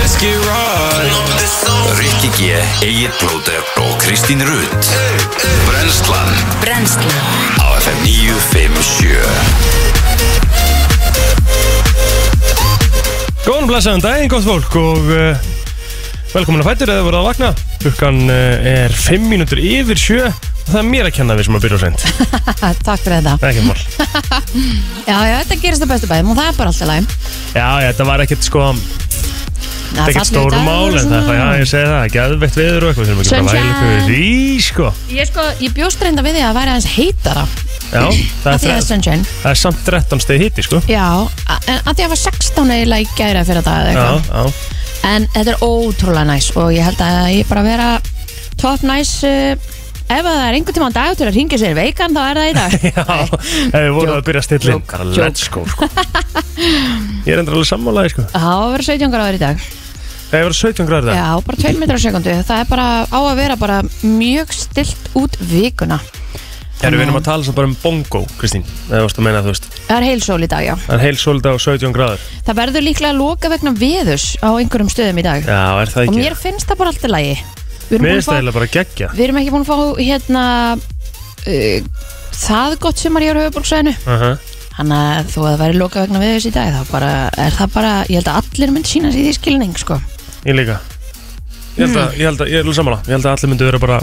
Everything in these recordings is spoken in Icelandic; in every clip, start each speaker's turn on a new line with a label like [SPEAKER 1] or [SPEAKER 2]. [SPEAKER 1] ekki right
[SPEAKER 2] Rikki G, Egil Blóter og Kristín Rutt Brenslan
[SPEAKER 3] Brennslan
[SPEAKER 2] á FM 957
[SPEAKER 1] Góðan blessaðan daginn, gott fólk og uh, velkomin að fættur eða voruð að vakna Klukkan uh, er 5 mínútur yfir 7 og það er mér að kenna við sem að byrja á seint
[SPEAKER 3] Ha, Takk fyrir þetta
[SPEAKER 1] Það er ekki mál
[SPEAKER 3] Já, já, þetta gerist það bestu bæðum og það er bara alltaf lægum
[SPEAKER 1] Já, já, þetta var ekkert sko þetta
[SPEAKER 3] Það
[SPEAKER 1] er ekkert stór mál en það, já, ég segi það, geðveitt viður og eitthvað þurfum ekki að væla
[SPEAKER 3] Sunshine.
[SPEAKER 1] ykkur við því, sko
[SPEAKER 3] Ég sko, ég bjóst reynda við því að það væri aðeins heitara
[SPEAKER 1] Já, það
[SPEAKER 3] að
[SPEAKER 1] er,
[SPEAKER 3] því að það er
[SPEAKER 1] þre-
[SPEAKER 3] sunshine
[SPEAKER 1] það er samt 13 steg hitti, sko
[SPEAKER 3] Já, a- en að því að það var 16 eiginlega í gæra fyrir dag eða
[SPEAKER 1] Já,
[SPEAKER 3] eitthvað
[SPEAKER 1] já,
[SPEAKER 3] En þetta er ótrúlega næs og ég held að ég bara vera top næs uh, Ef að það er einhvern tímann dag til að ringja sér veikan þá er það í dag
[SPEAKER 1] já, ef við vorum að byrja að stilla inn,
[SPEAKER 3] Jók,
[SPEAKER 1] bara
[SPEAKER 3] jók.
[SPEAKER 1] let's go, sko Ég er endur alveg sammálaði, sko
[SPEAKER 3] Það á að vera 17 gráður í dag
[SPEAKER 1] Það hefur 17 gráður það
[SPEAKER 3] Já, bara 2 metrar á sekundu Það er bara á að vera bara mjög stilt út vikuna
[SPEAKER 1] Erum við erum að tala samt bara um bongo, Kristín Það varst að meina, þú veist
[SPEAKER 3] Það er heilsól í dag, já
[SPEAKER 1] Það er heil sóldag og 17 gráður
[SPEAKER 3] Það verður líklega að loka vegna veðus á einhverjum stöðum í dag
[SPEAKER 1] Já, er það
[SPEAKER 3] og
[SPEAKER 1] ekki
[SPEAKER 3] mér finnst það bara alltaf lægi Við erum,
[SPEAKER 1] Mér
[SPEAKER 3] búin að
[SPEAKER 1] finnst það
[SPEAKER 3] fá,
[SPEAKER 1] eiginlega bara geggja
[SPEAKER 3] við erum ekki búin að fá hérna uh, það gott sumar ég á höfuborgsvæðinu
[SPEAKER 1] uh -huh.
[SPEAKER 3] þannig að þó að það væri loka vegna veðus í dag þá bara, er það bara, ég held að allir myndi sína sér í því skilning sko
[SPEAKER 1] Ég líka Ég held að, ég held að, ég er alveg sammála Ég held að allir myndu vera bara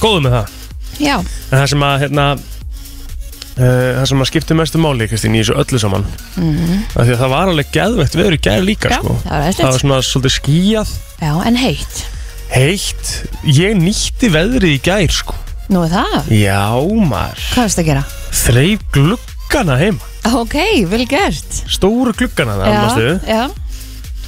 [SPEAKER 1] góðu með það
[SPEAKER 3] Já,
[SPEAKER 1] En það sem að, hérna uh, Það sem að skipti mestu máli, Kristín, í þessu öllu saman mm
[SPEAKER 3] Mhm.
[SPEAKER 1] Því að það var alveg geðvegt Við erum geð líka,
[SPEAKER 3] Já,
[SPEAKER 1] sko
[SPEAKER 3] það var æðislegt.
[SPEAKER 1] Það var svona svolítið skíjað
[SPEAKER 3] já, en heitt
[SPEAKER 1] Heitt Ég nýtti veðrið í gær, sko
[SPEAKER 3] Nú er það,
[SPEAKER 1] Já, maður
[SPEAKER 3] hvað er það að gera?
[SPEAKER 1] Þreif gluggana heima
[SPEAKER 3] Ok, vel gert
[SPEAKER 1] Stóru gluggana það,
[SPEAKER 3] Já,
[SPEAKER 1] mástu
[SPEAKER 3] já,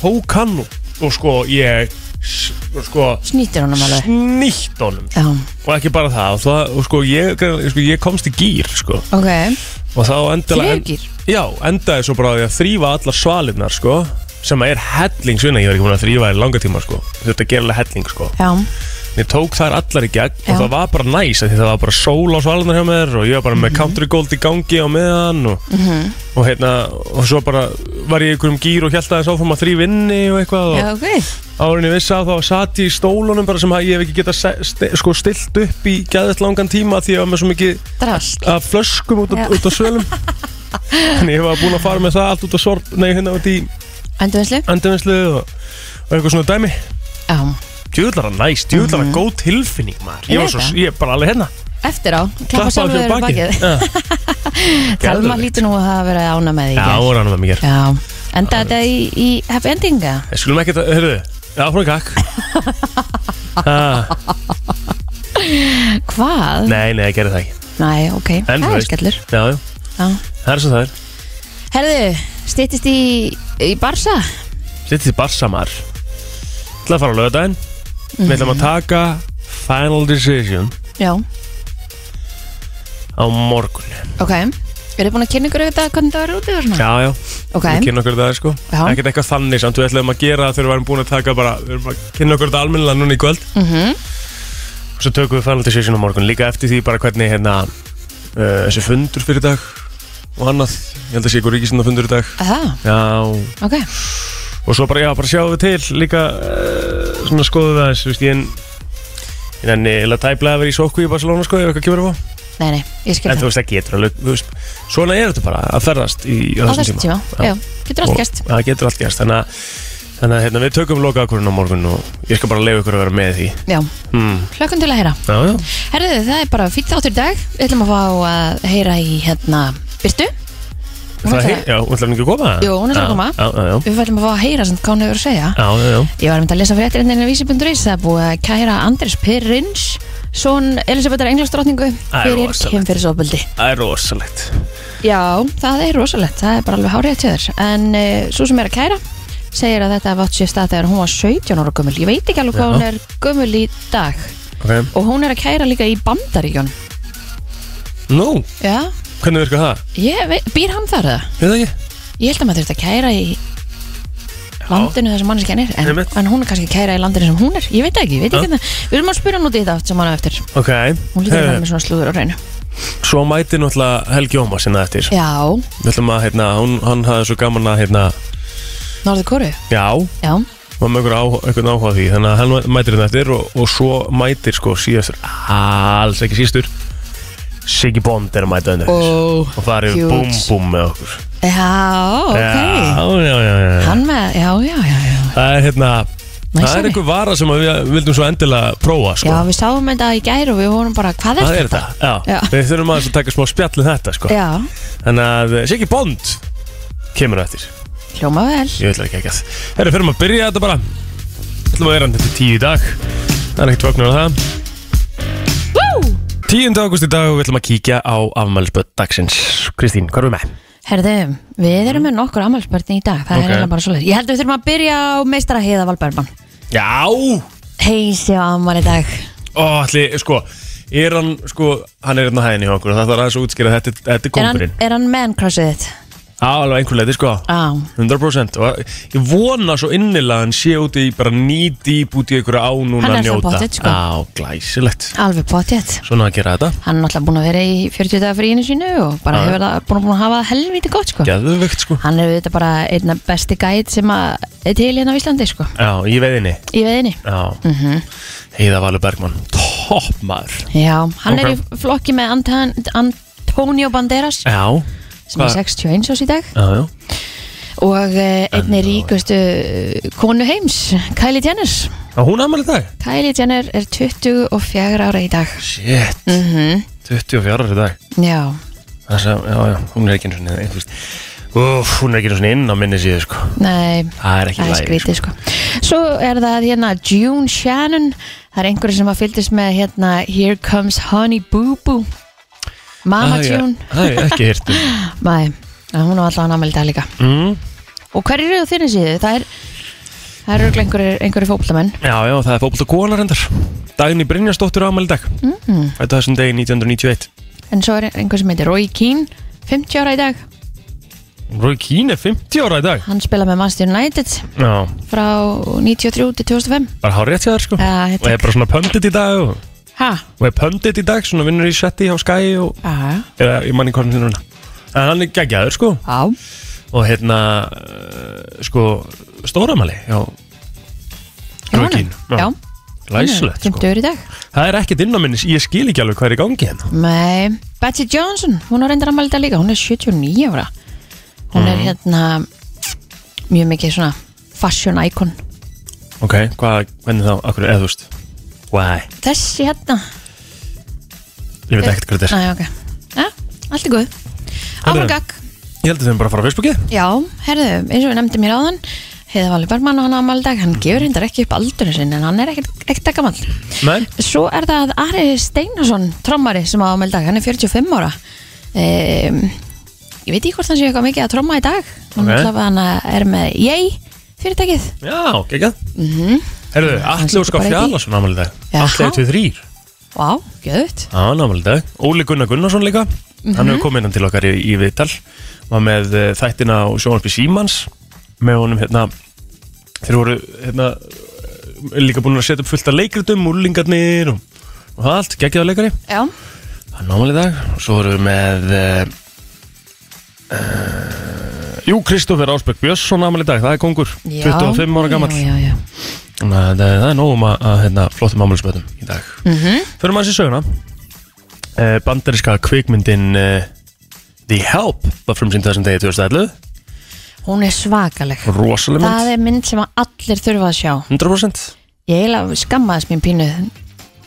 [SPEAKER 1] Tók hann og- og sko, ég s- Sko,
[SPEAKER 3] snýtir honum alveg
[SPEAKER 1] snýtt honum
[SPEAKER 3] Já,
[SPEAKER 1] og ekki bara það og, það, og sko, ég, sko, ég komst í gýr sko,
[SPEAKER 3] ok,
[SPEAKER 1] og þá endaði
[SPEAKER 3] Þriðjugýr?
[SPEAKER 1] já, endaði svo bara á því að þrýfa allar svalinnar sko, sem að er hellingsvinna ég var ekki búin að þrýfa í langa tíma sko. þetta gera alveg helling sko.
[SPEAKER 3] já,
[SPEAKER 1] ég tók þær allar í gegn
[SPEAKER 3] Já.
[SPEAKER 1] og það var bara næs af því það var bara sól á svalinnar hjá mér og ég var bara
[SPEAKER 3] Mhm.
[SPEAKER 1] með country gold í gangi á meðan og, og hérna og svo bara var ég í einhverjum gýr og held aðeins áfram að þrýf inni og eitthvað og,
[SPEAKER 3] já, ok
[SPEAKER 1] Árin ég vissi að þá satt ég í stólunum bara sem að ég hef ekki getað se- sti- sko, stilt upp í gæðist langan tíma því að ég var með svo mikið
[SPEAKER 3] Drast,
[SPEAKER 1] af flöskum út,
[SPEAKER 3] Já.
[SPEAKER 1] út á svölum Þannig ég var búin að fara með það allt út á sorp Nei, hérna út í
[SPEAKER 3] endurvinnslu
[SPEAKER 1] endurvinnslu og, og eitthvað svona dæmi
[SPEAKER 3] Já,
[SPEAKER 1] Djúðlar að næst, djúðlar að góð tilfinning maður
[SPEAKER 3] Ég
[SPEAKER 1] Ég var
[SPEAKER 3] veit
[SPEAKER 1] svo,
[SPEAKER 3] það.
[SPEAKER 1] ég er bara alveg hérna
[SPEAKER 3] eftir á, klappa
[SPEAKER 1] Klappa á
[SPEAKER 3] sjálfur
[SPEAKER 1] sér
[SPEAKER 3] þér um
[SPEAKER 1] bakið
[SPEAKER 3] bakið Talma
[SPEAKER 1] Geðveikt.
[SPEAKER 3] hlýtur nú að hafa verið ána með því í
[SPEAKER 1] Já,
[SPEAKER 3] gær.
[SPEAKER 1] voru hann með mér
[SPEAKER 3] Já, enda þetta í, í happy ending eða?
[SPEAKER 1] Ég skulum ekki þetta, hörðu Já, frá kakk ah,
[SPEAKER 3] Hvað?
[SPEAKER 1] Nei, nei, ég gerði það ekki
[SPEAKER 3] Nei, ok,
[SPEAKER 1] En þú
[SPEAKER 3] það er
[SPEAKER 1] veist.
[SPEAKER 3] skellur
[SPEAKER 1] Já, já,
[SPEAKER 3] Já.
[SPEAKER 1] það er svo það er
[SPEAKER 3] Herðu, styttist í, í Barsa
[SPEAKER 1] Sittið í barsamar Það að fara á lögadaginn Við
[SPEAKER 3] Mhm.
[SPEAKER 1] ætlum að taka Final Decision
[SPEAKER 3] Já,
[SPEAKER 1] á morgun
[SPEAKER 3] ok Eru búin að kynna ykkur þetta hvernig það er úti og svona?
[SPEAKER 1] Já, já,
[SPEAKER 3] ok,
[SPEAKER 1] við kynna okkur það sko
[SPEAKER 3] Já.
[SPEAKER 1] Ekkert eitthvað þannig samt við ætlum að gera þegar við erum búin að taka bara Við erum að kynna okkur þetta almennilega núna í kvöld mm -hmm. Svo tökum við Final Decision á morgun Líka eftir því bara hvernig hérna uh, Þessi fundur fyrir dag Og annað, ég held að sé ykkur ríkisinn fundur í dag
[SPEAKER 3] Að það,
[SPEAKER 1] Já,
[SPEAKER 3] ok
[SPEAKER 1] og svo bara, já, bara sjáum við til líka uh, svona skoðum við aðeins, þú veist, ég en ég nenni eða tæplega að vera í sókku í Barcelona sko, ef eitthvað kemur upp á,
[SPEAKER 3] Nei, nei, ég skil
[SPEAKER 1] en þú
[SPEAKER 3] það
[SPEAKER 1] veist, það getur alveg, þú veist, svona er þetta bara að ferðast í á
[SPEAKER 3] Á þessum tíma, já, getur allt
[SPEAKER 1] Og-
[SPEAKER 3] gæst
[SPEAKER 1] það getur allt gæst, þannig að þannig að hérna, við tökum loka akkurinn á morgun og ég skal bara leiða ykkur að vera með í því
[SPEAKER 3] Já,
[SPEAKER 1] hmm.
[SPEAKER 3] hlökkum til að heyra
[SPEAKER 1] já, já,
[SPEAKER 3] Herðu, það er bara fýtt þáttur í dag Við ætlum að fá að heyra í hérna Byrtu Hún
[SPEAKER 1] það
[SPEAKER 3] ætlar
[SPEAKER 1] hei,
[SPEAKER 3] að-
[SPEAKER 1] já, hún ætlar ekki að koma
[SPEAKER 3] Jú, hún ætlar að
[SPEAKER 1] Já,
[SPEAKER 3] koma.
[SPEAKER 1] já, já, já,
[SPEAKER 3] Við ætlum að fá að heyra sem hvað hún hefur að segja
[SPEAKER 1] já, já, já.
[SPEAKER 3] Ég var mynd að lesa fréttir inn á vísi.is það er búið að kæra Andrés Perrins son Elisabethar Englandsdrottningu
[SPEAKER 1] Það er
[SPEAKER 3] fyrir
[SPEAKER 1] rosalegt.
[SPEAKER 3] kemfyrirsofbeldi
[SPEAKER 1] það er rosalegt
[SPEAKER 3] Já, það er rosalegt, það er bara alveg hárið til þér en uh, svo sem er að kæra segir að þetta hafa átt sér stað þegar hún var 17 ára gömul ég veit ekki alveg hvað
[SPEAKER 1] Já.
[SPEAKER 3] hún er gömul í dag
[SPEAKER 1] ok,
[SPEAKER 3] og hún er að kæra líka í Bandaríkjun
[SPEAKER 1] nú,
[SPEAKER 3] Já,
[SPEAKER 1] hvernig virkar það?
[SPEAKER 3] ég veit, býr hann þar það?
[SPEAKER 1] Ég veit ekki,
[SPEAKER 3] Ég held að maður þurft að kæra í landinu þar sem manneskjan er en,
[SPEAKER 1] Einmitt.
[SPEAKER 3] en hún er kannski að kæra í landinu sem hún er ég veit það ekki, ég veit ekki hvernig- við erum að spyrja hann út í þetta sem hann á eftir
[SPEAKER 1] ok,
[SPEAKER 3] Hún lítur að
[SPEAKER 1] Heyrðu,
[SPEAKER 3] vera með svona slúður á reynu
[SPEAKER 1] svo mæti náttúrulega Helgi Óma sinna eftir
[SPEAKER 3] Já,
[SPEAKER 1] Við ætlum að, hérna, hún, hann hafði svo gaman að, hérna,
[SPEAKER 3] Norður Kóru
[SPEAKER 1] já,
[SPEAKER 3] Já,
[SPEAKER 1] var með einhver áhuga, einhvern áhuga á því þannig að hann mætir þetta eftir og, og svo mætir sko síðastur, alls ekki síðastur Siggy Bond er að mæta þetta eftir
[SPEAKER 3] Ó,
[SPEAKER 1] og það eru
[SPEAKER 3] huge.
[SPEAKER 1] búm búm með okkur
[SPEAKER 3] Já, ok
[SPEAKER 1] já, já, já, já.
[SPEAKER 3] Hann með, já, já, já, já
[SPEAKER 1] það er hérna það er
[SPEAKER 3] Næsari.
[SPEAKER 1] einhver vara sem að við vildum svo endilega prófa sko.
[SPEAKER 3] Já, við sáum þetta í gær og við vorum bara, hvað er
[SPEAKER 1] það er
[SPEAKER 3] þetta?
[SPEAKER 1] þetta já.
[SPEAKER 3] Já.
[SPEAKER 1] við þurfum aðeins að taka smá spjallið þetta sko.
[SPEAKER 3] Já,
[SPEAKER 1] þannig að eh, Siggy Bond kemur á eftir
[SPEAKER 3] hljóma vel
[SPEAKER 1] Ég ætla ekki ekki að Herru, fyrir maður að byrja þetta bara Ætlum að vera hann til tíu í dag Það er ekkert vögnur á það
[SPEAKER 3] Woo!
[SPEAKER 1] 10. ágúst í dag og við ætlum að kíkja á afmælisböð dagsins Kristín, hvað erum við með?
[SPEAKER 3] Herðu, við erum með nokkur ammálspörni í dag Það
[SPEAKER 1] Ok.
[SPEAKER 3] er eiginlega bara svolítið Ég held að við þurfum að byrja á meistara heiða Valbergman
[SPEAKER 1] Já!
[SPEAKER 3] Heisi á ammál í dag
[SPEAKER 1] Ó, ætli, sko Er hann, sko, hann er hérna á hæðinni hjá okkur og það þarf aðeins að útskýra að þetta, þetta er
[SPEAKER 3] Er hann,
[SPEAKER 1] kompurinn
[SPEAKER 3] er hann man crushið þitt?
[SPEAKER 1] Á, alveg einhver leiti, sko
[SPEAKER 3] Á,
[SPEAKER 1] 100% og ég vona svo innilega að hann sé úti í bara nýdýp úti í einhverja á núna
[SPEAKER 3] Hann er
[SPEAKER 1] að
[SPEAKER 3] það
[SPEAKER 1] njóta
[SPEAKER 3] pottet, sko.
[SPEAKER 1] Á, glæsilegt
[SPEAKER 3] alveg potjett
[SPEAKER 1] Svona að gera þetta
[SPEAKER 3] Hann er náttúrulega búin að vera í 40 dagar fyrir einu sínu og bara
[SPEAKER 1] Já.
[SPEAKER 3] hefur það búin, búin að hafa það helvítið gott sko.
[SPEAKER 1] Geðvegt, sko
[SPEAKER 3] Hann er auðvitað bara einna besti gæt sem að er til hérna á Íslandi sko,
[SPEAKER 1] Já, ég veiðinni
[SPEAKER 3] í Mhm. veðinni.
[SPEAKER 1] Já, Heiða Valur Bergmann Topp maður
[SPEAKER 3] Já, hann er
[SPEAKER 1] Ok.
[SPEAKER 3] í flokki með Anton, Antonio Banderas
[SPEAKER 1] Já,
[SPEAKER 3] sem er
[SPEAKER 1] Hvað-
[SPEAKER 3] 61 ás í dag
[SPEAKER 1] já, já
[SPEAKER 3] og eh, einni ríkustu eh, konu heims, Kylie Jenner.
[SPEAKER 1] Á hún aðmæli dag?
[SPEAKER 3] Kylie Jenner er 24 ára í dag. Mhm,
[SPEAKER 1] Shit, 24 ára í dag
[SPEAKER 3] Já,
[SPEAKER 1] Þess að, já, já, hún er ekki einu svona einhvers Úf, hún er ekki einu svona inn á minni síðu sko
[SPEAKER 3] nei,
[SPEAKER 1] Það er ekki
[SPEAKER 3] Það er
[SPEAKER 1] læg
[SPEAKER 3] skrítið sko Svo er það hérna June Shannon Það er einhverju sem að fylgdist með hérna Here comes honey boo boo Mama June
[SPEAKER 1] Það er ekki hirtum
[SPEAKER 3] Mæ, ja, hún var alltaf námæli dag líka
[SPEAKER 1] mm,
[SPEAKER 3] Og hver eru á þinni síðu? Það er Það eru örugglega einhverju, einhverju fótboltamenn
[SPEAKER 1] Já, já, það er fótbolta kona reyndar Dagni Brynjarsdóttir ámæli dag mm -hmm. Þetta þessum degi 1991
[SPEAKER 3] Mm-hmm. En svo er einhver sem heitir Roy Keane 50 ára í dag
[SPEAKER 1] Rói Kín er 50 ára í dag
[SPEAKER 3] Hann spila með Master United
[SPEAKER 1] Já,
[SPEAKER 3] Frá 93 til 2005
[SPEAKER 1] bara hár rétt hjá þér sko
[SPEAKER 3] Já, þetta-
[SPEAKER 1] Og er bara svona pöndit í dag og,
[SPEAKER 3] Ha?
[SPEAKER 1] og er pöndit í dag, svona vinnur í setti hjá Skye og
[SPEAKER 3] Aha.
[SPEAKER 1] eða ég manni hvað hann finnur hana en hann er geggjaður sko
[SPEAKER 3] Já
[SPEAKER 1] og hérna uh, sko stóramali já,
[SPEAKER 3] Já,
[SPEAKER 1] Roy
[SPEAKER 3] honum.
[SPEAKER 1] Keane, já.
[SPEAKER 3] Já,
[SPEAKER 1] læsulegt sko
[SPEAKER 3] 50 ára í dag
[SPEAKER 1] það er ekkert inn á minni, ég skil ekki alveg hvað er í gangi hérna
[SPEAKER 3] Nei, Betsy Johnson, hún á reyndar ammæli dag líka, hún er 79 ára Hún er
[SPEAKER 1] Mhm.
[SPEAKER 3] hérna mjög mikið svona fashion icon
[SPEAKER 1] ok, hvað, hvernig þá, akkur, eða þú veist why,
[SPEAKER 3] Þessi hérna
[SPEAKER 1] ég veit ekkert hvað þetta
[SPEAKER 3] Næ, ok, ja, allt er góð
[SPEAKER 1] Heyrðu.
[SPEAKER 3] Áfram gagg,
[SPEAKER 1] er ég held að þau bara að fara á Facebooki
[SPEAKER 3] já, herðu, eins og við nefndi mér áðan Heiða Valur Bergmann og hann ammæli dag, hann gefur reyndar ekki upp aldurinn sinn en hann er ekkert ekkert að gamall
[SPEAKER 1] menn,
[SPEAKER 3] Svo er það Ari Steinarsson, trommari sem á ammæli dag, hann er 45 ára um, Ég veit ekki hvort hann sé eitthvað mikið að tromma í dag Hann
[SPEAKER 1] Ok.
[SPEAKER 3] allavega hann er með Yay fyrirtækið
[SPEAKER 1] já, geggjað mm -hmm. herru, Atli
[SPEAKER 3] situr Mhm.
[SPEAKER 1] Óskar
[SPEAKER 3] bara í því.
[SPEAKER 1] Fjallarsson ámali dag
[SPEAKER 3] Jaha.
[SPEAKER 1] Atli 23
[SPEAKER 3] Vá, gjöðut
[SPEAKER 1] Já, hann ámæli dag. Óli Gunnar Gunnarsson líka, hann hefur komið innan til okkar í, í viðtal, var með uh, þættina á sjónarpi Símans, með honum hérna, þeir voru hérna, eh, líka búin að setja upp fullt af leikritum, úrlingarnir og, og það allt, geggjaða leikari,
[SPEAKER 3] Já,
[SPEAKER 1] hann ámæli dag, og svo voru við með, uh, uh, jú, Kristófer Ásberg Björnsson ámæli dag, það er kongur, 25 ára gamall,
[SPEAKER 3] Já, já, já
[SPEAKER 1] þannig að það, það er nógum að, að hérna, flottum ámælisbötum í dag.
[SPEAKER 3] mm
[SPEAKER 4] Mhm.
[SPEAKER 3] -hmm.
[SPEAKER 1] Förum aðeins í söguna uh, Bandariska kvikmyndin uh, The Help var frumsýnd þessum degi 2011
[SPEAKER 3] Hún er svakaleg
[SPEAKER 1] Rosaleg
[SPEAKER 3] Það
[SPEAKER 1] mynd,
[SPEAKER 3] er mynd sem að allir þurfa að sjá
[SPEAKER 1] 100%
[SPEAKER 3] Ég eiginlega skammaðist mín pínu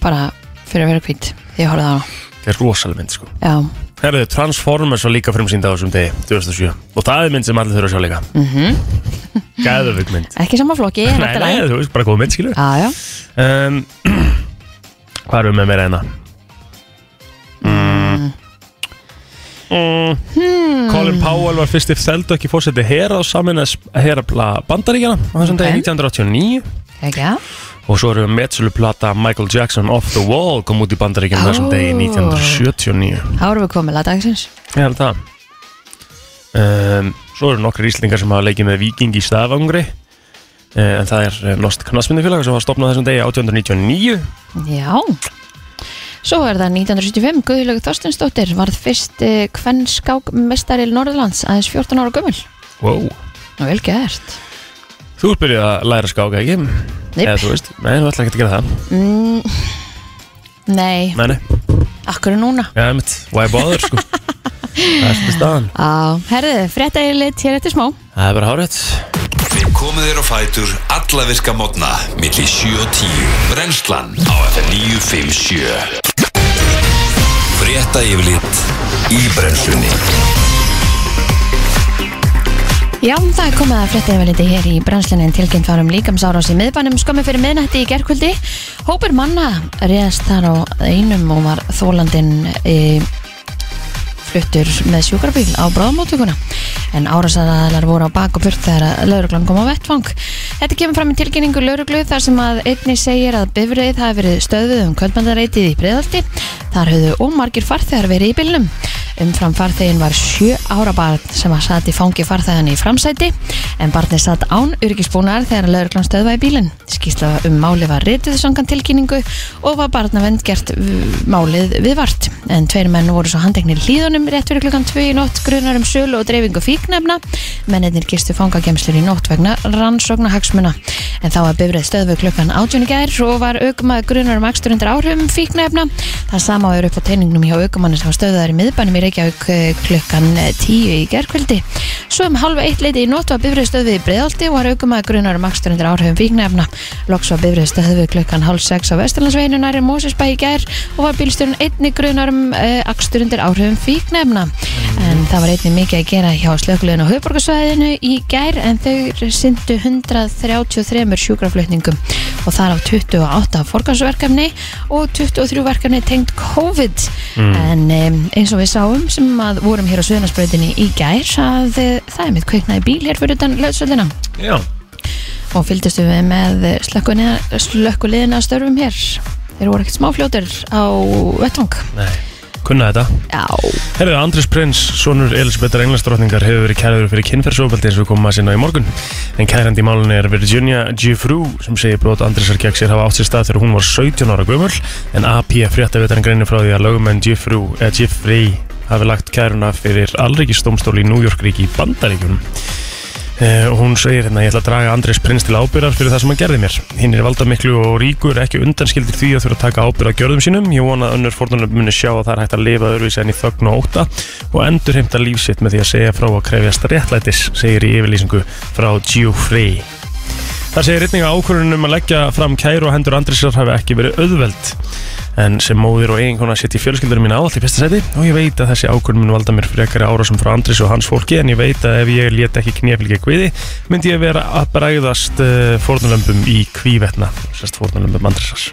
[SPEAKER 3] bara fyrir að vera hvít því ég horfði á hana
[SPEAKER 1] Það er rosaleg mynd sko
[SPEAKER 3] Já,
[SPEAKER 1] Herðu, Transformers var líka frumsýnd á þessum degi 2007 Og það er mynd sem allir þurfa að sjá líka mm -hmm. Gæðurvig mynd
[SPEAKER 3] mhm. ekki sama flokki en
[SPEAKER 1] Nei,
[SPEAKER 3] allt í
[SPEAKER 1] nei,
[SPEAKER 3] lagi.
[SPEAKER 1] þú veist, bara góð mynd skilur
[SPEAKER 3] Já, já,
[SPEAKER 1] um, Hvað erum við með meira hérna? enna? Mm.
[SPEAKER 3] Hmm.
[SPEAKER 1] Mm. Colin Powell var fyrst í þeldu ekki fórseti hera og samin að hera bandaríkjana á þessum
[SPEAKER 3] Ok.
[SPEAKER 1] degi 1989
[SPEAKER 3] ekki að
[SPEAKER 1] og svo erum við metsöluplata Michael Jackson Off the Wall kom út í bandaríkjana á þessum degi
[SPEAKER 3] Ó.
[SPEAKER 1] 1979
[SPEAKER 3] Þá erum við komin að dagsins
[SPEAKER 1] Ég held það um, Svo eru nokkri íslingar sem hafa leikið með viking í stafangri en það er eh, Lost Knassmyndifélag sem var stopnað á þessum degi 1899
[SPEAKER 3] Já Svo er það 1975, Guðlaug Þorstinsdóttir varð fyrst kvennskák mestaril Norðlands aðeins 14 ára gömul
[SPEAKER 1] Wow
[SPEAKER 3] og vel gert
[SPEAKER 1] Þú ert byrjuð að læra að skáka, ekki? Nei Eða þú veist, nei, þú ætlar ekki að gera það
[SPEAKER 3] Mm, nei,
[SPEAKER 1] Nei, nei,
[SPEAKER 3] akkur er núna
[SPEAKER 1] já, mitt, why bother, sko Það er svolítið staðan
[SPEAKER 3] Á, herðu, fréttaeilit hér eftir smá
[SPEAKER 1] Það er bara hárætt
[SPEAKER 2] Við komum þér á fætur alla virka mótna milli 7 og 10 Brennslan á FM 957 Frétta yfirlit í brennslunni
[SPEAKER 3] Já, um það er komið að frétta yfirliti hér í brennslinni en tilkynnt varum líkamsárás í miðbænum skömmi fyrir miðnætti í gerkvöldi. Hópur manna reyðast þar á einum og var þólandinn e, fluttur með sjúkrabíl á bráðmótuguna. En árásaraðalar voru á bak og burt þegar að lauruglan kom á vettvang. Þetta kemur fram í tilkynningu lauruglu þar sem að einni segir að bifrið hafi verið stöðuð um kvöldmandareitið í breiðaldi. Þar höfðu ómargir farþegar verið í bylnum. Umfram farþegin var sjö ára barn sem var satt í fangi farþegan í framsæti en barnið satt án yrkisbúnar þegar lauruglan stöðvaði bílinn. Skýsla um máli var ritið sangan tilkynningu og var barnavend gert uh, málið viðvart. En tveir menn voru svo handeknir hlýðunum rétt fyrir klukkan 2 í nótt grunar um sölu og dreifingu fíknefna. Mennirnir gistu fangagemslur í nótt vegna rannsókna hagsmuna. En þá var bifrið stöðvuð klukkan 18 í gær og var aukumaður grunar um akstur undir áhrifum fíknefna. Það sama er upp á teiningnum hjá aukumanni sem var stöðaður í miðbænum í Reykjavík eh, klukkan 10 í gerkvöldi. Svo um halva eitt leiti í nótt var bifrið stöðuð í Breiðaldi og var aukumaður grunar um akstur undir áhrifum fíknefna. Loks var bifrið stöðuð klukkan halv 6 á Vesturlandsveginu næri Mósisbæ í gær og var bílstjórn einni grunar um eh, akstur undir áhrifum fíknefna. En það var einni mikið að gera hjá slökulegin á höfuborgarsvæðinu í gær en þau sindu 133 sjúkraflutningum og þar af 28 forgansverkefni og 23 verkefni tengt COVID en um, eins og við sáum sem að vorum hér á Suðunarsbröðinni í gær að eh, það er mitt kveiknaði bíl hér fyrir utan löðsöldina
[SPEAKER 1] Já
[SPEAKER 3] og fylgdistu við með slökkuliðina slökkuliðina að störfum hér þeir voru ekkert smáfljótur á vettvang
[SPEAKER 1] Nei, kunna þetta
[SPEAKER 3] Já,
[SPEAKER 1] Herðu, Andrés Prins, sonur Elisabethar Englandsdrottningar hefur verið kæður fyrir kynferðsofbeldi eins og við komum að sinna í morgun en kærandi í málunni er Virginia G. Frew sem segir brot Andrésar gegn sér hafa átt sér stað þegar hún var 17 ára gömul en AP fréttavitarinn greinir frá því að lögumenn G. Frew, eða G. Frey hafi lagt kæruna fyrir allrikistómstól í New York ríki í Bandaríkjunum Eh, og hún segir hérna, ég ætla að draga Andrés Prins til ábyrðar fyrir það sem hann gerði mér. Hinn er valda miklu og ríkur, ekki undanskildir því að þurfa að taka ábyrða gjörðum sínum. Ég vona að önnur fórnarlöf muni sjá að það er hægt að lifa öðruvísi en í þögn og óta og endur heimta lífsitt með því að segja frá að krefjast réttlætis, segir í yfirlýsingu frá Geoffrey. Það segir einnig að ákvörðunum um að leggja fram kæru og hendur Andrésar hafi ekki verið auðveld en sem móðir og eiginkona setji fjölskyldunum mín áallt í fyrsta seti og ég veit að þessi ákvörðun mun valda mér frekari árásum frá Andris og hans fólki en ég veit að ef ég let ekki kneflíka kviði myndi ég vera að bræðast uh, fórnulömbum í kvívetna sérst fórnulömbum Andrisars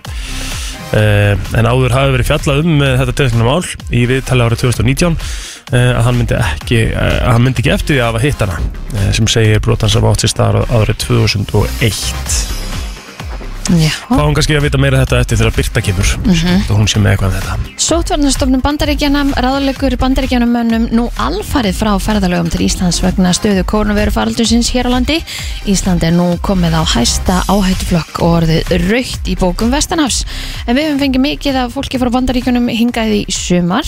[SPEAKER 1] uh, en áður hafi verið fjallað um uh, þetta tilkynna mál í viðtali árið 2019 uh, að hann myndi ekki uh, að hann myndi ekki eftir því að hafa hitt hana uh, sem segir brotans af átt sér star árið 2001
[SPEAKER 3] já
[SPEAKER 1] fáum kannski að vita meira þetta eftir þegar Birta kemur mm
[SPEAKER 3] Mhm.
[SPEAKER 1] hún sé með eitthvað um þetta
[SPEAKER 3] Sótvarnastofnum bandaríkjanam ráðlegur bandaríkjanamönnum nú alfarið frá ferðalögum til Íslands vegna stöðu kórnuverufaraldusins hér á landi. Ísland er nú komið á hæsta áhættuflokk og orðið raukt í bókum Vestanhafs. En við höfum fengið mikið af fólki frá bandaríkjanum hingað í sumar.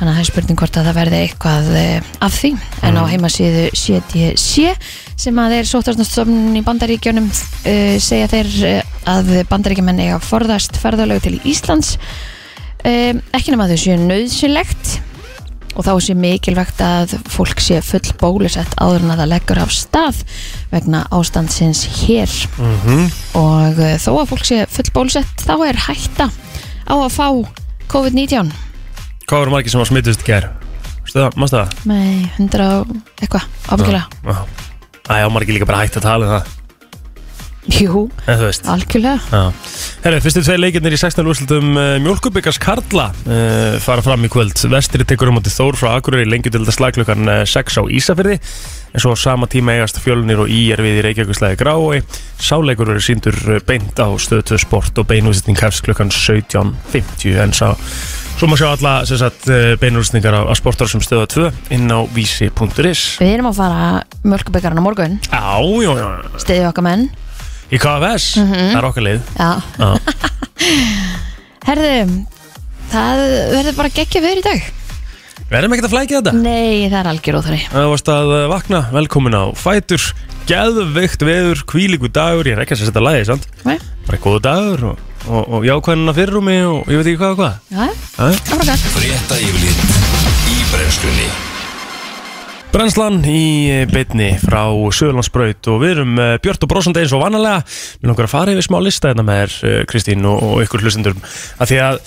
[SPEAKER 3] Þannig að það er spurning hvort að það verði eitthvað eh, af því. En á heimasíðu CDC sem að þeir sótvarnastofnun í bandaríkjanum uh, segja þeir eh, að bandaríkjamenn eiga að forðast ferðalög til Íslands um, ekki nema þau séu nöðsynlegt og þá sé mikilvægt að fólk sé full bólusett áður en að það leggur af stað vegna ástandsins hér og uh, þó að fólk sé full bólusett þá er hætta á að fá COVID-19
[SPEAKER 1] Hvað voru margir sem var smittist í gær? Veistu það, mástu það?
[SPEAKER 3] með 100 og eitthvað ábyggilega
[SPEAKER 1] Já. Æ, á margir líka bara hægt að tala um það
[SPEAKER 3] jú,
[SPEAKER 1] En þú veist
[SPEAKER 3] algjörlega
[SPEAKER 1] Já. Herru, fyrstu tvei leikirnir í 16. úrslutum uh, Mjölkubyggars Karla uh, fara fram í kvöld. Vestri tekur um átti Þór frá Akureyri lengi til þetta slagklukkan uh, 6 á Ísafyrði en svo á sama tíma eigast fjölunir og ír við í Reykjavíkuslæði Grái. Sáleikur verður síndur uh, beint á stöðtöð sport og beinúðsýtning hefst klukkan 17.50 en sá Svo má sjá alla sem sagt, eh, beinurlýsningar á, á sportar sem stöða 2 inn á vísi.is
[SPEAKER 3] við erum að fara mjölkubyggarinn á morgun
[SPEAKER 1] Á, já, já, já.
[SPEAKER 3] stiðið okkar menn
[SPEAKER 1] Í KFS, það er okkar lið
[SPEAKER 3] já.
[SPEAKER 1] Já.
[SPEAKER 3] herðu, það verður bara geggja viður í dag
[SPEAKER 1] Verðum ekkert að flækja þetta?
[SPEAKER 3] Nei, það er algjör óþví
[SPEAKER 1] Það varst að eh, vakna, velkomin á Fætur Geðveikt veður, kvílíku dagur Ég er ekki að setja lagið, sant? Bara góðu dagur og, og, og jákvæðina fyrrumi og ég veit ekki hvað og hvað
[SPEAKER 3] Já,
[SPEAKER 1] Jæja.
[SPEAKER 3] áfram gæt
[SPEAKER 2] Frétta yfirlit í brennslunni
[SPEAKER 1] Brennslan í eh, beinni frá Söðlandsbraut og við erum eh, björt og brosandi eins og vanalega Mér langar að fara yfir smá lista hérna með þér, eh, Kristín og, og ykkur hlustendur að Því að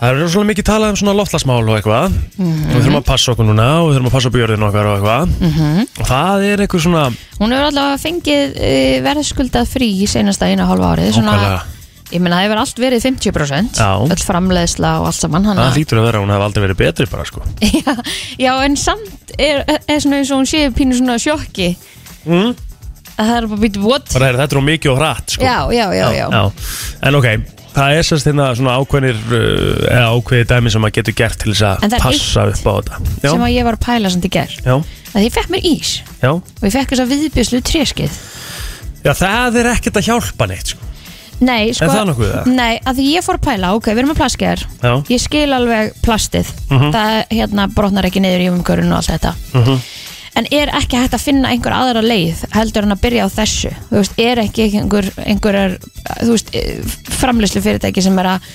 [SPEAKER 1] það er svona mikið talað um svona loftlagsmál og eitthvað og við þurfum að passa okkur núna og við þurfum að passa upp jörðin okkar og eitthvað
[SPEAKER 3] Mhm.
[SPEAKER 1] og það er eitthvað svona
[SPEAKER 3] Hún hefur allavega fengið uh, verðskuldað frí í senasta eina og hálfa árið svona,
[SPEAKER 1] Nákvæmlega.
[SPEAKER 3] Ég meina, það hefur allt verið 50%
[SPEAKER 1] Já.
[SPEAKER 3] öll framleiðsla og allt saman hana.
[SPEAKER 1] það hlýtur að vera að hún hef aldrei verið betri bara sko
[SPEAKER 3] já, já, en samt er, er svona eins og hún sé pínu svona á sjokki mm. að það er bara býtt what?
[SPEAKER 1] Bara heyrðu, þetta er of mikið og hratt sko
[SPEAKER 3] Já, já, já, já,
[SPEAKER 1] já. En ok, það er sérst hérna svona ákveðnir uh, eða ákveði dæmi sem maður getur gert til þess
[SPEAKER 3] En
[SPEAKER 1] að
[SPEAKER 3] það er
[SPEAKER 1] passa
[SPEAKER 3] eitt
[SPEAKER 1] upp á þetta Já,
[SPEAKER 3] sem að ég var að pæla samt í ger
[SPEAKER 1] já,
[SPEAKER 3] að ég fekk mér ís
[SPEAKER 1] já
[SPEAKER 3] og ég fekk þess að viðbjörslu tréskið
[SPEAKER 1] Já, það er ekkert að hjálpa neitt sko.
[SPEAKER 3] Nei, sko,
[SPEAKER 1] Er það nokkuð, eða?
[SPEAKER 3] Nei, að því ég fór að pæla, ok, við erum með plastgeðar
[SPEAKER 1] Já.
[SPEAKER 3] Ég skil alveg plastið
[SPEAKER 1] Mhm.
[SPEAKER 3] Það hérna brotnar ekki neyður í umhverjun og allt þetta
[SPEAKER 1] Mm-hmm.
[SPEAKER 3] En er ekki hægt að finna einhver aðra leið heldur en að byrja á þessu Þú veist, er ekki einhver, einhverjar þú veist, framlýslu fyrirtæki sem er að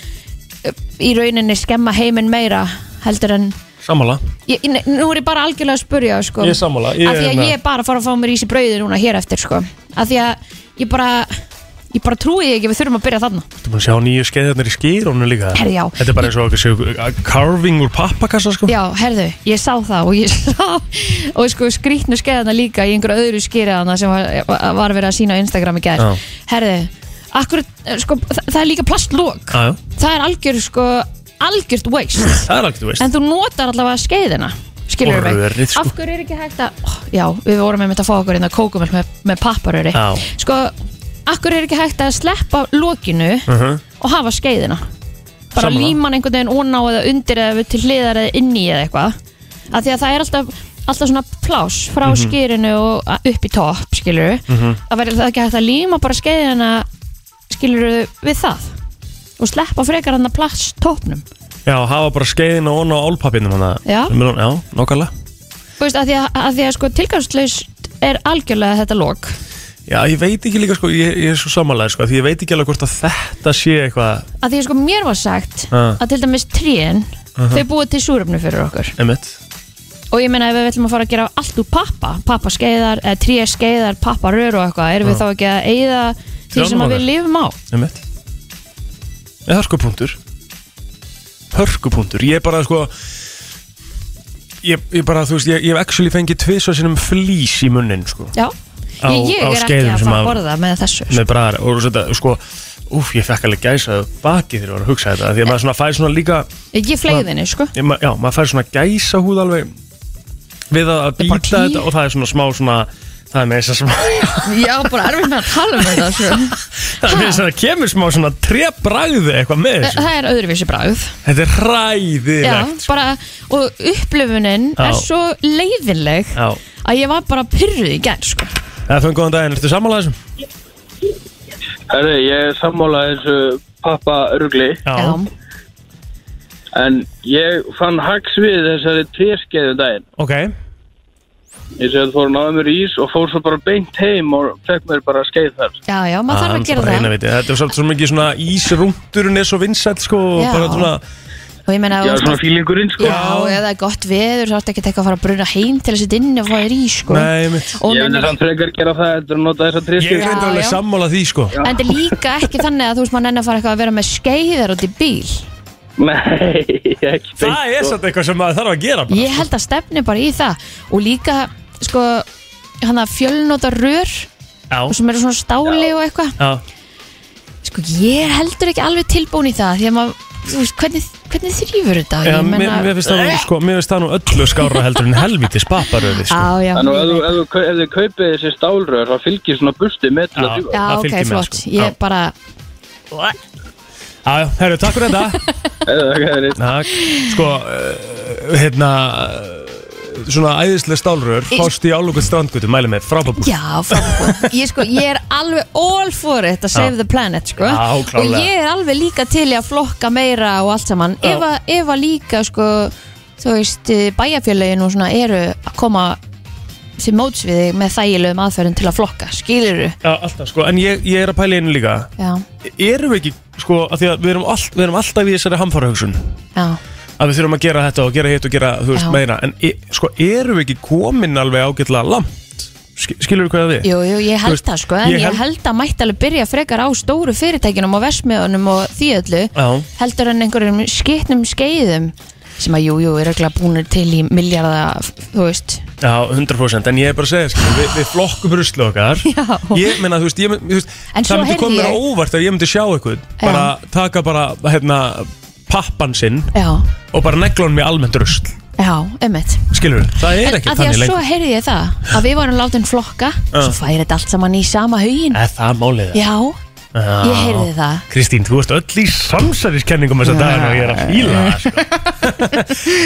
[SPEAKER 3] eh, í rauninni skemma heiminn meira heldur en
[SPEAKER 1] Sammála
[SPEAKER 3] ég, ég- nú er ég bara algjörlega að spurja sko.
[SPEAKER 1] Ég er sammála, ég
[SPEAKER 3] af því að
[SPEAKER 1] hérna-
[SPEAKER 3] ég er bara að fara að fá mér ís í brauði núna hér eftir sko. af því að ég bara ég bara trúi því ekki að við þurfum að byrja þarna
[SPEAKER 1] Þú búin að sjá nýju skeiðarnir í skýrónu líka
[SPEAKER 3] Herri, já.
[SPEAKER 1] Þetta er bara eins og okkur séu uh, carving úr pappakassa sko.
[SPEAKER 3] já, herðu, ég sá það og ég sá og sko skrýtnu skeiðana líka í einhverju öðru skýriðana sem var, var verið að sína á Instagram í gær
[SPEAKER 1] Já.
[SPEAKER 3] herðu, akkur sko, það, það er líka plastlók
[SPEAKER 1] Já, já.
[SPEAKER 3] það er algjör sko, algjört waste
[SPEAKER 1] Það er alveg, þú veist
[SPEAKER 3] en þú notar allavega skeiðina skilur
[SPEAKER 1] Og
[SPEAKER 3] við
[SPEAKER 1] rörið, sko.
[SPEAKER 3] af hverju er ekki hægt að ó, já, við vorum einmitt að fá okkur inn að kókumöld með, með papparöri
[SPEAKER 1] Já.
[SPEAKER 3] sko, af hverju er ekki hægt að sleppa lokinu
[SPEAKER 1] Mhm.
[SPEAKER 3] og hafa skeiðina bara
[SPEAKER 1] Sammála.
[SPEAKER 3] líman einhvern veginn óná eða undir eða til hliðar eða inni eða eitthvað af því að það er alltaf alltaf svona plás frá mm
[SPEAKER 1] Mhm.
[SPEAKER 3] og a- upp í topp skilur við mm
[SPEAKER 1] Mm-hmm.
[SPEAKER 3] -hmm. að verður það ekki hægt að líma bara skeiðina skilur við við það og sleppa frekar hann að plast toppnum
[SPEAKER 1] Já, hafa bara skeiðina og á álpappinum hana.
[SPEAKER 3] Já.
[SPEAKER 1] Já, nokkarlega
[SPEAKER 3] Þú veist, að því að, að, því að sko, tilgangslaust er algjörlega þetta lok
[SPEAKER 1] Já, ég veit ekki líka, sko, ég, ég er svo sammálaður sko, Því ég veit ekki alveg hvort að þetta sé eitthvað
[SPEAKER 3] að því að sko, mér var sagt
[SPEAKER 1] Ah.
[SPEAKER 3] að til dæmis trén þau búið til súröfnu fyrir okkur
[SPEAKER 1] Einmitt
[SPEAKER 3] og ég meina ef við ætlum að fara að gera allt úr pappa pappa skeiðar, eða tré skeiðar, pappa rör og eitthvað erum við þá ekki að eyða því
[SPEAKER 1] Trjánum
[SPEAKER 3] sem að við
[SPEAKER 1] okkar.
[SPEAKER 3] lifum á
[SPEAKER 1] Einmitt. Eða hörkupunktur Hörkupunktur Ég er bara sko Ég, ég bara, þú veist, ég, ég hef actually fengið tvis og sinnum flís í munnin, sko
[SPEAKER 3] Já,
[SPEAKER 1] Á-
[SPEAKER 3] ég, ég
[SPEAKER 1] á
[SPEAKER 3] er ekki
[SPEAKER 1] skeiðum
[SPEAKER 3] að
[SPEAKER 1] sem
[SPEAKER 3] fara
[SPEAKER 1] að-
[SPEAKER 3] að borða með þessu sko.
[SPEAKER 1] Með bræðar og þetta, sko Úf, ég fekk alveg gæsað baki þegar ég var að hugsa þetta Því að maður svona fær svona líka
[SPEAKER 3] Ég fleiðinni, sko
[SPEAKER 1] ég, ma- Já, maður fær svona gæsa húð alveg Við að, að
[SPEAKER 3] er bara
[SPEAKER 1] býta
[SPEAKER 3] pí-
[SPEAKER 1] þetta Og það er svona smá svona Það er með þess að smá
[SPEAKER 3] Já, bara erfitt með að tala um þetta sko.
[SPEAKER 1] Það er með þess að það kemur smá svona Trebræði eitthvað með þessu
[SPEAKER 3] Það er öðruvísi bragð
[SPEAKER 1] Þetta er hræðilegt
[SPEAKER 3] Já, bara, og upplifunin
[SPEAKER 1] Já.
[SPEAKER 3] er svo leiðinleg
[SPEAKER 1] Já.
[SPEAKER 3] að ég var bara pyrruð í gerð sko.
[SPEAKER 1] FN, góðan daginn, ertu sammálaðisum?
[SPEAKER 5] Herri, ég er sammála þessu pappa örgli
[SPEAKER 3] Já.
[SPEAKER 5] en ég fann hags við þessari tréskeiðu daginn.
[SPEAKER 1] Ok,
[SPEAKER 5] Ég segði að fór að náða mér í ís og fór svo bara beint heim og fekk mér bara skeið þar.
[SPEAKER 3] já, já, maður þarf að
[SPEAKER 1] Aðeins
[SPEAKER 3] gera
[SPEAKER 1] bara
[SPEAKER 3] það
[SPEAKER 1] eina viti. Þetta er svolítið svo mikið svona ísrúndurinn er svo vinsætt sko og
[SPEAKER 3] Já.
[SPEAKER 1] bara svona,
[SPEAKER 3] og ég meina,
[SPEAKER 5] Já,
[SPEAKER 3] já,
[SPEAKER 5] svona fílingurinn sko.
[SPEAKER 3] já, ef það er gott veður þá ertu ekki eitthvað að fara að bruna heim til að sitt inn og fá þér í sko.
[SPEAKER 1] nei mitt
[SPEAKER 3] og
[SPEAKER 5] Ég
[SPEAKER 3] meina,
[SPEAKER 5] vildi samt frekar gera það eftir að nota þessa
[SPEAKER 1] Ég er
[SPEAKER 5] tréskeiðu.
[SPEAKER 1] reynda alveg
[SPEAKER 3] já.
[SPEAKER 1] sammála því sko
[SPEAKER 3] en þetta er líka ekki þannig að þú veist maður nenni að fara eitthvað að vera með skeiðar út í bíl
[SPEAKER 5] Nei, ekki sko.
[SPEAKER 1] Það er svolítið eitthvað sem maður þarf að gera bara
[SPEAKER 3] ég held að stefni bara í það og líka, sko hann að fjölnóta rör
[SPEAKER 1] Já,
[SPEAKER 3] sem eru svona stáli og eitthvað
[SPEAKER 1] já,
[SPEAKER 3] sko ég er heldur ekki alveg tilbúin í það því að maður, þú veist, hvernig, hvernig þrýfur þetta
[SPEAKER 1] já
[SPEAKER 3] ég
[SPEAKER 1] mér, mér finnst það nú sko, mér finnst það nú öllu skára heldur en helvítis papparöði sko
[SPEAKER 3] á, já,
[SPEAKER 5] Þannig að ef þú- ef þú kau- ef þið kaupið þessi stálröður þá fylgir svona busti með til að
[SPEAKER 1] Já.
[SPEAKER 5] djúa.
[SPEAKER 3] já,
[SPEAKER 1] það
[SPEAKER 3] ok,
[SPEAKER 1] fylgir mér,
[SPEAKER 3] flott
[SPEAKER 1] sko. Já.
[SPEAKER 3] ég bara,
[SPEAKER 1] Já, já, herru, takk fyrir þetta Takk. Sko, eh, hérna eh, svona æðislega stálrör fást í álugast strandgötu, mæli með frábabúr
[SPEAKER 3] já, frábúr ég sko, ég er alveg all for it að save the planet, sko
[SPEAKER 1] Já, klárlega.
[SPEAKER 3] og ég er alveg líka til í að flokka meira og allt saman, ef að, ef að líka, sko þú veist, bæjarfélögin og svona eru að koma til móts við þig með þægilegum aðferðin til að flokka, skilur
[SPEAKER 1] Já, alltaf sko, en ég, ég er að pæla í einu líka
[SPEAKER 3] Já,
[SPEAKER 1] Erum við ekki, sko, að því að við erum, all, við erum alltaf í þessari hamfara
[SPEAKER 3] já,
[SPEAKER 1] Að við þurfum að gera þetta og gera hitt og gera, þú veist,
[SPEAKER 3] Já.
[SPEAKER 1] meira En e, sko, erum við ekki komin alveg ágætlega langt? Sk, skilur við hvað það er?
[SPEAKER 3] jú, jú, ég held
[SPEAKER 1] Þú veist,
[SPEAKER 3] það sko en
[SPEAKER 1] ég
[SPEAKER 3] ég
[SPEAKER 1] held-
[SPEAKER 3] held, að mætti alveg byrja frekar á stóru fyrirtækinum og versmiðunum og því öllu
[SPEAKER 1] Já.
[SPEAKER 3] heldur en einhverjum skitnum skeiðum sem að jú, jú, er ekki búinir til í miljarda, þú veist
[SPEAKER 1] Já, 100% En ég er bara að segja, sko, við, við flokkum ruslu okkar
[SPEAKER 3] Já.
[SPEAKER 1] Ég meina, þú veist, ég, þú veist
[SPEAKER 3] En svo
[SPEAKER 1] það myndi
[SPEAKER 3] heyrði
[SPEAKER 1] koma mér
[SPEAKER 3] ég-
[SPEAKER 1] á óvart ef ég myndi sjá eitthvað Bara taka bara, hérna, pappan sinn
[SPEAKER 3] Já,
[SPEAKER 1] Og bara negla hann mér almennt rusl
[SPEAKER 3] já, emmitt
[SPEAKER 1] Skilur við, það er
[SPEAKER 3] En
[SPEAKER 1] ekki
[SPEAKER 3] að því
[SPEAKER 1] þannig
[SPEAKER 3] að svo
[SPEAKER 1] lengur
[SPEAKER 3] heyrði ég það að við varum látin flokka svo færi þetta allt saman í sama haugin
[SPEAKER 1] Er það málið það?
[SPEAKER 3] Já, ég heyrði það
[SPEAKER 1] Kristín, þú ert öll í samsæðiskenningum þess að dagana og ég er að fíla það sko.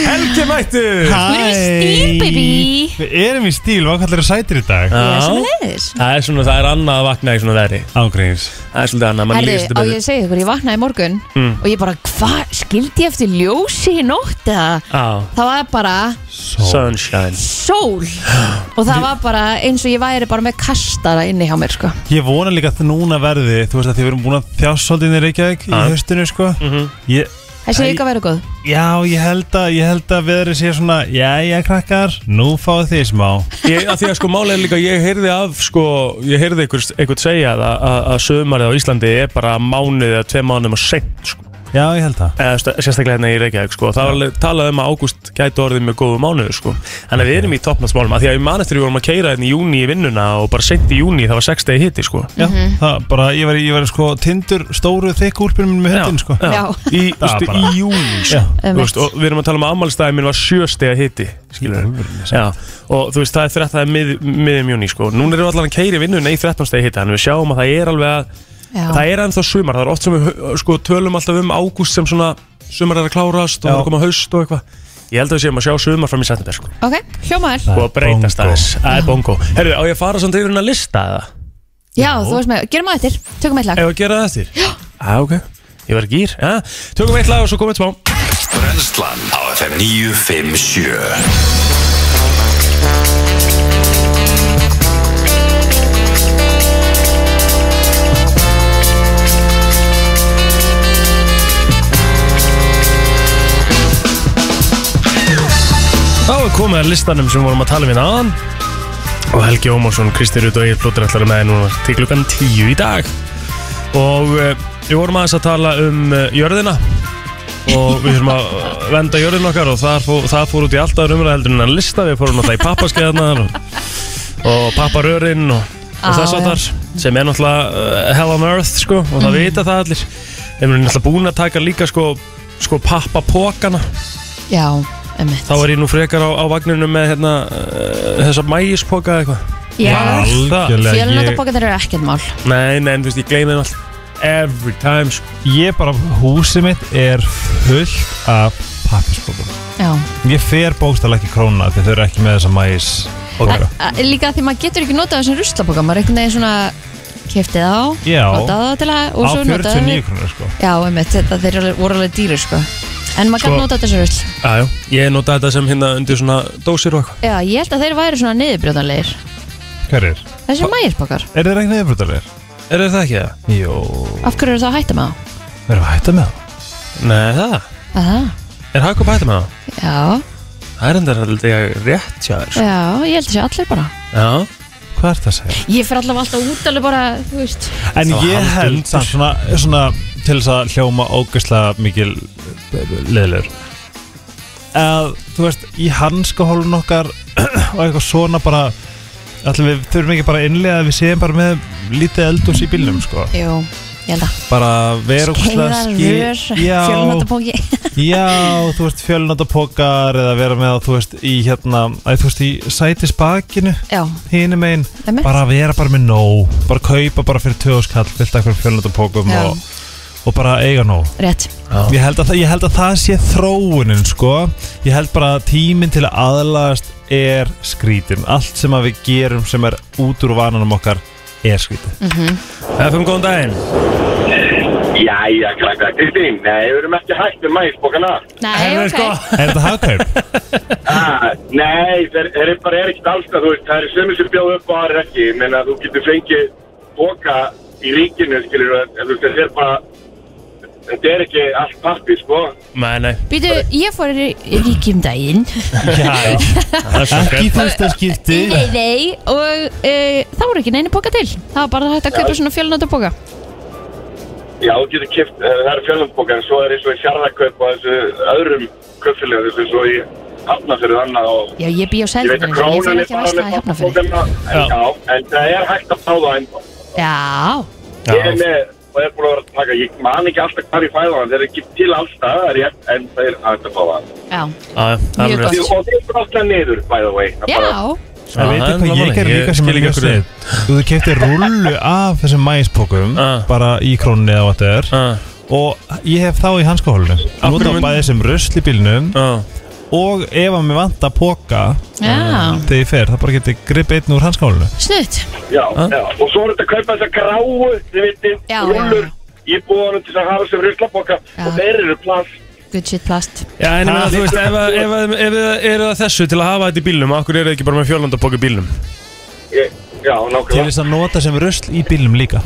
[SPEAKER 1] Helgi mættu
[SPEAKER 3] Við erum í stíl, baby
[SPEAKER 6] Við erum í stíl, hvað kallar þér sætir í dag?
[SPEAKER 3] Ég er sem leiðis
[SPEAKER 1] Það er svona, það er annað að vakna í svona veri
[SPEAKER 6] Ágríns
[SPEAKER 1] Það er svolítið annað, mann
[SPEAKER 3] Herri,
[SPEAKER 1] lýst
[SPEAKER 3] á
[SPEAKER 1] þetta
[SPEAKER 3] ég að segja
[SPEAKER 1] betur Mm. Hmm.
[SPEAKER 3] ykkur, ég vaknaði í morgun og ég bara, hvað, skildi ég eftir ljósi í nótt eða?
[SPEAKER 1] Á,
[SPEAKER 3] Það var bara
[SPEAKER 1] sunshine
[SPEAKER 3] sól og það var bara eins og ég væri bara með kastara inni hjá mér, sko
[SPEAKER 6] Ég vona líka að núna verði, þú veist að þið verum búin að þjást svolítið í Reykjavík í
[SPEAKER 1] Ah.
[SPEAKER 6] höstinu sko ég,
[SPEAKER 3] Þessi
[SPEAKER 6] Æ.
[SPEAKER 3] vika verið góð
[SPEAKER 6] Já, ég held að, ég held að veðri sé svona Jæja krakkar, nú fáið þið smá
[SPEAKER 1] Ég, að því að sko málið er líka, ég heyrði af sko, ég heyrði einhver, einhvern segja að, að, að sömarið á Íslandi er bara mánuðið eða tvei mánuðum og seint sko.
[SPEAKER 6] Já, ég held það
[SPEAKER 1] eða st- sérstaklega hérna í Reykjavík sko. það var alveg talað um að ágúst gæti orðið með góðu mánuðu sko. þannig að við erum í toppnátsmálum að því að ég man eftir við vorum að keira hérna í júni í vinnuna og bara seint í júni það var 6 degi hitti sko.
[SPEAKER 6] Já,
[SPEAKER 3] Mhm.
[SPEAKER 6] það bara, ég var, ég var sko tindur stóru þykku úlpunum minn með höndin sko
[SPEAKER 3] Já.
[SPEAKER 1] í,
[SPEAKER 6] Það var
[SPEAKER 1] veistu,
[SPEAKER 6] bara-
[SPEAKER 1] í júni sko.
[SPEAKER 6] Já.
[SPEAKER 1] Þú veist, og við erum að tala um að ammálstæði minn var 7 degi hitti skilurðu. Já, og þú veist það er 13 mið, miðum júni sko. núna erum við allan að keira í vinnuna í 13 degi hitti þannig að við sjáum að það er alveg að
[SPEAKER 3] Já,
[SPEAKER 1] það er ennþá sumar, það er oft sem við sko, tölum alltaf um ágúst sem svona sumar er að klárast og það er að koma haust og eitthvað ég held að við séum að sjá sumar fram í september sko.
[SPEAKER 3] ok, hljómaður
[SPEAKER 1] og að breytast
[SPEAKER 6] bongo.
[SPEAKER 1] aðeins, það er bongo Herru, á ég að fara samt yfir hérna að lista eða?
[SPEAKER 3] Já, þú veist með, gerum að þetta, tökum eitt lag
[SPEAKER 1] Ef að gera það eftir? Já ah, ok, ég var gýr ja. Tökum eitt lag og svo komum við smá
[SPEAKER 2] Brennslan á FM 957
[SPEAKER 1] Þá er komið að listanum sem við vorum að tala um hérna aðan og Helgi Ómarsson, Kristi Rut og Egil Plóter ætlar að með þér núna til klukkan 10 í dag og eh, við vorum aðeins að tala um eh, jörðina og við þurfum að venda jörðin okkar og það fór, það fór út í alltaf umræðheldurinn að lista, við fórum alltaf í pappaskeiðarnar og, og papparörinn og,
[SPEAKER 3] Á,
[SPEAKER 1] og þess að þar sem er náttúrulega uh, hell on earth sko og það vita það allir þeim erum náttúrulega búin að taka líka sko, sko pappapokana
[SPEAKER 3] Já, emmitt
[SPEAKER 1] þá er ég nú frekar á, á vagninu með hérna, uh, þessa mægispoka eða eitthvað
[SPEAKER 3] Já,
[SPEAKER 1] Alltaf.
[SPEAKER 6] Algjörlega, ég,
[SPEAKER 3] Fjölunóttabokan er ekkert mál
[SPEAKER 1] Nei, nei, en þú veist, ég gleymi þeim allt every time sko.
[SPEAKER 6] ég bara, húsið mitt er fullt af pappisbókum
[SPEAKER 3] Já,
[SPEAKER 6] Ég fer bókstall ekki króna því þau eru ekki með þessa mæs okay.
[SPEAKER 3] A- eh, líka því maður getur ekki notað þessum ruslaboka maður einhvern veginn svona keftið á
[SPEAKER 6] Já.
[SPEAKER 3] notað það til að
[SPEAKER 6] Á
[SPEAKER 3] og svo notað
[SPEAKER 6] 49 krónur sko
[SPEAKER 3] já, einmitt, þetta þeir alveg- voru alveg dýrir sko en maður
[SPEAKER 1] Sko-
[SPEAKER 3] gæti notað þessu rusl
[SPEAKER 1] ah, Ég nota þetta sem hérna undir svona dósir og eitthvað
[SPEAKER 3] já, ég held að þeir væri svona niðurbrjóðanlegir
[SPEAKER 6] Hverjir?
[SPEAKER 3] þessi mægirbokar,
[SPEAKER 6] Er þeir ekki neyðbrutalir?
[SPEAKER 1] Er það ekki það?
[SPEAKER 6] Jó
[SPEAKER 3] af hverju eru það að hætta með það?
[SPEAKER 6] Verðum við að hætta með það?
[SPEAKER 1] Nei, það
[SPEAKER 3] Aha,
[SPEAKER 1] Er Jakob hægt með það?
[SPEAKER 3] já,
[SPEAKER 1] Það er enda alltaf rétt hjá þér sko.
[SPEAKER 3] já, ég held þessi allir bara
[SPEAKER 1] Já
[SPEAKER 6] Hvað er það að segja?
[SPEAKER 3] ég fer allavega alltaf út alveg bara, þú veist
[SPEAKER 6] En
[SPEAKER 1] Það var
[SPEAKER 6] ég
[SPEAKER 1] haldið
[SPEAKER 6] held
[SPEAKER 1] undir.
[SPEAKER 6] samt svona, svona til þess að hljóma ógeðslega mikil leðilegur að þú veist í hanskahólun okkar og eitthvað svona bara ætlum við þurfum ekki bara að innlega að við séum bara með lítið eldús í bílnum sko
[SPEAKER 3] jú, ég held að
[SPEAKER 6] bara vera ógeðslega
[SPEAKER 3] heiðar,
[SPEAKER 6] ský-
[SPEAKER 3] rör,
[SPEAKER 6] Já.
[SPEAKER 3] fjölunóttaboki
[SPEAKER 6] Já, þú veist fjölnátapokar eða vera með að þú veist í hérna að þú veist í sætisbakinu
[SPEAKER 3] já,
[SPEAKER 6] hínum einn,
[SPEAKER 3] Einmitt.
[SPEAKER 6] bara að vera bara með nóg bara kaupa bara fyrir tjóðskall fyllt af hverjum fjölnátapokum
[SPEAKER 3] Já.
[SPEAKER 6] og, og bara eiga nóg
[SPEAKER 3] rétt
[SPEAKER 6] ég held, að, það- ég held að það sé þróunin sko, ég held bara að tíminn til að aðlagast er skrítin allt sem að við gerum sem er út úr vananum okkar er skrítið
[SPEAKER 3] Mhm.
[SPEAKER 1] FM, góðan daginn
[SPEAKER 7] Jæja, krakka, Kristín, nei, við erum ekki hægt um mæsbókana.
[SPEAKER 3] Nei,
[SPEAKER 1] Herðu,
[SPEAKER 3] ok
[SPEAKER 1] sko,
[SPEAKER 6] Er þetta hagkaup?
[SPEAKER 7] Ah, nei, þeir, þeir eru bara er ekkert allstað, þú veist, það eru sömur sem bjóðu upp og aðra ekki, ég meina þú getur fengið boka í ríkinu, skilur, en þú veist, þetta er bara, þetta er ekki allt pappir, sko.
[SPEAKER 1] Nei, nei
[SPEAKER 3] Býtu, ég fór í ríkjum daginn
[SPEAKER 6] Já, já
[SPEAKER 1] Það er
[SPEAKER 6] Ekki í
[SPEAKER 1] sjokkar
[SPEAKER 6] fyrsta skipti
[SPEAKER 3] Nei, nei Og e, það voru ekki neini boka til Það var bara hægt að kaupa svona fjölnóta boka
[SPEAKER 7] Já, þú getur kipt, það eru fjölumboka, en svo er eins og í fjarlakaup og þessu öðrum kaupfélagum, þessu eins og í hafnafyrir þannig og
[SPEAKER 3] Já, ég bý á
[SPEAKER 7] ég veit að
[SPEAKER 3] selðinu Ég
[SPEAKER 7] krónan
[SPEAKER 3] fyrir
[SPEAKER 7] er
[SPEAKER 3] ekki að
[SPEAKER 7] bara
[SPEAKER 3] versla að
[SPEAKER 7] með
[SPEAKER 3] hefna fyrir
[SPEAKER 7] pappbókana,
[SPEAKER 6] Já.
[SPEAKER 7] en já, en það er hægt að fá það ennþá.
[SPEAKER 3] Já,
[SPEAKER 7] Ég er
[SPEAKER 6] Já,
[SPEAKER 7] með, og er búin að vera að taka, ég man ekki alltaf hvað ég fæða hann, þeir eru ekki til allstað, rétt, en þeir hægt að fá það.
[SPEAKER 3] já,
[SPEAKER 1] Það
[SPEAKER 3] Mjög gott.
[SPEAKER 7] Og þeir
[SPEAKER 1] er rétt
[SPEAKER 7] eru alltaf niður, by the way. Það
[SPEAKER 3] já
[SPEAKER 7] bara-
[SPEAKER 6] Það veit
[SPEAKER 1] það er
[SPEAKER 6] ekki hvað
[SPEAKER 1] gaman.
[SPEAKER 6] ég gerði
[SPEAKER 1] Ég
[SPEAKER 6] líka sem
[SPEAKER 1] skil
[SPEAKER 6] er
[SPEAKER 1] ekki
[SPEAKER 6] mjög
[SPEAKER 1] af hverju.
[SPEAKER 6] snið Þú kefti rullu af þessum mæspokum
[SPEAKER 1] Ah.
[SPEAKER 6] bara í krónunni eða what ever
[SPEAKER 1] Ah,
[SPEAKER 6] og ég hef þá í hanskóhólunum
[SPEAKER 1] hverju
[SPEAKER 6] Nota
[SPEAKER 1] mynd-
[SPEAKER 6] bæði sem rusl í bílnum
[SPEAKER 1] ah.
[SPEAKER 6] og ef að mér vanta poka
[SPEAKER 3] Já,
[SPEAKER 6] þegar ég fer, það bara geti gripið einn úr hanskóhólunum
[SPEAKER 3] snutt
[SPEAKER 7] Já, já. Og svo er þetta að kaupa þessar gráu, þið veitir,
[SPEAKER 3] Já,
[SPEAKER 7] rullur
[SPEAKER 3] já.
[SPEAKER 7] í búanum til þess að hafa sem ruslabokka
[SPEAKER 3] Já.
[SPEAKER 7] og þeir eru plast.
[SPEAKER 3] Good shit plast
[SPEAKER 1] Já, en ég meina, þú veist, ef, að- ef, ef, ef það eru það þessu til að hafa þetta í bílnum, okkur eru það ekki bara með fjólundabók í bílnum?
[SPEAKER 7] Ég- Já,
[SPEAKER 6] til
[SPEAKER 7] nákvæmlega.
[SPEAKER 6] þess að nota sem rusl í bílnum líka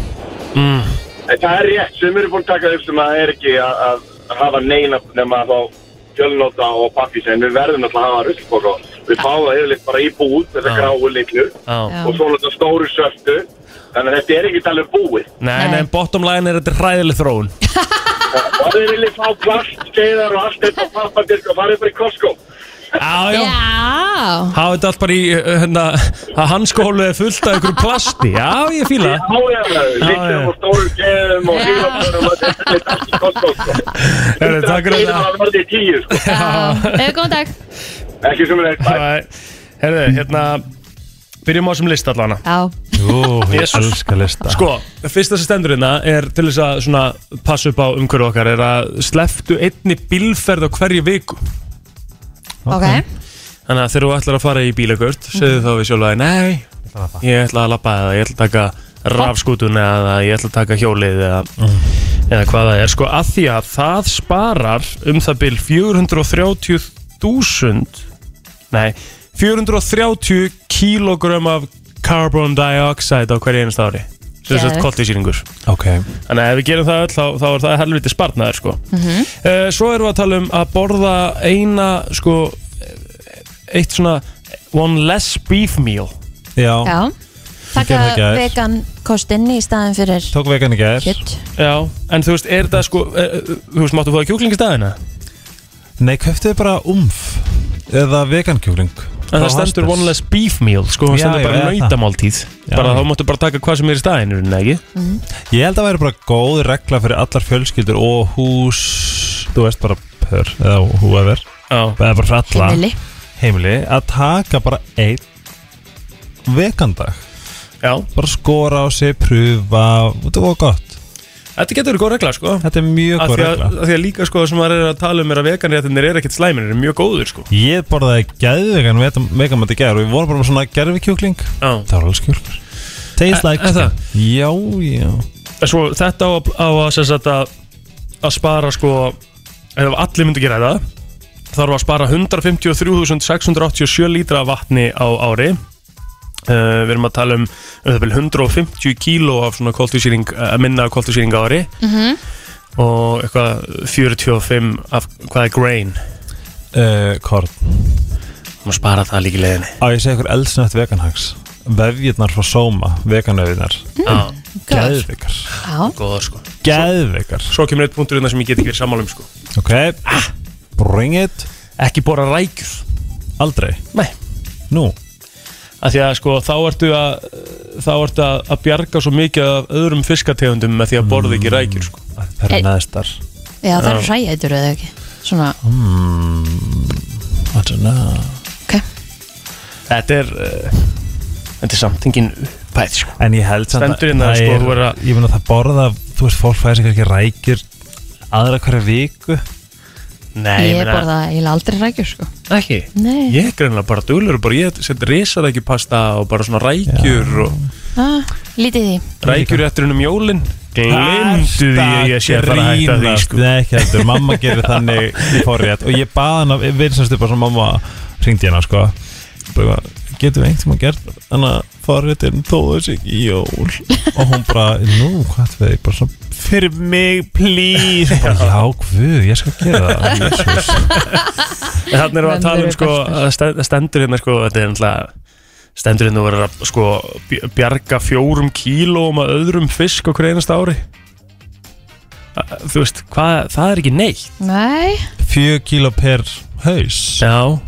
[SPEAKER 1] Mm.
[SPEAKER 7] En það er rétt, sem eru búin að taka upp sem að er ekki að, að hafa neina nema þá fjölnóta og pappís, en við verðum alltaf að hafa ruslabokka. Við fáum það yfirleitt bara í búð, þessar
[SPEAKER 1] Já.
[SPEAKER 7] gráu litlu.
[SPEAKER 1] Já.
[SPEAKER 7] og svo náttúrulega stóru sörtu þannig að þetta er ekkert alveg búið
[SPEAKER 1] Nei,
[SPEAKER 3] Nei.
[SPEAKER 1] nei, bottom line er þetta hræðileg þróun.
[SPEAKER 7] og þeir vilja fá plast, skeiðar og allt þetta pappandirk og farið bara í Costco
[SPEAKER 1] Já, já.
[SPEAKER 3] Já,
[SPEAKER 1] Hafa þetta allt bara í, uh, hérna, að hanskólu er fullt af ykkur plasti. Já, ég fíla það.
[SPEAKER 7] ájæðlega,
[SPEAKER 1] Já, já.
[SPEAKER 7] lítum og stóru skeiðum og
[SPEAKER 3] Já.
[SPEAKER 7] hýraförum og þetta er allt í Costco sko.
[SPEAKER 1] Herru, takk fyrir
[SPEAKER 7] Skeiðar
[SPEAKER 1] þetta.
[SPEAKER 7] hafa verið í tíu sko.
[SPEAKER 3] já Eða góðan dag
[SPEAKER 7] ekki sem er eitt
[SPEAKER 1] Bye. Herðu, hérna, byrjum á þessum list allana.
[SPEAKER 3] Já,
[SPEAKER 6] Jú, ég
[SPEAKER 1] Jesus.
[SPEAKER 6] elska lista
[SPEAKER 1] Sko, það fyrsta sem stendur hérna er til þess að svona passa upp á umhverju okkar er að sleftu einni bílferð á hverju viku.
[SPEAKER 3] ok
[SPEAKER 1] Þannig að þegar þú ætlar að fara í bílagurt, segðu þá við sjálf að nei, ég ætla að lappa eða ég ætla að taka rafskútun eða ég ætla að taka hjólið eða, eða hvað það er. Sko, að því að það sparar um það bil 430.000, nei, 430 kílógram af carbon dioxide á hverju einast ári. Svo þess að
[SPEAKER 3] Geðveikt.
[SPEAKER 1] koltisýringur.
[SPEAKER 6] Ok,
[SPEAKER 1] Þannig að ef við gerum það öll, þá, þá er það helviti spartnaður, sko. Eh, svo erum við að tala um að borða eina, sko, eh, eitt svona one less beef meal.
[SPEAKER 6] já,
[SPEAKER 3] Já Takka
[SPEAKER 6] gerði það í gær.
[SPEAKER 3] vegan kostinn í staðin fyrir
[SPEAKER 6] tók vegan í gær
[SPEAKER 3] kjött
[SPEAKER 1] Já. En þú veist, er það, sko, eh, þú veist, máttu fóða kjúkling í staðina?
[SPEAKER 6] Nei, köftu bara umf eða vegan kjúling
[SPEAKER 1] En það stendur one less beef meal, sko, það
[SPEAKER 6] Já,
[SPEAKER 1] stendur
[SPEAKER 6] ég
[SPEAKER 1] bara
[SPEAKER 6] veit það.
[SPEAKER 1] nautamáltíð.
[SPEAKER 6] Já.
[SPEAKER 1] Bara þá máttu bara taka hvað sem er í staðinu, er það ekki?
[SPEAKER 6] Mhm. Ég held að það væri bara góð regla fyrir allar fjölskyldur og hús þú veist bara pör eða whoever
[SPEAKER 1] Já.
[SPEAKER 6] eða bara fyrir alla
[SPEAKER 3] Himmili
[SPEAKER 6] heimili að taka bara einn vegandag
[SPEAKER 1] Já.
[SPEAKER 6] bara skora á sig, pröfa þetta var gott
[SPEAKER 1] Þetta getur verið góð regla, sko.
[SPEAKER 6] þetta er mjög
[SPEAKER 1] Af
[SPEAKER 6] góð
[SPEAKER 1] því, að,
[SPEAKER 6] regla
[SPEAKER 1] af því að líka, sko, það sem maður er að tala um er að veganréttinir er ekkert slæminir, er mjög góður, sko.
[SPEAKER 6] Ég borðaði gæðvegan vegamætt í gær og við vorum bara með svona gerfikjúkling
[SPEAKER 1] Já.
[SPEAKER 6] það var alveg skjúklingur Taste
[SPEAKER 1] E-
[SPEAKER 6] like
[SPEAKER 1] er það?
[SPEAKER 6] chicken. Já, já
[SPEAKER 1] svo þetta á, að- á að sem sagt að, að spara sko ef allir myndi gera það þarf að spara 153.687 lítra af vatni á ári uh, við erum að tala um, um það bil 150 kíló af svona koltusýring, uh, minna koltusýring á ári -hmm. og eitthvað 45 af hvað er grain
[SPEAKER 6] uh, Korn
[SPEAKER 1] og spara það líka í leiðinni
[SPEAKER 6] Á ég segi ykkur eldsnött veganhags Vefjirnar frá Soma, veganauðinar
[SPEAKER 1] mm.
[SPEAKER 3] Góð
[SPEAKER 6] Gæðvegar
[SPEAKER 3] Já,
[SPEAKER 1] góða sko
[SPEAKER 6] Gæðvegar
[SPEAKER 1] svo kemur eitt punktur innan sem ég get ekki verið sammálum sko
[SPEAKER 6] Ok, bring it
[SPEAKER 1] ekki bora rækjur
[SPEAKER 6] Aldrei
[SPEAKER 1] nei
[SPEAKER 6] Nú
[SPEAKER 1] að því að sko þá ertu að þá ertu að, að bjarga svo mikið af öðrum fiskategundum með því að borða ekki rækjur sko.
[SPEAKER 6] Það
[SPEAKER 3] Hey.
[SPEAKER 6] er neðstar
[SPEAKER 3] já það eru hræjætur eða ekki Svona,
[SPEAKER 1] Hmm,
[SPEAKER 3] ok
[SPEAKER 1] þetta er uh, þetta er samt engin upphæð sko.
[SPEAKER 6] En ég held samt
[SPEAKER 1] Stendur hérna,
[SPEAKER 6] það
[SPEAKER 1] sko,
[SPEAKER 6] er-
[SPEAKER 1] þú verður að-
[SPEAKER 6] Ég meina það borða Þú veist, fólk fæði sér ekki rækjur Aðra hverja viku
[SPEAKER 1] nei,
[SPEAKER 3] Ég borða eiginlega aldrei rækjur sko
[SPEAKER 1] ekki
[SPEAKER 3] Nei
[SPEAKER 1] ég er greinlega bara duglur og bara ég set risarækjupasta og bara svona rækjur og
[SPEAKER 3] ah, Lítið í því
[SPEAKER 1] Rækjurétturinn um jólin Glindu því að ég sé að fara að hætta því sko.
[SPEAKER 6] Nei, ekki heldur, mamma gerir þannig í forrétt og ég baði hana, við sem stupa sem mamma ringdi hérna sko bara, getum við einhvern veginn gert þannig að forréttin tóðu sig í jól og hún bara, nú, hvað veit bara svona, fyrir mig, please bara, já, guð, ég skal gera það Jesus.
[SPEAKER 1] En þannig erum við að tala um sko að sten- að stendur hérna sko Þetta er náttúrulega Stendur hérna voru að sko bj- bjarga fjórum kílóum að öðrum fisk á hverju einasta ári Að- Þú veist, hvað, það er ekki neitt
[SPEAKER 3] Nei,
[SPEAKER 6] fjö kíló per haus
[SPEAKER 1] Já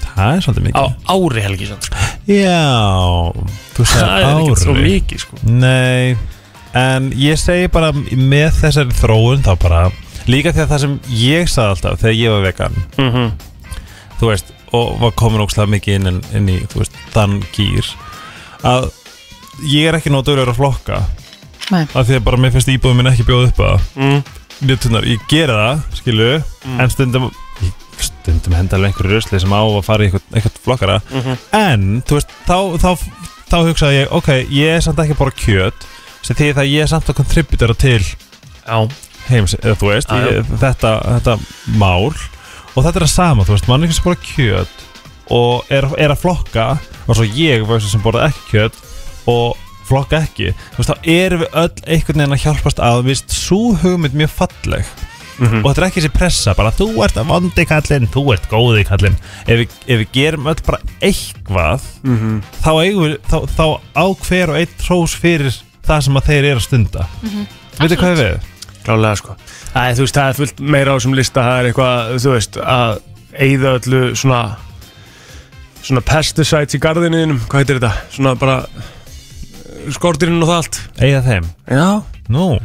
[SPEAKER 6] það er svolítið
[SPEAKER 1] Á
[SPEAKER 6] mikið
[SPEAKER 1] ári helgi sann sko.
[SPEAKER 6] já, þú
[SPEAKER 1] Það er ekki
[SPEAKER 6] sagði
[SPEAKER 1] svo
[SPEAKER 6] ári
[SPEAKER 1] mikið sko
[SPEAKER 6] Nei, en ég segi bara með þessari þróun þá bara líka því að það sem ég sagði alltaf þegar ég var vegan
[SPEAKER 1] mm
[SPEAKER 6] þú veist, og var komin ógslag mikið inn, inn í, þú veist, þann gýr að ég er ekki nóg dögulegur að flokka
[SPEAKER 3] Nei.
[SPEAKER 6] af því að bara mér finnst íbúðum minn ekki bjóð upp að
[SPEAKER 1] Mm.
[SPEAKER 6] ljótunar, ég gera það, skilu en stundum ég- stundum henda alveg einhverju rusli sem á að fara í eitthvað, eitthvað flokkara
[SPEAKER 1] Mhm.
[SPEAKER 6] en, þú veist, þá, þá, þá, hugsaði ég, ok, ég er samt ekki bara kjöt sem því það að ég er samt að kontributera til
[SPEAKER 1] Já,
[SPEAKER 6] heims, eða þú veist,
[SPEAKER 1] Já, já.
[SPEAKER 6] ég, þetta, þetta mál og þetta er það sama, þú veist, mann er ekki sem borða kjöt og er, er að flokka og svo ég var sem borða ekki kjöt og flokka ekki þú veist, þá erum við öll einhvern veginn að hjálpast að viðst, svo hugmynd mjög falleg
[SPEAKER 1] Mhm.
[SPEAKER 6] og þetta er ekki þessi pressa, bara þú ert að vondi kallinn, þú ert góði kallinn ef, við- ef við gerum öll bara eitthvað
[SPEAKER 1] Mhm.
[SPEAKER 6] þá, eigum við, þá, þá á hver og einn trós fyrir það sem að þeir eru að stunda mm -hmm. veitir hvað ég við?
[SPEAKER 1] klálega sko Æ, Þú veist, það er fullt meira á þessum lista Það er eitthvað, þú veist, að eyða öllu svona svona pesticides í garðinuðinum Hvað heitir þetta? Svona bara eh, skortirinn og það allt
[SPEAKER 6] Eiga þeim
[SPEAKER 1] Já
[SPEAKER 6] Nú,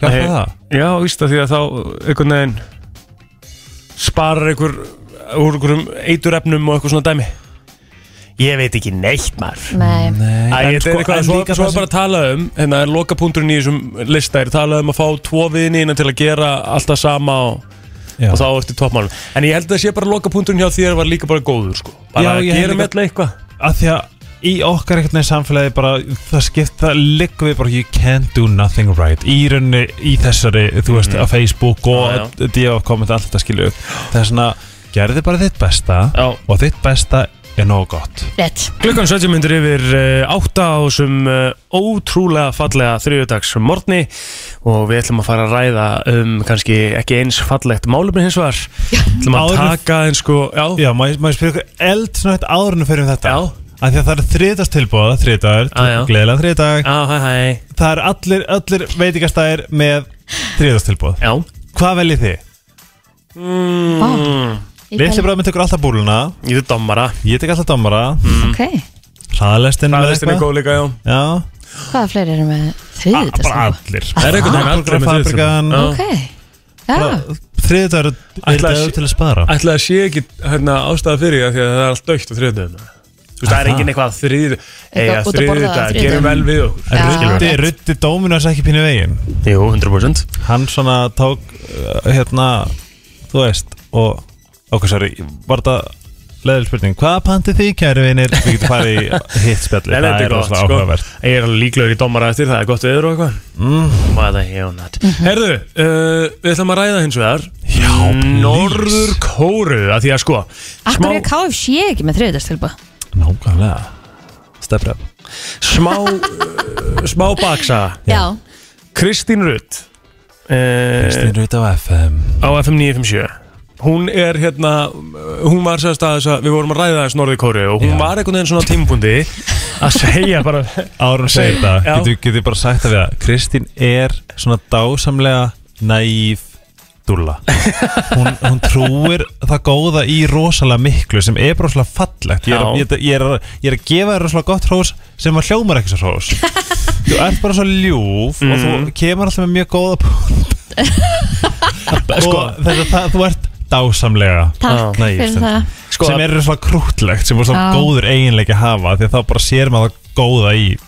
[SPEAKER 6] hjálpa
[SPEAKER 1] Nei.
[SPEAKER 6] það
[SPEAKER 1] Já, víst að því að þá einhvern veginn sparar einhver úr einhverjum eiturefnum og eitthvað svona dæmi Ég veit ekki neitt maður
[SPEAKER 3] nei
[SPEAKER 6] Nei, sko,
[SPEAKER 1] Æ, þetta er eitthvað, svo, sko, svo er bara að tala um hérna er lokapunkturinn í þessum lista er tala um að fá tvo viðinina til að gera alltaf sama og,
[SPEAKER 6] Já.
[SPEAKER 1] og þá ertu toppmálum en ég held að það sé bara lokapunkturinn hjá þér var líka bara góður sko.
[SPEAKER 6] Já,
[SPEAKER 1] bara að
[SPEAKER 6] ég held
[SPEAKER 1] gera
[SPEAKER 6] líka-
[SPEAKER 1] með alltaf eitthvað
[SPEAKER 6] að Því að í okkar einhvern veginn samfélagi bara, það skipt, það liggum við bara you can't do nothing right í rauninni, í þessari, þú veist, á Facebook
[SPEAKER 1] Mhm. Já,
[SPEAKER 6] og D.O. komið allt þetta skilu það er svona, gerði bara þitt besta
[SPEAKER 1] Já.
[SPEAKER 6] og þitt besta er nógu gott
[SPEAKER 3] Rétt
[SPEAKER 1] Klukkan 70 myndir yfir uh, átta á þessum uh, ótrúlega fallega þriðjudags morgni og við ætlum að fara að ræða um kannski ekki eins fallegt málumni hins vegar ætlum að
[SPEAKER 6] Áður en-
[SPEAKER 1] taka eins sko já,
[SPEAKER 6] Já, má ég, má ég spyrja ykkur eld svona eitt árunum fyrir um þetta
[SPEAKER 1] Já.
[SPEAKER 6] Af því að það er þriðdags tilbúð, þriðdagar,
[SPEAKER 1] Já, já.
[SPEAKER 6] gleðilega þriðdag
[SPEAKER 1] já, hæ, hæ,
[SPEAKER 6] Það er allir, allir veitingastæðir með þriðdags tilbúð
[SPEAKER 1] já
[SPEAKER 6] Hvað veljið þið?
[SPEAKER 3] Vá. Ég
[SPEAKER 6] Litli
[SPEAKER 3] kann-
[SPEAKER 6] bróðum minn tekur alltaf búluna
[SPEAKER 1] Hmm. ég er dommara Hmm.
[SPEAKER 6] Ég tek alltaf damara
[SPEAKER 3] Ok,
[SPEAKER 6] Hraðalestin
[SPEAKER 1] Það er þetta góð líka, já
[SPEAKER 6] Já
[SPEAKER 3] hvaða fleiri eru með
[SPEAKER 6] A-
[SPEAKER 3] þriðið
[SPEAKER 6] Bara
[SPEAKER 1] Ah,
[SPEAKER 6] allir
[SPEAKER 1] Það er einhvern veginn
[SPEAKER 6] Hamborgara,
[SPEAKER 1] allir með
[SPEAKER 6] fabrikan.
[SPEAKER 1] þriðjudagsmorgn. Já.
[SPEAKER 3] Ok, já
[SPEAKER 6] Þriðdagar er
[SPEAKER 1] Ætla að
[SPEAKER 6] dagur
[SPEAKER 1] sé-
[SPEAKER 6] til að spara
[SPEAKER 1] Ætli að sé ekki hérna, ástæða fyrir því að því að það er allt dögt á þriðdöðum Þú veist, það er
[SPEAKER 6] Aha.
[SPEAKER 1] enginn eitthvað þriðið Eða
[SPEAKER 3] Eitthvað út að borða á
[SPEAKER 1] þriðið,
[SPEAKER 3] þriðjudögum.
[SPEAKER 1] gerum vel við okkur
[SPEAKER 3] Já.
[SPEAKER 6] Ruddi,
[SPEAKER 3] rétt.
[SPEAKER 6] Ruddi Dóminus ekki pínu í veginn
[SPEAKER 1] Jú, 100%
[SPEAKER 6] Hann svona tók uh, Hérna Þú veist Og Ok, sorry Var þetta Leðil spurning Hvað pantið þið kæri vinir Við getum farið í hitt spjalli
[SPEAKER 1] Það er gott,
[SPEAKER 6] rosalega
[SPEAKER 1] sko
[SPEAKER 6] áhugavert Mm.
[SPEAKER 1] Ég er alveg líklegur í domara eftir, það er gott viður og eitthvað What the hell not
[SPEAKER 3] Mhm.
[SPEAKER 1] Herðu, uh, við ætlum að ræða hins vegar Já, Norður Kóru að Því að sko smá,
[SPEAKER 3] Akkur er KFC ekki með þriðið tilbúð
[SPEAKER 6] Nákvæmlega Stefra
[SPEAKER 1] smá, uh, smá baksa
[SPEAKER 3] Já,
[SPEAKER 1] Kristín Rutt uh,
[SPEAKER 6] Kristín Rútt á FM
[SPEAKER 1] á FM 957 hún er hérna uh, hún var sérst að þess að við vorum að ræða þess norði kóru og hún
[SPEAKER 6] Já.
[SPEAKER 1] var einhvern veginn svona tímpundi að segja bara
[SPEAKER 6] Árum segir það,
[SPEAKER 1] Já.
[SPEAKER 6] getur getu bara sagt það við það Kristín er svona dásamlega næf dúlla hún, hún trúir það góða í rosalega miklu sem er bara rosalega fallegt ég er,
[SPEAKER 1] Já.
[SPEAKER 6] ég, er- ég, er, að- ég er að gefa þér rosalega gott hrós sem að hljómar ekki svo hrós þú ert bara svo ljúf og
[SPEAKER 1] Mm.
[SPEAKER 6] þú kemur alltaf með mjög góða punkt
[SPEAKER 1] sko,
[SPEAKER 6] og þess að það, þú ert dásamlega
[SPEAKER 3] takk
[SPEAKER 6] Nei,
[SPEAKER 3] fyrir
[SPEAKER 6] stundum.
[SPEAKER 3] það
[SPEAKER 1] sko
[SPEAKER 6] sem er rosalega krútlegt sem er svona
[SPEAKER 3] Já.
[SPEAKER 6] góður eiginleiki að hafa því að þá bara sér maður það góða í
[SPEAKER 1] að-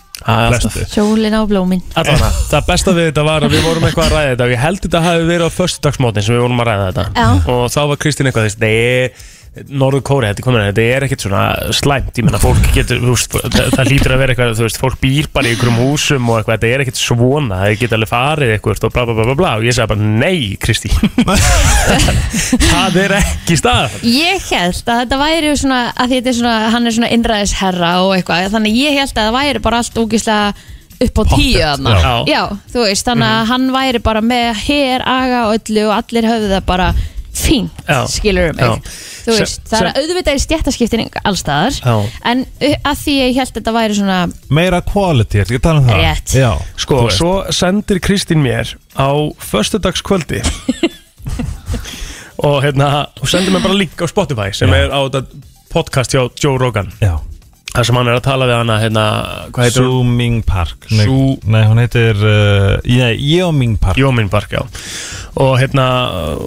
[SPEAKER 6] flestu
[SPEAKER 3] Sjólin á blómin
[SPEAKER 1] Allavega, það besta við þetta var að við vorum eitthvað að ræða þetta og ég held þetta hafi verið á föstudagsmótin sem við vorum að ræða þetta
[SPEAKER 3] Já.
[SPEAKER 1] og þá var Kristín eitthvað þess nei, Norður Kóri, þetta, er komin, þetta er ekkert svona slæmt, ég menna fólk getur þú veist, það, það lítur að vera eitthvað, þú veist, fólk býr bara í einhverjum húsum og eitthvað, þetta er ekkert svona það geta alveg farið eitthvað og bla bla bla bla bla og ég sagði bara, nei Kristín það er ekki stað
[SPEAKER 3] Ég held að þetta væri svona að þetta er svona, hann er svona innræðisherra og eitthvað, þannig ég held að það væri bara allt ógislega upp á tíu þarna.
[SPEAKER 1] já. Mhm.
[SPEAKER 3] Já, þú veist, þannig að hann væri bara með her, aga og öllu og allir höfðu það bara fínt,
[SPEAKER 1] Já.
[SPEAKER 3] skilur um mig.
[SPEAKER 1] Já.
[SPEAKER 3] Þú
[SPEAKER 1] Sem-
[SPEAKER 3] veist, það er
[SPEAKER 1] sem-
[SPEAKER 3] auðvitað í stjættaskiptin allstaðar,
[SPEAKER 1] Já.
[SPEAKER 3] en uh, að því ég held að þetta væri svona,
[SPEAKER 6] meira quality, ertu ekki að tala um það?
[SPEAKER 3] Rétt.
[SPEAKER 6] Já,
[SPEAKER 1] Sko,
[SPEAKER 6] þú veist.
[SPEAKER 1] svo sendir Kristín mér á föstudagskvöldi og hérna og sendir mér bara link á Spotify sem
[SPEAKER 6] Já.
[SPEAKER 1] er á þetta podcast hjá Joe Rogan
[SPEAKER 6] Já,
[SPEAKER 1] þar sem hann er að tala við hana hérna, hvað heitir hún?
[SPEAKER 6] Zooming Park Nei,
[SPEAKER 1] Sú-
[SPEAKER 6] nei hún heitir uh, Nei, Yeoming Park
[SPEAKER 1] Jómin Bark, já og hérna,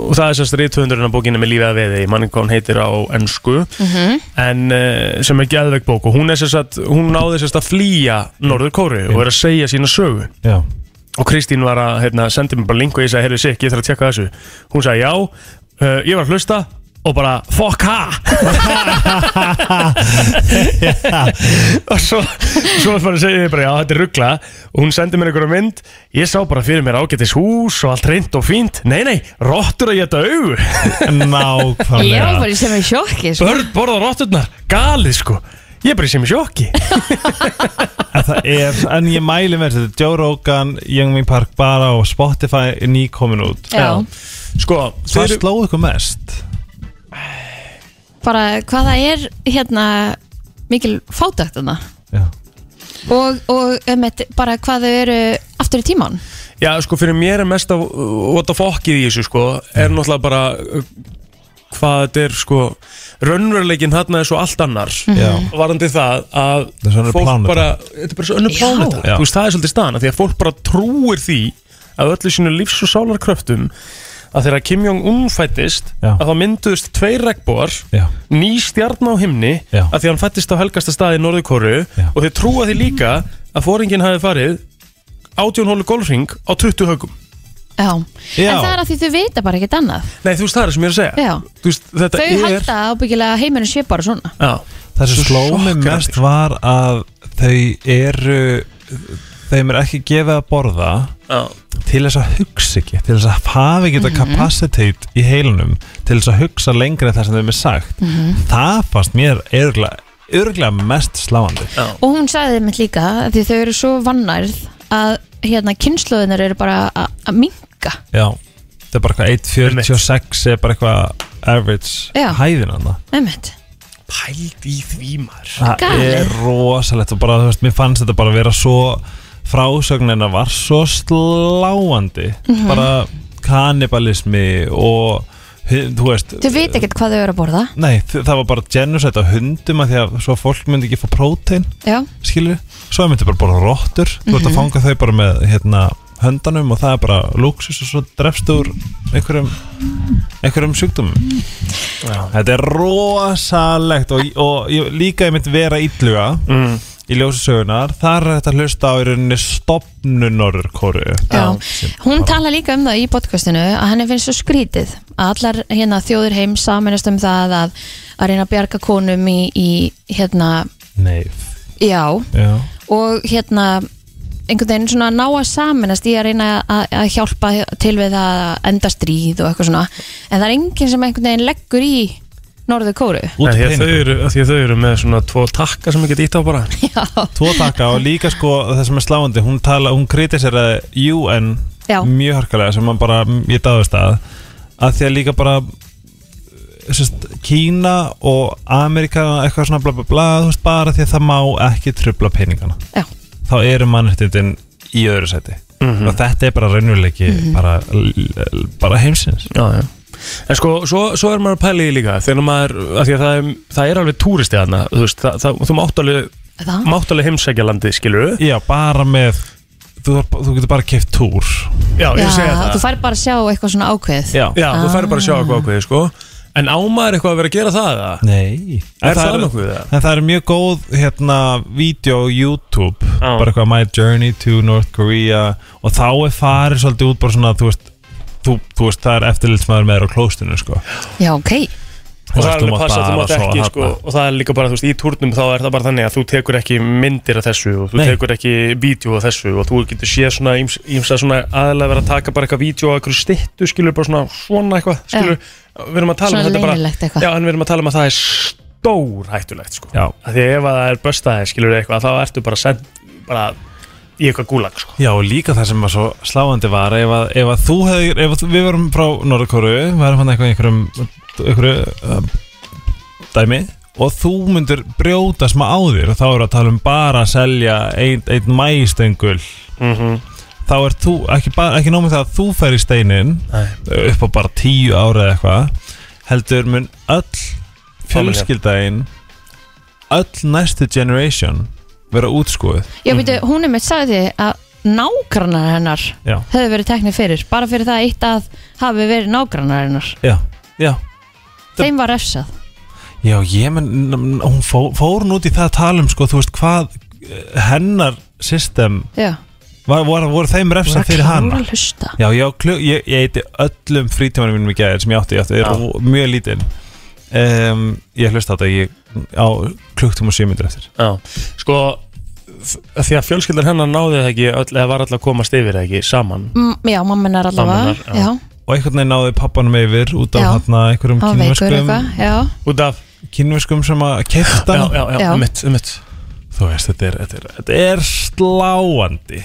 [SPEAKER 1] og það er sérst reytöfundurinn á bókinni með lífið að veði, manni hvað hún heitir á ennsku,
[SPEAKER 6] Mhm.
[SPEAKER 1] en uh, sem er geðveik bók og hún er sérst að hún náði sérst að flýja Norður Kóru og er að segja sína sögu
[SPEAKER 6] Mhm. Já,
[SPEAKER 1] og Kristín var að hérna, sendi mér bara link og ég sagði, heyrðu Sikk, ég þarf að tjekka þessu hún sagði, já, uh, ég var að hlusta og bara, fuck ha og svo svo bara segi ég bara, já, þetta er ruggla og hún sendi mér einhverja mynd ég sá bara fyrir mér ágætis hús og allt reynd og fínt nei, nei, rottur að geta auðu
[SPEAKER 6] nákvæmlega
[SPEAKER 3] ég var bara sem er sjokki, sko.
[SPEAKER 1] börn borða rotturnar, galið sko ég er bara sem í sjokki
[SPEAKER 6] En það er, en ég mæli með þetta Joe Rogan, Yeoming Park bara og Spotify er nýkomin út
[SPEAKER 3] Já.
[SPEAKER 1] sko,
[SPEAKER 6] Hvað
[SPEAKER 1] þeir-
[SPEAKER 6] sló ykkur mest?
[SPEAKER 3] Bara hvað það er, hérna, mikil fátækt þarna.
[SPEAKER 6] Já,
[SPEAKER 3] Og, og um, bara hvað þau eru aftur í tíman
[SPEAKER 1] Já, sko, fyrir mér er mest að vota fokkið í þessu, sko, er náttúrulega bara uh, hvað þetta er, sko raunveruleikin þarna er svo allt annar
[SPEAKER 6] já,
[SPEAKER 1] varandi það að
[SPEAKER 6] Það er svo önnur
[SPEAKER 1] fólk
[SPEAKER 6] pláneta.
[SPEAKER 1] bara, þetta er bara svo önnur
[SPEAKER 3] Já.
[SPEAKER 1] pláneta
[SPEAKER 6] Já.
[SPEAKER 1] þú veist, það er svolítið staðan, af því að fólk bara trúir því að öllu sínu lífs- og sálarkröftum að þegar Kim Jong-un fættist
[SPEAKER 6] Já.
[SPEAKER 1] að þá mynduðust tveir regnbóar
[SPEAKER 6] já,
[SPEAKER 1] ný stjarn á himni
[SPEAKER 6] Já.
[SPEAKER 1] að því hann fættist á helgasta staði í Norðurkóru
[SPEAKER 6] Já.
[SPEAKER 1] og þeir trúa því líka að fóringin hafi farið átjónhólu golfring á 20 högum
[SPEAKER 3] Já.
[SPEAKER 6] Já.
[SPEAKER 3] En það er að því þau vita bara ekkert annað
[SPEAKER 1] Nei, þú veist, það er það sem ég er að segja
[SPEAKER 3] Já.
[SPEAKER 1] Þú veist, þetta
[SPEAKER 3] Þau
[SPEAKER 1] er
[SPEAKER 3] halda ábyggilega að heimurinn sé bara svona
[SPEAKER 1] Já,
[SPEAKER 6] Það sem
[SPEAKER 1] Svo
[SPEAKER 6] sló mig
[SPEAKER 1] sjokkerandi.
[SPEAKER 6] mest var að þau eru þeim er ekki gefið að borða
[SPEAKER 1] já,
[SPEAKER 6] til þess að hugsa ekki til þess að hafa ekki þetta kapacitet í heilunum til þess að hugsa lengri en það sem þeim er sagt það fannst mér örglega, örglega mest sláandi
[SPEAKER 1] já
[SPEAKER 3] Og hún sagði þeim líka að því þau eru svo vannærð að hérna kynnslóðinar eru bara að- að minka
[SPEAKER 6] já, það er bara eitthvað 1.46 er bara eitthvað average
[SPEAKER 3] Já.
[SPEAKER 6] hæðin hann
[SPEAKER 3] Einmitt.
[SPEAKER 1] Pælt í því maður
[SPEAKER 6] það
[SPEAKER 3] Galið.
[SPEAKER 6] er rosalegt og bara þú veist, mér fannst þetta bara vera svo frásögnina var svo sláandi
[SPEAKER 3] Mhm.
[SPEAKER 6] bara kannibalismi og hu- þú veist
[SPEAKER 3] Þau vita ekkert hvað þau eru að borða
[SPEAKER 6] Nei, þ- það var bara genocide á hundum að því að svo fólk myndi ekki fá prótein,
[SPEAKER 3] Já,
[SPEAKER 6] skilur svo myndi bara bara rottur, þú ert að fanga þau bara með hérna höndanum og það er bara lúksus og svo drefst úr einhverjum, einhverjum sjúkdumum Þetta er rosalegt og, og ég, líka ég myndi vera ítluga
[SPEAKER 1] mm.
[SPEAKER 6] í ljósasögunar, þar er þetta að hlusta á í rauninni stopnunor kóru
[SPEAKER 3] Já. Hún tala líka um það í podcastinu að henni finnst svo skrítið að allar hérna, þjóðir heim saminast um það að, að reyna að bjarga konum í, í hérna,
[SPEAKER 6] Nei,
[SPEAKER 3] já,
[SPEAKER 6] já,
[SPEAKER 3] og hérna einhvern veginn svona ná að saminast í að reyna að, að hjálpa til við að enda stríð og eitthvað svona en það er enginn sem einhvern veginn leggur í norðu kóru
[SPEAKER 6] út
[SPEAKER 1] Nei,
[SPEAKER 6] í
[SPEAKER 1] því að þau
[SPEAKER 6] peningum
[SPEAKER 1] eru, af því að þau eru með svona tvo takka sem ég get ítt á bara
[SPEAKER 3] já,
[SPEAKER 6] tvo taka og líka sko það sem er sláandi, hún tala, hún kritiserar UN
[SPEAKER 3] Já.
[SPEAKER 6] mjög harkalega sem hann bara, ég dáðist að að því að líka bara sérst, Kína og Amerika eitthvað svona bla bla bla þú veist bara því að það má ekki trubla peningana
[SPEAKER 3] já,
[SPEAKER 6] þá eru mannréttindin í öðru sæti og þetta er bara raunveruleiki
[SPEAKER 3] Mhm.
[SPEAKER 6] bara, l- l- bara heimsins
[SPEAKER 1] Mhm. Já, já En sko, svo, svo er maður að pæla í því líka Þegar maður, af því að það er, það er alveg túristi þarna Þú veist, það, það, þú mátt alveg,
[SPEAKER 3] það
[SPEAKER 1] mátt alveg heimsækja landið, skilur
[SPEAKER 6] Já, bara með þú, þarf- þú getur bara keft túr
[SPEAKER 1] Já, ég
[SPEAKER 3] já,
[SPEAKER 1] segja það
[SPEAKER 3] þú Ah. fær bara að sjá eitthvað svona ákveð
[SPEAKER 1] Já, þú færi bara að sjá eitthvað ákveðið, sko En á maður eitthvað að vera að gera það, það?
[SPEAKER 6] Nei
[SPEAKER 1] Er það nokkuð, eða?
[SPEAKER 6] En það er mjög góð hérna Vídeó á YouTube
[SPEAKER 1] Já.
[SPEAKER 6] Bara eitthvað My Journey to North Korea Og þá er farið svolítið út bara svona Þú veist, þú, þú veist það er eftirlitsmaður með þér á klóstinu sko.
[SPEAKER 3] já, ok,
[SPEAKER 1] og það er
[SPEAKER 6] veist, þú
[SPEAKER 1] alveg
[SPEAKER 6] mátt
[SPEAKER 1] passa, þú
[SPEAKER 6] bara
[SPEAKER 1] mátt
[SPEAKER 6] sofa
[SPEAKER 1] ekki sko,
[SPEAKER 6] þarna.
[SPEAKER 1] og það er líka bara, þú veist, í turnum þá er það bara þannig að þú tekur ekki myndir af þessu og þú
[SPEAKER 6] Nei.
[SPEAKER 1] tekur ekki vídeo af þessu og þú getur séð svona, íms- ýmsa svona aðalega vera að taka bara eitthvað vídeo af einhverju styttu, skilur bara svona, svona eitthvað, skilur, við erum að tala um
[SPEAKER 3] Svona
[SPEAKER 1] þetta bara,
[SPEAKER 3] leynilegt eitthvað.
[SPEAKER 1] já, en við erum að tala um að það er stór hættulegt, sko,
[SPEAKER 6] Já.
[SPEAKER 1] að því að ef að það er böstaði, skilur eitthvað, þá ertu bara send, bara í eitthvað gúlag, sko,
[SPEAKER 6] Já, og líka það sem var svo sláandi var ef að, ef að þú hefðir, ef að við varum frá Norðkóru, við varum hann eitthvað í einhverjum, einhverju um, dæmi og þú myndir brjóta smá á þér og þá eru að tala um bara að selja einn ein mæstöngul
[SPEAKER 1] Mhm.
[SPEAKER 6] þá er þú, ekki, bara- ekki nómið það að þú fer í steinin
[SPEAKER 1] Nei.
[SPEAKER 6] upp á bara tíu ára eða eitthvað heldur mun öll fjölskyldaðin öll næstu generation vera útskúið
[SPEAKER 3] Já, veitu,
[SPEAKER 1] Mhm.
[SPEAKER 3] hún er mitt sagði að nágrannar hennar
[SPEAKER 6] Já.
[SPEAKER 3] höfðu verið teknir fyrir bara fyrir það eitt að hafi verið nágrannar hennar
[SPEAKER 6] Já, já
[SPEAKER 3] þeim var refsað
[SPEAKER 6] Já, ég menn, n- n- hún fó, fór nút í það að tala um, sko, þú veist, hvað eh, hennar system,
[SPEAKER 3] Já,
[SPEAKER 6] var, var, voru þeim refsað fyrir hana?
[SPEAKER 3] að hlusta
[SPEAKER 6] Já, já, klug, ég, ég eiti öllum frítímanum mínum í gæðir sem ég átti, ég átti, ég er ro- mjög lítinn. Um, ég hlusta á þetta, ég á klukktum og sjömyndur eftir.
[SPEAKER 1] já, sko, f- því að fjölskyldan hennar náði það ekki öll, eða var alltaf að komast yfir það ekki saman
[SPEAKER 3] Mm, Já, mamminar allavega
[SPEAKER 1] Mammenar, já.
[SPEAKER 3] Já,
[SPEAKER 6] Og einhvern veginn náði pappanum yfir út af
[SPEAKER 3] Já.
[SPEAKER 6] hérna
[SPEAKER 3] hann
[SPEAKER 6] einhverjum
[SPEAKER 3] var veikur
[SPEAKER 6] kynverskum,
[SPEAKER 3] eitthvað Já,
[SPEAKER 1] út af,
[SPEAKER 6] kynverskum sem að keifta
[SPEAKER 1] já,
[SPEAKER 6] hann.
[SPEAKER 1] já, já,
[SPEAKER 3] Já.
[SPEAKER 1] mitt, mitt
[SPEAKER 6] Þú veist, þetta er, þetta er, þetta er sláandi.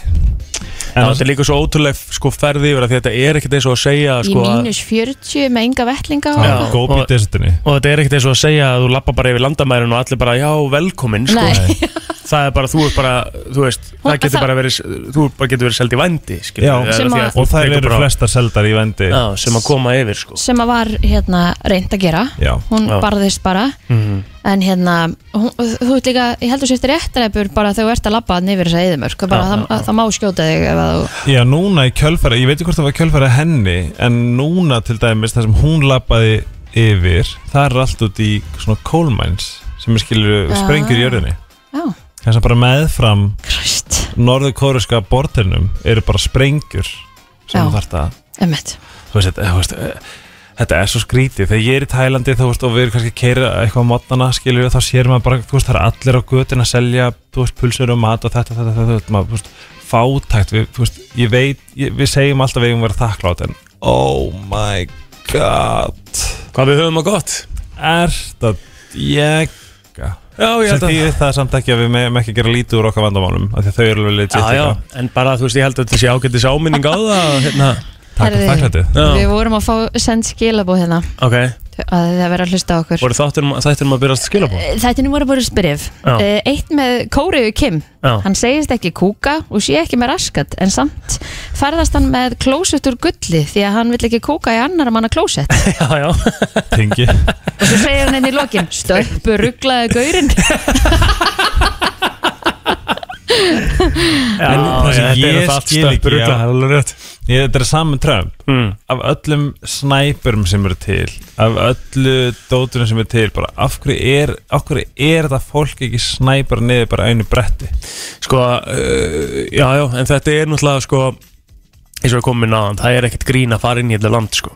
[SPEAKER 1] En þetta er líka svo ótrúlega sko, ferði yfir að því þetta er ekkert eins og að segja
[SPEAKER 3] í
[SPEAKER 1] sko, að-
[SPEAKER 3] mínus 40 með enga vettlinga og-
[SPEAKER 6] Já, gópi
[SPEAKER 1] og-
[SPEAKER 6] í desertinni.
[SPEAKER 1] Og þetta er ekkert eins og að segja að þú lappa bara yfir landamærin og allir bara já velkomin sko.
[SPEAKER 3] Nei,
[SPEAKER 1] Það er bara, þú ert bara, þú veist, það
[SPEAKER 3] Hún-
[SPEAKER 1] getur
[SPEAKER 3] það-
[SPEAKER 1] bara verið, þú bara getur verið seldi vændi skilur,
[SPEAKER 6] Já.
[SPEAKER 1] við,
[SPEAKER 3] Sem
[SPEAKER 1] því
[SPEAKER 3] að-
[SPEAKER 1] fólk
[SPEAKER 6] Og það
[SPEAKER 1] tekur
[SPEAKER 6] eru
[SPEAKER 1] bara-
[SPEAKER 6] flestar seldar í vendi
[SPEAKER 1] Já, sem að koma yfir sko
[SPEAKER 3] sem að var hérna reynd að gera
[SPEAKER 6] Já.
[SPEAKER 3] hún
[SPEAKER 1] Já. Mhm.
[SPEAKER 3] barðist bara en hérna, hún, þú veit líka ég heldur sérst réttaræpur bara þegar þú ert að labba neyfir þess að eðumörk og bara
[SPEAKER 1] Já,
[SPEAKER 3] það,
[SPEAKER 1] já, já.
[SPEAKER 3] það má skjóta þig ef að þú
[SPEAKER 6] Já, núna í kjölfæra, ég veit ekki hvort það var kjölfæra henni En núna til dæmis, þar sem hún lappaði yfir Það er allt út í svona kólmæns Sem er skilur
[SPEAKER 3] Já.
[SPEAKER 6] sprengjur í jörðinni
[SPEAKER 3] Já,
[SPEAKER 6] Þess að bara meðfram
[SPEAKER 3] kræst,
[SPEAKER 6] norðurkóruska bortinum Eru bara sprengjur Sem
[SPEAKER 3] Já.
[SPEAKER 6] þú þarft að
[SPEAKER 3] emmitt
[SPEAKER 6] þú veist, þetta- þú veist, eh, þetta er svo skrítið þegar ég er í Tælandi þú veist, og við erum kannski að keira eitthvað á mótnana skiljur þá sér maður bara, þú veist, það er allir á götin að selja þú veist, pulsur og mat og þetta, þetta, þetta þú veist, maður, þú veist, fátækt við, þú veist, ég veit, ég, við segjum alltaf að við eigum að vera þakklátt en oh my god
[SPEAKER 1] Hvað við höfum að gott
[SPEAKER 6] er þetta ég
[SPEAKER 1] Já, ég
[SPEAKER 6] sem
[SPEAKER 1] held að
[SPEAKER 6] því það er samt ekki að við meðum ekki gera lítið úr okkar vandamálum af því að þau eru alveg legit
[SPEAKER 1] Já, já, en bara, þú veist, ég held að þetta sé ágættis áminning á það hérna.
[SPEAKER 6] takk
[SPEAKER 3] Herðu.
[SPEAKER 6] fyrir þakklætið
[SPEAKER 1] Já,
[SPEAKER 3] Við vorum að fá send skilabóð hérna
[SPEAKER 1] ok
[SPEAKER 3] að þið að vera að hlusta á okkur
[SPEAKER 1] Voru þáttunum, þættunum að byrjast skilabóð?
[SPEAKER 3] Þetta er nú Eh, voru bara spyrif
[SPEAKER 1] Já.
[SPEAKER 3] Eh, Eitt með Kóriðu Kim
[SPEAKER 1] Já.
[SPEAKER 3] Hann segist ekki kúka og sé ekki með raskat en samt ferðast hann með klósett úr gulli því að hann vill ekki kúka í annar manna klósett
[SPEAKER 1] Já, já
[SPEAKER 6] tengi
[SPEAKER 3] og svo segir hann henni í lokin stöppu rugglaði gaurinn
[SPEAKER 1] En það sem
[SPEAKER 6] þetta er
[SPEAKER 1] ég
[SPEAKER 6] það allt
[SPEAKER 1] skil ekki
[SPEAKER 6] stöppur
[SPEAKER 1] já.
[SPEAKER 6] ugla, það Ég, þetta er saman Trump Af öllum snæpurum sem eru til Af öllu dótunum sem eru til bara, af, hverju er, af hverju er það fólk ekki snæpar niður bara einu bretti
[SPEAKER 1] Sko, uh, já, já, en þetta er náttúrulega sko eins og við komum inn aðan, það er ekkert grín að fara inn í þetta land sko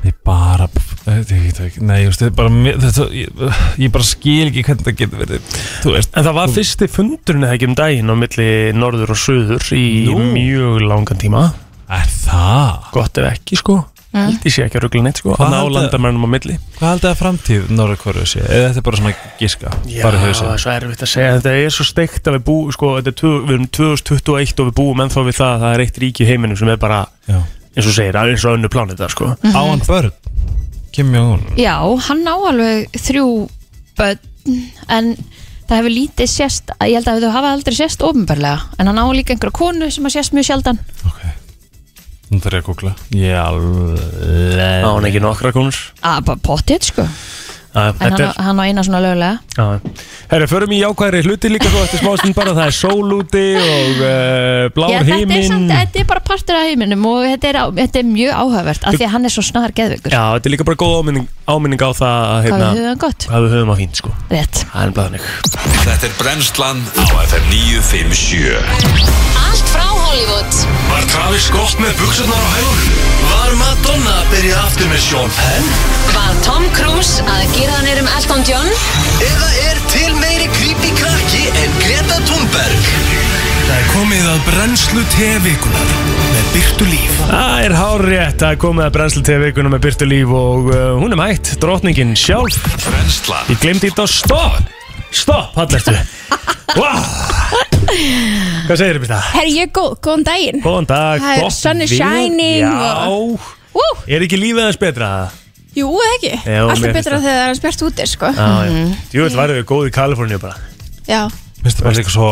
[SPEAKER 6] Ég bara þetta- ég veit ekki, Nei, just, þetta er bara, mér- þetta, ég, ég bara skil ekki hvernig það getur verið Þú veist
[SPEAKER 1] En það var fyrsti fundurinn eða ekki um daginn á milli norður og suður í
[SPEAKER 6] Nú.
[SPEAKER 1] mjög langan tíma
[SPEAKER 6] Er það?
[SPEAKER 1] gott ef ekki sko held ég sé ekki að ruggla neitt sko hann á
[SPEAKER 6] heldur-
[SPEAKER 1] landamennum á milli
[SPEAKER 6] Hvað haldið að framtíð Norra Kóru sé? Eða þetta er bara svona giska bara í hausinn?
[SPEAKER 1] það er svo erfitt að segja þetta er svo steikt að við búum sko, þetta er tvö, við erum 2021 og við búum ennþá við það að það er eitt ríki í heiminum sem er bara
[SPEAKER 6] Já.
[SPEAKER 1] eins og segir, eins og önnu plánið það sko
[SPEAKER 3] Mhm.
[SPEAKER 6] Á hann börn Kim Jong-un
[SPEAKER 3] já, hann á alveg þrjú börn en það hefur lítið sést ég held að þau hafa aldrei sést ofinbarlega en hann á líka einhverja konu sem að sést mjög sjaldan
[SPEAKER 6] Ok Nú þarf ég að googla Ég alveg
[SPEAKER 1] á hann ekki nokkra konur
[SPEAKER 3] að bara pottið sko
[SPEAKER 1] Já,
[SPEAKER 3] en
[SPEAKER 1] þetta
[SPEAKER 3] hann,
[SPEAKER 1] er-
[SPEAKER 3] á- hann á eina svona lögulega
[SPEAKER 1] Já, herru, förum í jákvæðri hluti líka svo eftir smástund bara það er sól úti og uh, blár
[SPEAKER 3] já, þetta, er
[SPEAKER 1] heiminn
[SPEAKER 3] samt, þetta er bara partur af heiminum og þetta er, á- þetta er mjög áhugavert af því að hann er svo snar geðveikur
[SPEAKER 1] Já, þetta er líka bara góð áminning, áminning á það að,
[SPEAKER 3] hvað
[SPEAKER 1] hérna,
[SPEAKER 3] við höfum gott,
[SPEAKER 1] hvað við höfum að fínt sko
[SPEAKER 3] rétt
[SPEAKER 1] Það er bara þannig
[SPEAKER 2] Þetta er brennslan á FM 957
[SPEAKER 8] Allt frá Hollywood
[SPEAKER 2] Var Travis gott með buksunar á hælunum? Var Madonna að byrja aftur með Sean Penn?
[SPEAKER 8] Var Tom Cruise að gera hann erum Elton John?
[SPEAKER 2] Eða er til meiri creepy krakki en Greta Thunberg? Það er komið að brennslu tevikunar með Byrtu Líf
[SPEAKER 1] Það er hárétt að komið að brennslu til vikuna með Byrtu Líf og uh, hún er mætt, drotningin sjálf.
[SPEAKER 2] Brennslan
[SPEAKER 1] Ég glemdi þetta, stopp, stopp, hallertu. Wow. Hvað segir þér, Byrta?
[SPEAKER 4] Herri, ég er góð, góðan daginn
[SPEAKER 1] Góðan dag,
[SPEAKER 4] Það er
[SPEAKER 1] gott
[SPEAKER 4] sun is
[SPEAKER 1] veður.
[SPEAKER 4] shining
[SPEAKER 1] Já,
[SPEAKER 4] Ú,
[SPEAKER 1] er ekki lífið aðeins betra?
[SPEAKER 4] Jú, eða ekki
[SPEAKER 1] Jú, mér
[SPEAKER 4] Alltaf
[SPEAKER 1] finnst
[SPEAKER 4] betra
[SPEAKER 1] það.
[SPEAKER 4] þegar það er hans bjart úti, sko
[SPEAKER 1] Á, já. Jú, þetta værið við góð í Kaliforníu bara.
[SPEAKER 4] Já,
[SPEAKER 6] Mér finnst það bara líka svo,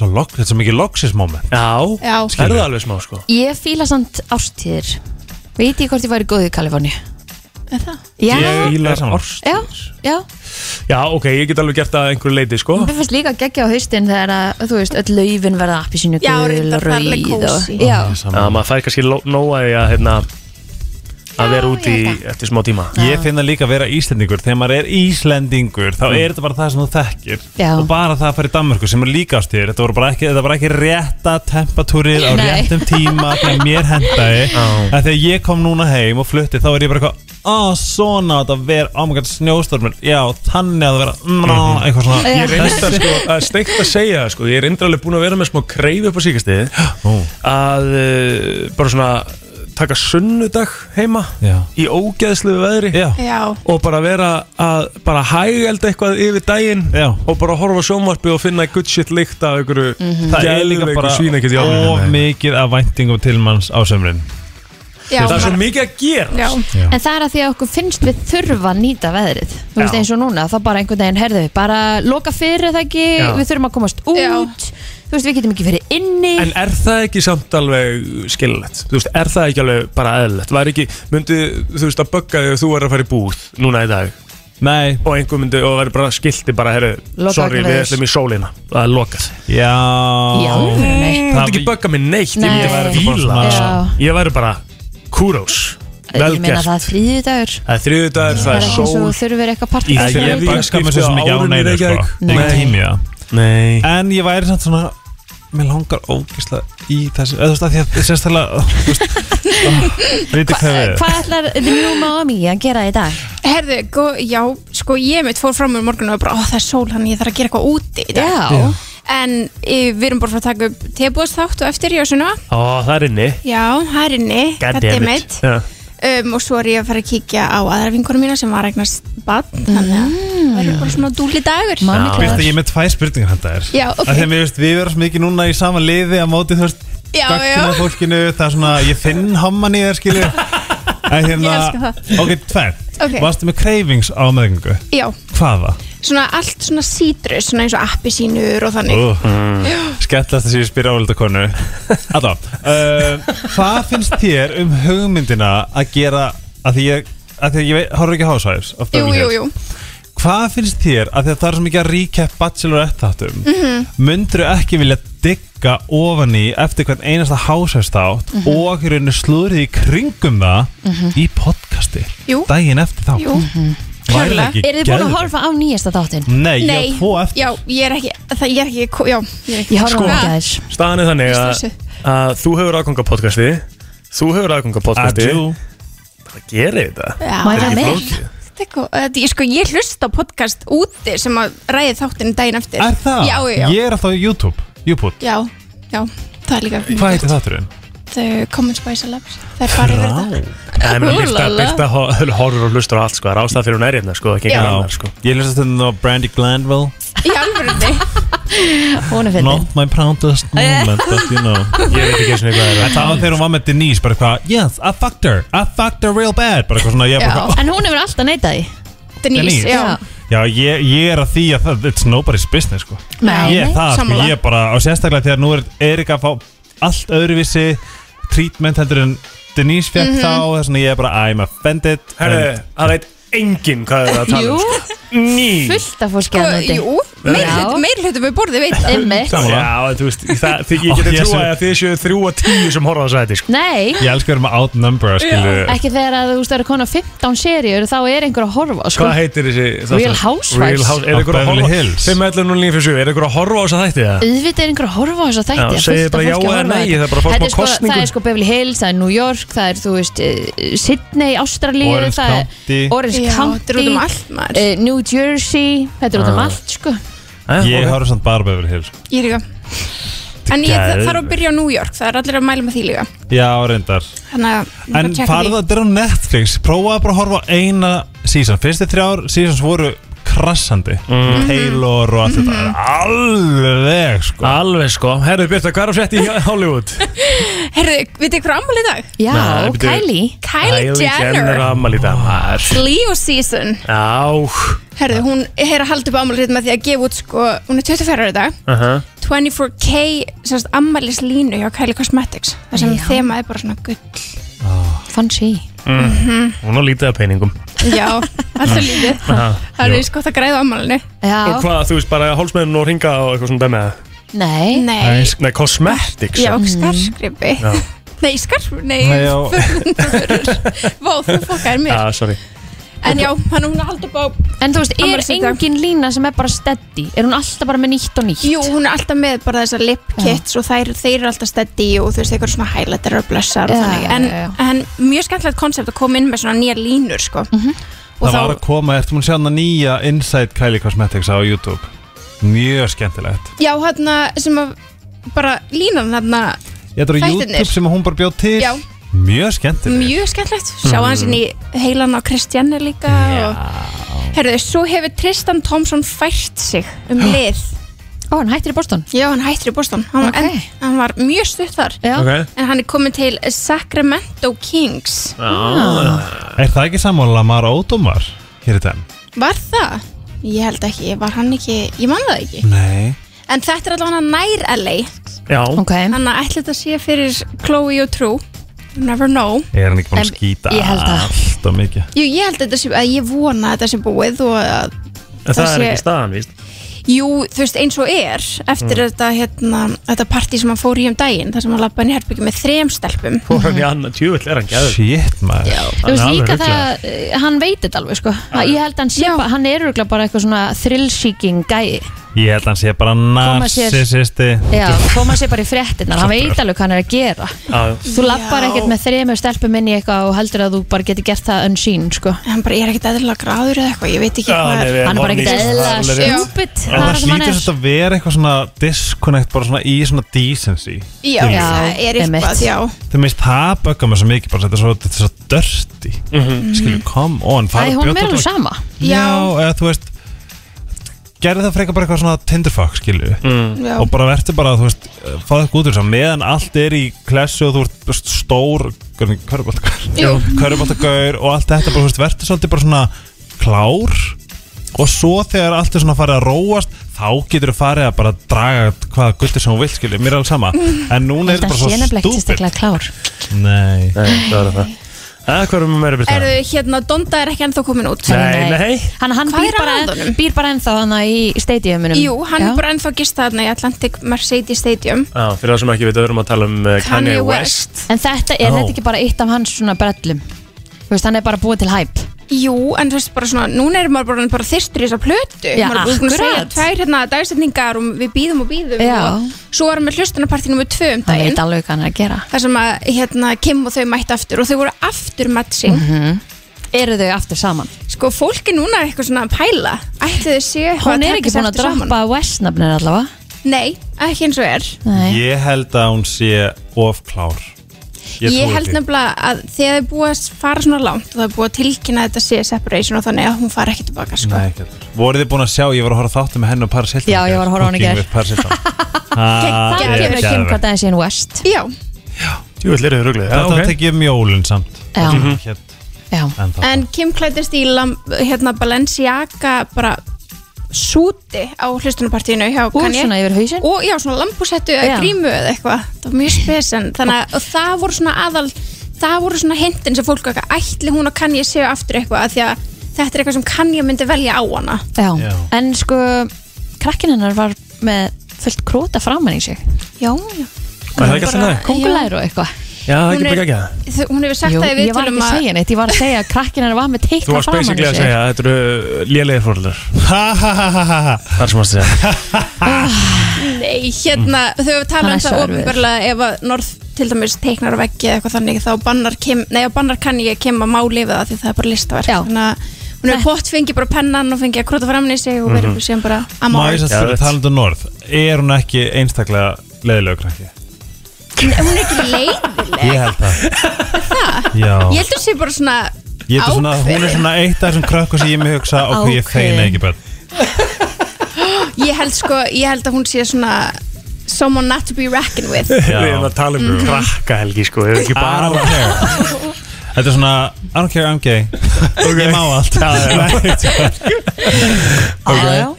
[SPEAKER 6] svo lok, Þetta er svo mikið loksis moment
[SPEAKER 1] Já,
[SPEAKER 4] Já.
[SPEAKER 1] það er það alveg smá, sko.
[SPEAKER 3] Ég fíla samt ástíðir Veit ég hvort ég væri góð í Kaliforni
[SPEAKER 4] eða það
[SPEAKER 3] Já,
[SPEAKER 1] Ég
[SPEAKER 6] Fílar
[SPEAKER 1] er saman.
[SPEAKER 6] ást.
[SPEAKER 3] já, já
[SPEAKER 1] Já, ok, ég get alveg gert það að einhverju leiti, sko.
[SPEAKER 3] Mér finnst líka geggja á haustin þegar að, þú veist, öll laufin verða appi sínu
[SPEAKER 4] Já,
[SPEAKER 3] og
[SPEAKER 4] reyndar, það er alveg
[SPEAKER 3] rauð og,
[SPEAKER 4] kósí.
[SPEAKER 3] Já,
[SPEAKER 6] Ég er
[SPEAKER 1] Já,
[SPEAKER 6] saman.
[SPEAKER 1] Ah, maður fær kannski ló- nóg að því að, hérna, að vera úti
[SPEAKER 3] ég
[SPEAKER 1] í-
[SPEAKER 3] held
[SPEAKER 1] eftir smá tíma.
[SPEAKER 6] Ég finn það líka að vera Íslendingur Þegar maður er Íslendingur Þá
[SPEAKER 1] Mm.
[SPEAKER 6] er þetta bara það sem þú þekkir
[SPEAKER 3] Já.
[SPEAKER 6] Og bara það að fara í Danmörku sem er líka ástíður Þetta voru bara ekki, þetta var ekki rétta temperatúrið Á
[SPEAKER 3] Nei.
[SPEAKER 6] réttum tíma Þegar mér hendaði
[SPEAKER 1] Já.
[SPEAKER 6] að Þegar ég kom núna heim og flutti Þá er ég bara eitthvað Á, svona á þetta að vera Á, maður gæti snjóstormur Já, þannig að það vera mm, Eitthvað svona
[SPEAKER 1] Mhm. Ég reyndar sko að steikt að segja það, sko, ég er reyndar alveg búin að vera með smá kreif upp á síkastiðið
[SPEAKER 6] Ó,
[SPEAKER 1] að uh, bara svona taka sunnudag heima
[SPEAKER 6] Já.
[SPEAKER 1] í ógeðslu veðri
[SPEAKER 6] Já,
[SPEAKER 4] Já,
[SPEAKER 1] og bara vera að bara hægelda eitthvað yfir daginn
[SPEAKER 6] Já.
[SPEAKER 1] og bara horfa á sjónvarpi og finna good shit lykt af einhverju mm -hmm.
[SPEAKER 6] Mhm. það er líka bara Of mikið af væntingum til manns á sömrin
[SPEAKER 4] já,
[SPEAKER 1] Það er svo
[SPEAKER 4] maður-
[SPEAKER 1] mikið að gera
[SPEAKER 4] já,
[SPEAKER 3] En það er að því að okkur finnst við þurfa að nýta veðrið Þú veist
[SPEAKER 1] Já.
[SPEAKER 3] eins og núna, þá bara einhvern veginn herðu við Bara loka fyrir það ekki,
[SPEAKER 1] Já.
[SPEAKER 3] við þurfum að komast út
[SPEAKER 4] Já.
[SPEAKER 3] Þú veist, við getum ekki fyrir inni
[SPEAKER 1] En er það ekki samt alveg skilnett? Þú veist, er það ekki alveg bara eðlilegt? Var ekki, myndi, þú veist, að bögga þig að þú er að fara í búð núna í dag
[SPEAKER 6] Nei,
[SPEAKER 1] og einhver myndi, og verður bara skilti bara, herru,
[SPEAKER 3] Loka
[SPEAKER 1] sorry,
[SPEAKER 3] vegna
[SPEAKER 1] við
[SPEAKER 3] veðurs.
[SPEAKER 1] ætlum í sólina það er lokað.
[SPEAKER 6] já
[SPEAKER 3] Já, nei
[SPEAKER 1] Það myndi
[SPEAKER 6] vi-
[SPEAKER 1] ekki bögga mig neitt, ég
[SPEAKER 3] Nei.
[SPEAKER 1] myndi bara
[SPEAKER 6] Ég væri
[SPEAKER 1] fíla
[SPEAKER 6] bara
[SPEAKER 3] svona-
[SPEAKER 1] það, sko. Ég væri bara, kúrós,
[SPEAKER 3] Ég meina það
[SPEAKER 1] velgert.
[SPEAKER 3] er þriðjudagur
[SPEAKER 1] Það er þriðudagur,
[SPEAKER 3] Það er
[SPEAKER 1] það er
[SPEAKER 3] ekki eins og
[SPEAKER 1] sól.
[SPEAKER 3] þurfur eitthvað
[SPEAKER 1] Í
[SPEAKER 6] Ég,
[SPEAKER 3] partí
[SPEAKER 1] þriðja
[SPEAKER 6] ég bakka mig
[SPEAKER 1] skipti
[SPEAKER 6] svo
[SPEAKER 1] á
[SPEAKER 6] sem ekki á
[SPEAKER 1] árinu í
[SPEAKER 6] neinu sko.
[SPEAKER 1] Reykjavík.
[SPEAKER 6] Ég
[SPEAKER 1] Nei.
[SPEAKER 6] tími það
[SPEAKER 1] Nei.
[SPEAKER 6] En ég væri samt svona Mér langar ógislega í þessu eða Þú veist að því að sérstæðlega Þú veist ah, Viti hvað við
[SPEAKER 3] Hvað ætlar The New Miami að gera í dag?
[SPEAKER 4] herðu, gó, já, sko ég mitt fór fram úr morgun og var bara, ó það er sól hann, ég þarf að gera eitthvað úti í dag
[SPEAKER 3] Já,
[SPEAKER 4] En e, við erum bara frá að taka upp tebúðsþátt og eftir, já, svona
[SPEAKER 1] Ó, það er inni.
[SPEAKER 4] Já, það er inni, goddammit
[SPEAKER 1] Já.
[SPEAKER 4] um, Og svo er ég að fara að kíkja á aðra vinkunum mína sem var að eignast badn Þannig að
[SPEAKER 6] Mm.
[SPEAKER 4] það verður bara svona dúli dagur
[SPEAKER 3] Mami
[SPEAKER 6] Vist að
[SPEAKER 3] kláður
[SPEAKER 6] ég er með tvær spurningar hann þær
[SPEAKER 4] Já, ok.
[SPEAKER 6] Af því að mér veist við erum svo mikið núna í sama liði Að móti þú veist
[SPEAKER 4] Já,
[SPEAKER 6] Gagkina
[SPEAKER 4] já.
[SPEAKER 6] fólkinu Það er svona Ég finn homman í þér skilu En hérna
[SPEAKER 4] Ég elska
[SPEAKER 6] Ok, tvær
[SPEAKER 4] Ok.
[SPEAKER 6] Varstu með cravings á meðingu
[SPEAKER 4] Já,
[SPEAKER 6] Hvaða?
[SPEAKER 4] svona allt svona sítrus, svona eins og appisínur og þannig
[SPEAKER 6] Uh, skellast að sé ég spyrja álita konu Alla, uh, hvað finnst þér um hugmyndina að gera að því ég, að því ég veit, horfðu ekki á Housewives of
[SPEAKER 4] Jú,
[SPEAKER 6] Beverly
[SPEAKER 4] jú,
[SPEAKER 6] Hills.
[SPEAKER 4] jú
[SPEAKER 6] Hvað finnst þér að því að það er svo mikið að recap Bachelorette þáttum mm
[SPEAKER 1] Mm-hmm.
[SPEAKER 6] ekki vilja digga ofan í eftir hvern einasta Housewives þátt
[SPEAKER 4] Mhm.
[SPEAKER 6] og í rauninni slúrið í kringum það í podcasti
[SPEAKER 4] Jú.
[SPEAKER 6] daginn eftir þá
[SPEAKER 4] Jú, klárlega.
[SPEAKER 3] Er þið búin að horfa á nýjasta þáttin?
[SPEAKER 6] Nei, ég
[SPEAKER 4] nei,
[SPEAKER 6] er tvo eftir
[SPEAKER 4] já, ég er ekki, það ég er ekki, ko- já, ég er ekki
[SPEAKER 3] Ég horfði á
[SPEAKER 4] Sko,
[SPEAKER 3] hann gæðis
[SPEAKER 1] Staðan er þannig að,
[SPEAKER 4] Stressuð.
[SPEAKER 1] að þú hefur aðganga podcasti, þú hefur aðganga podcasti.
[SPEAKER 6] Adjú.
[SPEAKER 1] Hvað gerir þetta?
[SPEAKER 4] Já,
[SPEAKER 3] Má ég það
[SPEAKER 4] þetta er
[SPEAKER 3] með?
[SPEAKER 4] ekki- þetta er eitthvað, þetta- ég sko, ég hlusta á podcast úti sem að ræði þáttinu daginn eftir
[SPEAKER 6] Er það?
[SPEAKER 4] Já, já, já,
[SPEAKER 6] Ég er alltaf á YouTube, YouTube
[SPEAKER 4] já, já, það er líka
[SPEAKER 6] Hvað heitir þátturinn?
[SPEAKER 4] The Common Spice Labs Það er bara yfir þetta
[SPEAKER 1] Það er mér að byrta,
[SPEAKER 4] Úlala.
[SPEAKER 1] byrta horfur og hlustur á allt, sko. Það er ástæða fyrir hún er hérna, sko, ekki
[SPEAKER 4] Já.
[SPEAKER 1] einhvern annar, sko.
[SPEAKER 6] Ég lesa þetta hérna á Brandy Glanville
[SPEAKER 4] Í alvörunni
[SPEAKER 3] Hún er fyndin
[SPEAKER 6] Not my proudest moment, but you know
[SPEAKER 1] Ég veit ekki eins og hvað er
[SPEAKER 6] En það var þegar hún var með Denise, bara eitthvað Yes, I fucked her, I fucked her real bad Bara eitthvað svona, "Oh, ég er bara
[SPEAKER 4] Já.
[SPEAKER 6] eitthvað
[SPEAKER 3] En hún hefur alltaf neitað því
[SPEAKER 4] Denise, já
[SPEAKER 6] Já, ég, ég er að því að það, it's nobody's business, sko
[SPEAKER 3] Nei,
[SPEAKER 6] Ég er
[SPEAKER 3] nei.
[SPEAKER 6] það, sko,
[SPEAKER 4] sammála.
[SPEAKER 6] ég er bara Og sérstaklega þegar nú er Erika að fá allt öðruvísi Treatment heldur en Denise
[SPEAKER 4] Mhm.
[SPEAKER 6] fekk þá Það er svona, ég er bara, I'm offended
[SPEAKER 1] Herru, það veit enginn hvað er að tala um,
[SPEAKER 3] Jú,
[SPEAKER 1] sko. Ný.
[SPEAKER 3] fullt af fólki að
[SPEAKER 4] Sko,
[SPEAKER 3] noti
[SPEAKER 4] Jú, Meirhluti, meirhluti með borði veit það
[SPEAKER 3] Einmitt.
[SPEAKER 1] Já, þú veist, það, þið,
[SPEAKER 6] Ó,
[SPEAKER 1] ég geti
[SPEAKER 6] ég
[SPEAKER 1] trúa
[SPEAKER 6] sé-
[SPEAKER 1] að þið séu þrjú að tíu sem horfa á sæti sko.
[SPEAKER 3] Nei,
[SPEAKER 6] Ég elskar að vera með outnumber skilur
[SPEAKER 3] ekki þegar að þú veist að eru konar 15 seríur þá er einhver að horfa sko.
[SPEAKER 1] Hvað heitir þessi þáttur?
[SPEAKER 3] Real Housewives.
[SPEAKER 1] Real House, er
[SPEAKER 6] Of
[SPEAKER 1] ykkur að
[SPEAKER 6] Beverly
[SPEAKER 1] horfa
[SPEAKER 6] Hills.
[SPEAKER 1] 5.11.09.57, er ykkur að horfa á þessa þætti það?
[SPEAKER 3] Auðvitað er einhver að horfa á þess að þætti
[SPEAKER 1] Já,
[SPEAKER 3] það er
[SPEAKER 1] segið
[SPEAKER 3] fullt af
[SPEAKER 1] bara
[SPEAKER 3] fólki
[SPEAKER 1] já
[SPEAKER 3] að horfa
[SPEAKER 1] eða
[SPEAKER 3] á
[SPEAKER 1] nei,
[SPEAKER 3] þetta.
[SPEAKER 1] það er bara fólk
[SPEAKER 3] Þetta
[SPEAKER 1] með
[SPEAKER 3] sko,
[SPEAKER 1] kosningu.
[SPEAKER 3] Það er sko Beverly Hills, það er New York, það er þú veist eh, Sydney, Ástralíu
[SPEAKER 6] Orange
[SPEAKER 3] það er-
[SPEAKER 6] County.
[SPEAKER 3] Orange
[SPEAKER 4] Já, þetta er út
[SPEAKER 3] County
[SPEAKER 4] um allt maður
[SPEAKER 3] eh, New Jersey, þetta er út um allt sko
[SPEAKER 1] Eh,
[SPEAKER 6] Ég
[SPEAKER 1] ok.
[SPEAKER 6] horf samt bara Beverly Hills sko.
[SPEAKER 4] Ég líka En ég
[SPEAKER 6] Geðveikt.
[SPEAKER 4] þarf að byrja á New York, það er allir að mæla með því líka
[SPEAKER 6] Já, reyndar
[SPEAKER 4] Þannig að ég
[SPEAKER 6] En
[SPEAKER 4] bara tjekka því.
[SPEAKER 6] farðu að þetta er á Netflix Prófaðu bara að horfa á eina season Fyrstu þrjár seasons voru krassandi
[SPEAKER 1] Mhm.
[SPEAKER 6] Taylor og allt þetta
[SPEAKER 4] Mhm.
[SPEAKER 6] Alveg sko
[SPEAKER 1] Alveg sko, herru Birta, hvað er að frétta í Hollywood?
[SPEAKER 4] Heyrðu, vitið þið hvað ammali í dag?
[SPEAKER 3] Já,
[SPEAKER 1] Nei, bíddu.
[SPEAKER 3] Kylie
[SPEAKER 4] Kylie Jenner
[SPEAKER 1] Amal í dag maður.
[SPEAKER 4] Leo season
[SPEAKER 1] Já,
[SPEAKER 4] Herðu, hún er að halda upp ammali rétt með því að gefa út sko, hún er 24 ára í dag
[SPEAKER 1] aha
[SPEAKER 4] 24K semst ammælis línu hjá Kylie Cosmetics þar sem
[SPEAKER 3] Já.
[SPEAKER 4] þema er bara svona gull
[SPEAKER 3] Fancy Mhm.
[SPEAKER 1] Hún á lítið af peningum
[SPEAKER 4] já, alltaf lítið það er viss gott að græða á ammælinu
[SPEAKER 1] Og
[SPEAKER 3] Já,
[SPEAKER 1] hvað, þú veist bara hálsmeðin og ringa og eitthvað svona dæmið
[SPEAKER 3] nei Mm.
[SPEAKER 4] nei,
[SPEAKER 1] Nei, cosmetics
[SPEAKER 4] já, skarskripi nei, skarp, nei,
[SPEAKER 6] Nei, já.
[SPEAKER 4] vá, þú fokkar mér
[SPEAKER 1] Já, sorry
[SPEAKER 4] en já, hann hún er að halda upp á
[SPEAKER 3] En þú veist, er
[SPEAKER 4] Ammælis í dag.
[SPEAKER 3] engin lína sem er bara steady? Er hún alltaf bara með nýtt og nýtt?
[SPEAKER 4] jú, hún er alltaf með bara þessar lip kits og þær, þeir eru alltaf steddi og þú veist, eitthvað svona highlighter og blessar og
[SPEAKER 3] Já,
[SPEAKER 4] þannig,
[SPEAKER 3] já,
[SPEAKER 4] en,
[SPEAKER 3] já,
[SPEAKER 4] en mjög skemmtilegt konsept að koma inn með svona nýja línur sko.
[SPEAKER 3] Mhm.
[SPEAKER 4] og
[SPEAKER 6] Það var
[SPEAKER 4] þá,
[SPEAKER 6] að koma, ertu múin að sjá hana nýja Inside Kylie Cosmetics á YouTube Mjög skemmtilegt
[SPEAKER 4] já, hann sem að bara línan þarna
[SPEAKER 6] Ég þetta er á
[SPEAKER 4] Þættirnir.
[SPEAKER 6] YouTube sem hún bara bjóð til
[SPEAKER 4] Já.
[SPEAKER 6] Mjög skemmtilegt
[SPEAKER 4] mjög skemmtlegt sjá
[SPEAKER 6] Mhm.
[SPEAKER 4] hans inn í heilan á Kristjanni líka og herðu, svo hefur Tristan Thompson fært sig um lið
[SPEAKER 3] Ó, hann hættir í Boston
[SPEAKER 4] já, hann hættir í Boston hann,
[SPEAKER 3] Ok.
[SPEAKER 4] okay. en, hann var mjög stutt þar
[SPEAKER 3] Já,
[SPEAKER 1] Ok
[SPEAKER 4] en hann er komin til Sacramento Kings
[SPEAKER 6] Ah.
[SPEAKER 4] Ah.
[SPEAKER 6] Er það ekki sammála að Mara Ódóm var? Hér er den
[SPEAKER 4] var það? ég held ekki, var hann ekki ég man það ekki,
[SPEAKER 6] Nei
[SPEAKER 4] en þetta er allavega nær LA,
[SPEAKER 1] Já
[SPEAKER 3] ok
[SPEAKER 4] þannig að ætla þetta sé fyrir Chloe og True You never know
[SPEAKER 6] Er hann ekki búin að
[SPEAKER 3] En
[SPEAKER 6] skýta
[SPEAKER 3] ég held að-
[SPEAKER 6] allt og mikið
[SPEAKER 4] Jú, ég held að þetta sé, að ég vona að þetta sé búið og að
[SPEAKER 1] En það er
[SPEAKER 4] Þessi-
[SPEAKER 1] ekki staðan, Mm. víst
[SPEAKER 4] Jú, þú veist, eins og er eftir þetta, hérna, þetta partí sem hann fór í um daginn, þar sem hann lappa inn í herbyggju með þrem stelpum.
[SPEAKER 1] Fór hann í annan tjúvill, er hann gæður
[SPEAKER 6] Shit maður
[SPEAKER 3] Mhm. Þú veist
[SPEAKER 1] Hann er
[SPEAKER 3] líka
[SPEAKER 1] alveg
[SPEAKER 3] það að eh, hann veit þetta alveg sko að Ég held að hann sé bara, hann er örgulega bara eitthvað svona thrillsíking gæi
[SPEAKER 6] Ég held að hann sé bara
[SPEAKER 3] sér-
[SPEAKER 6] narcissisti
[SPEAKER 3] Já, koma sér bara í fréttinnar, hann veit alveg hvað hann er að gera
[SPEAKER 1] Já,
[SPEAKER 3] Þú lappar ekkert með þremur stelpum inn í eitthvað og heldur að þú bara geti gert það unseen sko
[SPEAKER 4] En Hann bara, ég er ekkert eðlilega gráður eða eitthvað, ég veit ekki hvað er.
[SPEAKER 3] Hann er bara ekkert eðla stúpid Það
[SPEAKER 6] En það
[SPEAKER 3] er það sem hann
[SPEAKER 6] hlýtur
[SPEAKER 3] er
[SPEAKER 6] svolítið að vera eitthvað svona disconnect bara svona í svona decency
[SPEAKER 4] Já,
[SPEAKER 6] Já,
[SPEAKER 4] það er
[SPEAKER 3] einmitt.
[SPEAKER 4] eitthvað, já.
[SPEAKER 6] Þú veist það böggar mér svo mikið bara þetta er svo, þetta er svo dörsti mm Skilju, come on
[SPEAKER 3] Það er
[SPEAKER 6] farðu að
[SPEAKER 3] hún
[SPEAKER 6] bjóta
[SPEAKER 3] meira
[SPEAKER 6] þetta-
[SPEAKER 3] alveg sama
[SPEAKER 6] Já, eða þú veist Gerði það frekar bara eitthvað svona tinderfuck, skilju
[SPEAKER 4] já.
[SPEAKER 6] Og bara verður bara, þú veist, fáðu eitthvað út úr þess að meðan allt er í klessu og þú ert þú veist, stór
[SPEAKER 4] Jú.
[SPEAKER 6] Köruboltagaur og allt þetta bara, þú veist, verður svolítið bara svona klár Og svo þegar allt er svona farið að róast Þá getur þú farið að bara draga hvaða guttir sem hún vill, skilju, mér er alveg sama En núna er
[SPEAKER 3] Mm. Þetta
[SPEAKER 6] þetta
[SPEAKER 3] sé
[SPEAKER 6] bara
[SPEAKER 3] nefnilega
[SPEAKER 6] svo
[SPEAKER 3] ekki
[SPEAKER 6] stúpid
[SPEAKER 3] sérstaklega klár
[SPEAKER 6] Nei
[SPEAKER 1] Nei, það er það Það, hvað erum við meira byrjað?
[SPEAKER 4] Erðu, hérna, Donda er ekki ennþá komin út.
[SPEAKER 1] Nei, nei
[SPEAKER 3] Hann, hann
[SPEAKER 4] Hvað
[SPEAKER 3] býr,
[SPEAKER 4] er að
[SPEAKER 3] bara,
[SPEAKER 4] honum?
[SPEAKER 3] býr bara ennþá hann í stadiumunum
[SPEAKER 4] Jú, hann
[SPEAKER 3] Já.
[SPEAKER 4] er bara ennþá gist þarna í Atlantic Mercedes Stadium.
[SPEAKER 1] Já, fyrir það sem ekki veit, við erum að tala um eh, Kanye West
[SPEAKER 3] En þetta er þetta ekki bara eitt af hans svona brellum Þú veist, hann er bara búið til hæp
[SPEAKER 4] Jú, en þú veist bara svona, núna er maður bara, bara þyrstur í þessa plötu
[SPEAKER 3] Já,
[SPEAKER 4] Maður er búinn að segja
[SPEAKER 3] akkurat.
[SPEAKER 4] tvær hérna dagsetningar og við býðum og býðum
[SPEAKER 3] Já.
[SPEAKER 4] og Svo varum við hlustunarpartí nr. 2 um
[SPEAKER 3] Hann
[SPEAKER 4] daginn
[SPEAKER 3] veit alveg hvað hann er að gera
[SPEAKER 4] þar sem að hérna, Kim og þau mætti aftur og þau voru aftur matching
[SPEAKER 3] Mhm. Eru þau aftur saman?
[SPEAKER 4] sko fólk er núna eitthvað svona að pæla ættu þau séu eitthvað
[SPEAKER 3] Hún er
[SPEAKER 4] taka
[SPEAKER 3] ekki
[SPEAKER 4] sig
[SPEAKER 3] búin að
[SPEAKER 4] aftur saman?
[SPEAKER 3] droppa Westnafnir allavega
[SPEAKER 4] nei, ekki eins og er
[SPEAKER 3] Nei.
[SPEAKER 6] Ég held að hún sé of klár
[SPEAKER 4] ég,
[SPEAKER 6] trúi
[SPEAKER 4] held
[SPEAKER 6] því.
[SPEAKER 4] nefnilega að þegar þau búið að fara svona langt og það er búið að tilkynna að þetta sé separation og þannig að hún fara ekki tilbaka sko.
[SPEAKER 6] Nei, ekki heldur. voruð þið búin að sjá, ég var að horfa á þáttum með henn og Paris Hilton
[SPEAKER 3] Já, ég var að horfa á hana í gær. Það
[SPEAKER 6] Það
[SPEAKER 3] gefur ekki um hvað það er síðan West
[SPEAKER 4] já,
[SPEAKER 1] Tjúvill eru þau ruglið, já,
[SPEAKER 6] Þetta
[SPEAKER 1] ok
[SPEAKER 6] tek ég um jólun samt
[SPEAKER 3] Já.
[SPEAKER 6] Mhm. Hér-
[SPEAKER 3] Já,
[SPEAKER 6] en þá.
[SPEAKER 4] en Kim klættist í lam, hérna Balenciaga bara súti á hlustunarpartíinu hjá
[SPEAKER 3] úr
[SPEAKER 4] Kanye.
[SPEAKER 3] svona yfir hausinn
[SPEAKER 4] og já, svona lambusettu eða
[SPEAKER 3] Já.
[SPEAKER 4] grímu eða eitthvað, það var mjög spesen þannig að og það voru svona aðal það voru svona hintin sem fólk eitthvað ætli hún og kann ég séu aftur eitthvað af því að þetta er eitthvað sem kann ég myndi velja á hana
[SPEAKER 3] Já,
[SPEAKER 6] Já.
[SPEAKER 3] en sko krakkin hennar var með fullt króta framann í sig
[SPEAKER 4] Já, já
[SPEAKER 1] Var það ekki alltaf næg?
[SPEAKER 3] Kongulær og eitthvað
[SPEAKER 1] Já, það er ekki
[SPEAKER 4] Hún er-
[SPEAKER 1] bara ekki það
[SPEAKER 4] Þ- Hún hefur sagt
[SPEAKER 3] Jú,
[SPEAKER 4] það í
[SPEAKER 3] ég var
[SPEAKER 4] viðtölum
[SPEAKER 3] ekki að segja neitt, ég var að segja að krakkin hennar var með
[SPEAKER 1] Þú
[SPEAKER 3] teikna
[SPEAKER 1] varst
[SPEAKER 3] framann
[SPEAKER 1] basically
[SPEAKER 3] í
[SPEAKER 1] að
[SPEAKER 3] sig
[SPEAKER 1] segja að þetta eru eh, lélegir fórhaldar
[SPEAKER 6] Ha ha ha ha ha
[SPEAKER 1] Það er sem varst að segja
[SPEAKER 4] Ah, Nei, hérna, þau hefur
[SPEAKER 3] Hann
[SPEAKER 4] talað um
[SPEAKER 3] er
[SPEAKER 4] það
[SPEAKER 3] svo erfiður.
[SPEAKER 4] ofinbarlega ef að Norð til dæmis teiknar á veggi eða eitthvað þannig þá bannar, kem, nei, þá bannar kann ég að kemma máli við það því það er bara listaverk
[SPEAKER 3] Já.
[SPEAKER 4] þannig að hún hefur pott fengið bara pennan og fengið að króta fram í sig og verið sem bara
[SPEAKER 6] Mhm. Má ég
[SPEAKER 4] amár
[SPEAKER 6] þess að
[SPEAKER 1] Geðveikt.
[SPEAKER 6] fyrir talandu um norð Er hún ekki einstaklega leiðilega krakki?
[SPEAKER 4] Hún er ekki leiðileg
[SPEAKER 6] Ég held það Já
[SPEAKER 4] Ég held að sé bara svona
[SPEAKER 6] Ég held svona, hún er
[SPEAKER 4] ákveðin.
[SPEAKER 6] svona eitt af þessum krakku sem ég mig hugsa og hvað ég
[SPEAKER 3] Ákveðin.
[SPEAKER 6] feina ekki börn
[SPEAKER 4] Ég held sko, ég held að hún sé svona someone not to be reckoned with
[SPEAKER 6] Já. Mhm.
[SPEAKER 1] Við erum að tala um krakka helgi sko Við erum ekki bara
[SPEAKER 6] Bara Þetta er svona I don't care, I'm gay Ég má allt sko.
[SPEAKER 3] Já, já.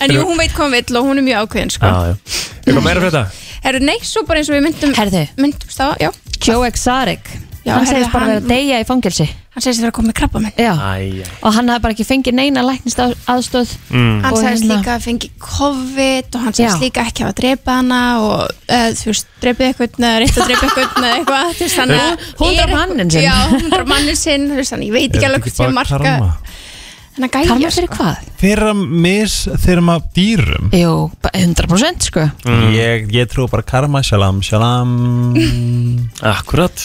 [SPEAKER 4] En jú, hún veit hvað hún vill og hún er mjög ákveðin sko.
[SPEAKER 1] já Eitthvað meira fyrir þetta?
[SPEAKER 4] Herru, nei, svo bara eins og við myndum
[SPEAKER 3] Herðu.
[SPEAKER 4] myndumst á, já
[SPEAKER 3] Joe Exotic
[SPEAKER 4] Já,
[SPEAKER 3] hann
[SPEAKER 4] heyrðu,
[SPEAKER 3] segist bara
[SPEAKER 4] hann-
[SPEAKER 3] vera að deyja í fangelsi
[SPEAKER 4] Hann segist að vera að koma með krabba minn
[SPEAKER 3] já.
[SPEAKER 1] Æj,
[SPEAKER 3] og hann hafði bara ekki fengið neina læknist aðstöð mm.
[SPEAKER 4] Hann segist líka að fengi COVID og hann segist
[SPEAKER 3] Já.
[SPEAKER 4] líka ekki hafa að drepa hana og uh, þú veist, drepið eitthvað eða reynt að drepa eitthvað eða eitthvað þú veist, þannig að
[SPEAKER 3] Hún- hún
[SPEAKER 4] er
[SPEAKER 3] drap
[SPEAKER 4] eitthvað-
[SPEAKER 3] manninn sinn.
[SPEAKER 4] Já, hún draf mannin sinn, þú veist, þannig ég veit ekki alveg hvort sem marka Þannig að
[SPEAKER 3] Karma
[SPEAKER 4] gæja sko.
[SPEAKER 3] fyrir hvað?
[SPEAKER 6] Fyrir að mis þeirra maður dýrum
[SPEAKER 3] Jú, bara 100% sko
[SPEAKER 6] ég, ég trú bara karma, shalom, shalom Ah,
[SPEAKER 1] akkurat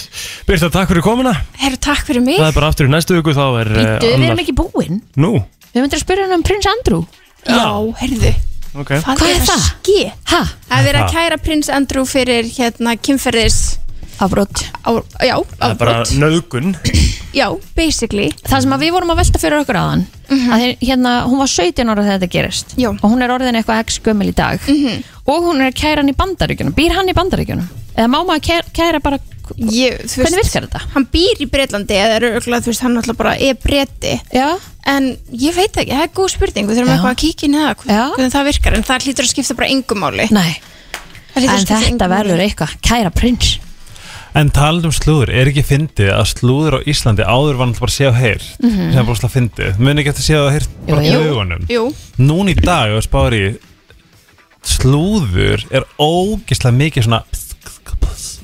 [SPEAKER 1] Birta, takk fyrir komuna
[SPEAKER 4] Herru, takk fyrir mig
[SPEAKER 1] Það er bara aftur í næstu viku þá er eh,
[SPEAKER 3] Býtu, við
[SPEAKER 1] annar-
[SPEAKER 3] erum ekki búin
[SPEAKER 1] Nú,
[SPEAKER 3] Við myndir að spyrja hann um prins Andrew
[SPEAKER 4] Já, herðu
[SPEAKER 1] ok
[SPEAKER 4] Hvað
[SPEAKER 3] Hvað er
[SPEAKER 4] er
[SPEAKER 3] það?
[SPEAKER 4] það? Skið
[SPEAKER 3] Ha?
[SPEAKER 4] að vera að kæra prins Andrew fyrir hérna kynferðis
[SPEAKER 3] Afbrot
[SPEAKER 4] á, já,
[SPEAKER 1] Það er bara
[SPEAKER 4] afbrot.
[SPEAKER 1] nöðgun
[SPEAKER 4] já, basically Mhm.
[SPEAKER 3] Það sem að við vorum að velta fyrir okkur aðan mm hérna, hún var 17 ára þegar þetta gerist
[SPEAKER 4] Já. Mhm.
[SPEAKER 3] og hún er orðin eitthvað x gömul í dag -hmm. og hún er að kæra hann í bandaríkjunum býr hann í bandaríkjunum eða má maður kæra, kæra bara
[SPEAKER 4] ég, þú
[SPEAKER 3] Hvernig virkar þetta?
[SPEAKER 4] hann býr í Breitlandi eða er örgulega, þú veist, hann alltaf bara er breyti
[SPEAKER 3] já,
[SPEAKER 4] en ég veit ekki, það er góð spurning við þurfum
[SPEAKER 3] Já.
[SPEAKER 4] eitthvað að kíkja inn í það,
[SPEAKER 3] Já.
[SPEAKER 4] hvernig það virkar en það hlýtur að skipta bara engum máli
[SPEAKER 3] nei,
[SPEAKER 4] Það hlýtur að
[SPEAKER 3] en
[SPEAKER 4] skipta
[SPEAKER 3] þetta
[SPEAKER 4] engu máli.
[SPEAKER 3] verður eitthvað kæra prins
[SPEAKER 6] En talað um slúður, er ekki fyndið að slúður á Íslandi áður var náttúrulega bara séð og heyr sem er bara slúður fyndið, mun ekki eftir séð og heyr bara
[SPEAKER 3] Mhm. Jú,
[SPEAKER 6] í
[SPEAKER 3] jú.
[SPEAKER 6] augunum
[SPEAKER 4] jú,
[SPEAKER 6] Núna í dag, ef þú spáir í slúður er ógislega mikið svona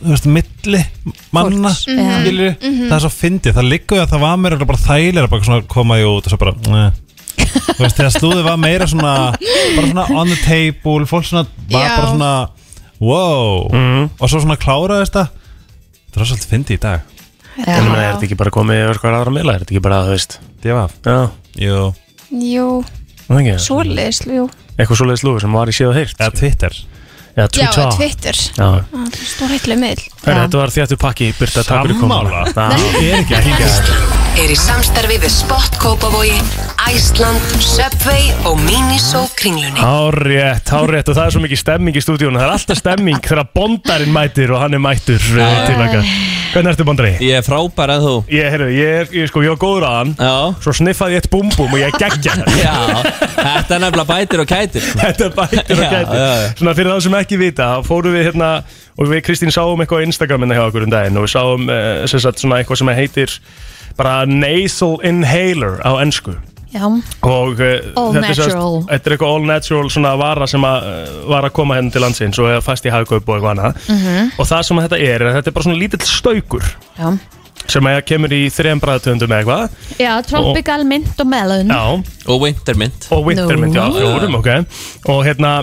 [SPEAKER 6] þú veist, milli manna
[SPEAKER 3] Fólks, Mhm. já.
[SPEAKER 6] skilurðu? það er svo fyndið, það liggur við að það var meira bara þægilega bara svona koma því út og svo bara eh. ne. þú veist, þegar slúður var meira svona bara svona on the table fólk svona, var
[SPEAKER 4] Já.
[SPEAKER 6] bara svona wow, og svo svona kláraðist það það er svolítið fyndið í dag
[SPEAKER 1] Ég
[SPEAKER 3] já.
[SPEAKER 1] meina, er þetta ekki bara komið yfir hvað aðra miðla? Er þetta ekki bara, þú veist
[SPEAKER 6] divaf,
[SPEAKER 1] Já,
[SPEAKER 6] jú,
[SPEAKER 4] jú,
[SPEAKER 1] það er ekki
[SPEAKER 4] svoleiðis jú.
[SPEAKER 1] Eitthvað svoleiðis lúfi sem var í séð og heyrt
[SPEAKER 6] eða Twitter
[SPEAKER 1] Já,
[SPEAKER 4] já,
[SPEAKER 1] Twitter
[SPEAKER 4] Twitter Ah,
[SPEAKER 1] Já,
[SPEAKER 4] stórheitlega miðl
[SPEAKER 1] Herra, þetta var þjáttur pakki Birta, takk fyrir komuna
[SPEAKER 6] Sammála.
[SPEAKER 1] Já.
[SPEAKER 6] er ekki að hingja
[SPEAKER 8] Er í samstarfi við Spot Kópavogi, Æsland, Subway og Miniso kringlunni.
[SPEAKER 1] Hárétt, hárétt og það er svo mikið stemming í stúdíónu Það er alltaf stemming þegar bondarinn mætir og hann er mættur uh,
[SPEAKER 9] Ah.
[SPEAKER 1] til okkar Hvernig ertu bondari?
[SPEAKER 9] Ég er frábær að þú
[SPEAKER 1] Ég, heyrðu, ég, er- ég, sko, ég var góður að hann
[SPEAKER 9] Já
[SPEAKER 1] Svo sniffaði ég eitt búmbúm og ég geggja
[SPEAKER 9] Já, þetta er nefnilega bætir og kætir sko.
[SPEAKER 1] Þetta er bættir og
[SPEAKER 9] Já, já,
[SPEAKER 1] gæti
[SPEAKER 9] já.
[SPEAKER 1] Svona fyrir þá sem ekki vita þá fórum við hérna og við Kristín sáum eitthvað á Instagramina hjá okkur um daginn og við sáum uh, sem sagt, svona eitthvað sem heitir bara nasal inhaler á ennsku
[SPEAKER 3] já,
[SPEAKER 1] og uh,
[SPEAKER 3] All
[SPEAKER 1] þetta, er sem sagt-
[SPEAKER 3] natural.
[SPEAKER 1] þetta er eitthvað all natural svona vara sem að, uh, var að koma hérna til landsins og eða fast í hagkaup og eitthvað annað
[SPEAKER 4] Mhm.
[SPEAKER 1] og það sem þetta er, er að þetta er bara svona lítill staukur
[SPEAKER 3] já.
[SPEAKER 1] sem að kemur í þrejum bræðatöndum eða eitthvað
[SPEAKER 3] já tropical mint og melon
[SPEAKER 1] já,
[SPEAKER 9] Og wintermynd
[SPEAKER 1] og
[SPEAKER 3] Mm. Nú.
[SPEAKER 1] Wintermynd, já, fjórum, ok og hérna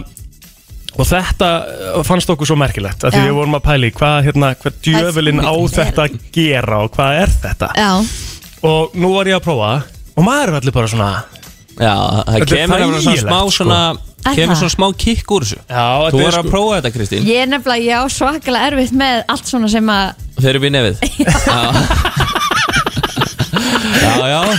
[SPEAKER 1] og þetta uh, fannst okkur svo merkilegt að því
[SPEAKER 3] Já.
[SPEAKER 1] við vorum að pæli hvað hérna, hvað djöfulin á
[SPEAKER 3] Hvað-
[SPEAKER 1] þetta að gera og hvað er þetta
[SPEAKER 3] Já,
[SPEAKER 1] og nú var ég að prófa og maður er allir bara svona
[SPEAKER 9] Já, það
[SPEAKER 1] Þetta er
[SPEAKER 9] kemur alveg svona smá
[SPEAKER 1] þægilegt, sko.
[SPEAKER 9] svona
[SPEAKER 3] Er
[SPEAKER 9] Kemur
[SPEAKER 3] það?
[SPEAKER 9] svona smá kikk úr þessu
[SPEAKER 1] já, sko-
[SPEAKER 9] Þú er að prófa þetta Kristín
[SPEAKER 3] ég er nefnilega, ég á svakalega erfitt með allt svona sem að
[SPEAKER 9] Þeir eru við nefið Já Já, já
[SPEAKER 3] Á,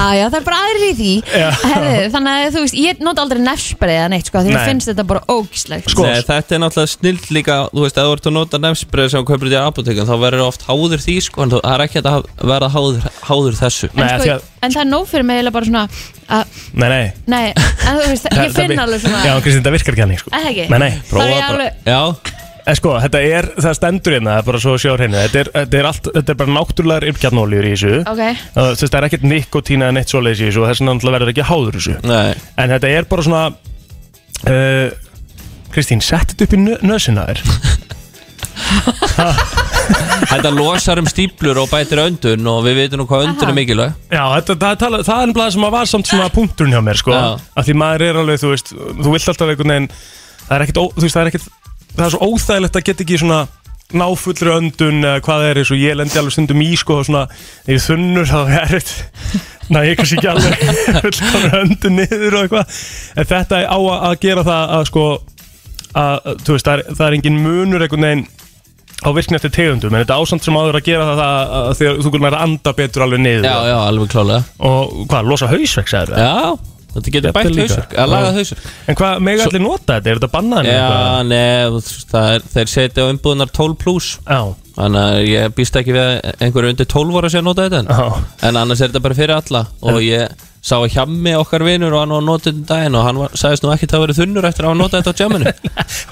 [SPEAKER 3] Ah, já, það er bara aðrir í því Herðu, Þannig að þú veist, ég nota aldrei nefnsbreið eða neitt, sko, því
[SPEAKER 1] Nei.
[SPEAKER 3] að finnst þetta bara ógislegt
[SPEAKER 1] Sko.
[SPEAKER 9] Nei, þetta er náttúrulega snilt líka Þú veist, ef þú ert að nota nefnsbreið sem kaupir þetta í apotekan Þá verður oft háður því sko En það er ekki hægt að verða háður, háður þessu
[SPEAKER 1] Nei,
[SPEAKER 3] en,
[SPEAKER 1] af því
[SPEAKER 3] sko,
[SPEAKER 1] að,
[SPEAKER 3] en það er nóg fyrir mig eiginlega bara svona að,
[SPEAKER 1] nei, nei
[SPEAKER 3] Nei, en þú veist,
[SPEAKER 1] það-
[SPEAKER 3] ég
[SPEAKER 1] það
[SPEAKER 3] finn
[SPEAKER 1] vir-
[SPEAKER 3] alveg svona
[SPEAKER 1] Já, Kristín, það virkar ekki hann sko.
[SPEAKER 3] Er það ekki?
[SPEAKER 1] Nei, nei,
[SPEAKER 3] Þá er ég
[SPEAKER 9] bara
[SPEAKER 3] alveg,
[SPEAKER 9] Já,
[SPEAKER 1] En sko, þetta er, það stendur hérna, það er bara svo að sjá hérna Þetta er, þetta er, allt, þetta er bara náttúrulegar yrkjarnóliður í þessu
[SPEAKER 3] Ok.
[SPEAKER 1] Það- Þú veist, það er ekkert nikotína en eitt svoleiðis í þessu og þess vegna náttúrulega verður ekki háður þessu
[SPEAKER 9] Nei,
[SPEAKER 1] En þetta er bara svona uh, Kristín, sett þetta upp í nö- nösina þér
[SPEAKER 9] þetta losar um stíplur og bætir öndun og við veitum nú hvað öndun er mikilvæg
[SPEAKER 1] Já, þetta, það, tala, það er nefnilega það sem að var samt svona punkturinn hjá mér, sko
[SPEAKER 9] Já.
[SPEAKER 1] að Því maður er alveg, þú veist, þú vilt alltaf einhvern veginn Það er ekkert, ó- þú veist, það er ekkert Það er svo óþægilegt að geta ekki svona náfullri öndun eða hvað það er eins og ég lendi alveg stundum í, sko og svona, þegar ég er þunnur þá er erfitt Næ, ég kannski ekki alveg fullkomur öndun niður og eitthvað En þetta á að, að gera það að, sko að, þú veist, það er, það er engin munur einhvern veginn á virkni eftir tegundum en þetta ásamt sem áður að gera það, það að, að þegar þú kunnir að anda betur alveg niður
[SPEAKER 9] Já, já, alveg klálega
[SPEAKER 1] Og hvað, losa hausverk, sagður það?
[SPEAKER 9] Já, þetta getur
[SPEAKER 1] Þetta
[SPEAKER 9] bætt
[SPEAKER 1] líka.
[SPEAKER 9] hausverk, að laga
[SPEAKER 1] Já.
[SPEAKER 9] hausverk
[SPEAKER 1] En hvað, mega
[SPEAKER 9] Svo-
[SPEAKER 1] allir nota þetta? Er þetta bannað? eða
[SPEAKER 9] Já,
[SPEAKER 1] eitthvað?
[SPEAKER 9] nef, þeir setja á umbúðunar 12 pluss
[SPEAKER 1] Já,
[SPEAKER 9] Þannig að ég býst ekki við að einhverju undir 12 ára sé að nota þetta en-
[SPEAKER 1] já,
[SPEAKER 9] En annars er þetta bara fyrir alla Og ég sá að hjammi okkar vinur og hann var að nota þetta um daginn Og hann var, sagðist nú ekki það að vera þunnur eftir að hafa notað þetta á jamminu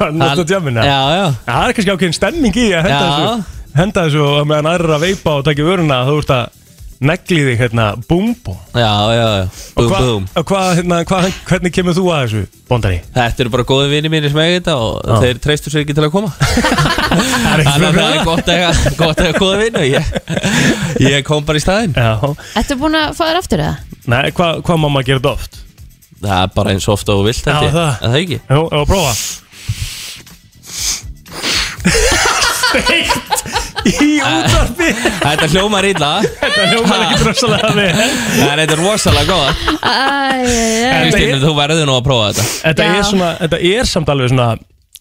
[SPEAKER 1] Hann nota djammina
[SPEAKER 9] Já, já,
[SPEAKER 1] Já, það er kannski ákveðin stemming í að henda
[SPEAKER 9] Já.
[SPEAKER 1] þessu Henda þessu og meðan aðrir að veipa og taka vöruna Þú ert að negli þig hérna, búm, búm
[SPEAKER 9] já, já, já
[SPEAKER 1] Og
[SPEAKER 9] Búm,
[SPEAKER 1] hvað,
[SPEAKER 9] búm
[SPEAKER 1] og hvað, hérna, hvað, hvernig kemur þú að þessu, bóndari?
[SPEAKER 9] Þetta eru bara góði vini mínir sem eiga þetta og
[SPEAKER 1] Já.
[SPEAKER 9] þeir treystu sér ekki til að koma
[SPEAKER 1] Það
[SPEAKER 9] Þannig
[SPEAKER 1] er
[SPEAKER 9] að það er
[SPEAKER 1] það
[SPEAKER 9] gott að eiga- gott að eiga góða vinu ég, ég kom bara í staðinn
[SPEAKER 1] Já,
[SPEAKER 3] Ertu búin að fá þér aftur eða?
[SPEAKER 1] nei, hvað hva má maður gera þetta oft?
[SPEAKER 9] Það er bara eins ofta og þú vilt
[SPEAKER 1] Já,
[SPEAKER 9] þetta
[SPEAKER 1] það.
[SPEAKER 9] Er það ekki?
[SPEAKER 1] Jú, ef að prófa Steikt í útarpi
[SPEAKER 9] Þetta hljómar illa
[SPEAKER 1] Þetta hljómar ekki drossalega vel
[SPEAKER 9] En þetta er rosalega góða
[SPEAKER 3] Æ,
[SPEAKER 1] Þetta
[SPEAKER 9] Kristín,
[SPEAKER 1] er-
[SPEAKER 9] þú verður nú að prófa þetta
[SPEAKER 1] Þetta
[SPEAKER 3] Já.
[SPEAKER 1] er, svona, þetta er samt alveg svona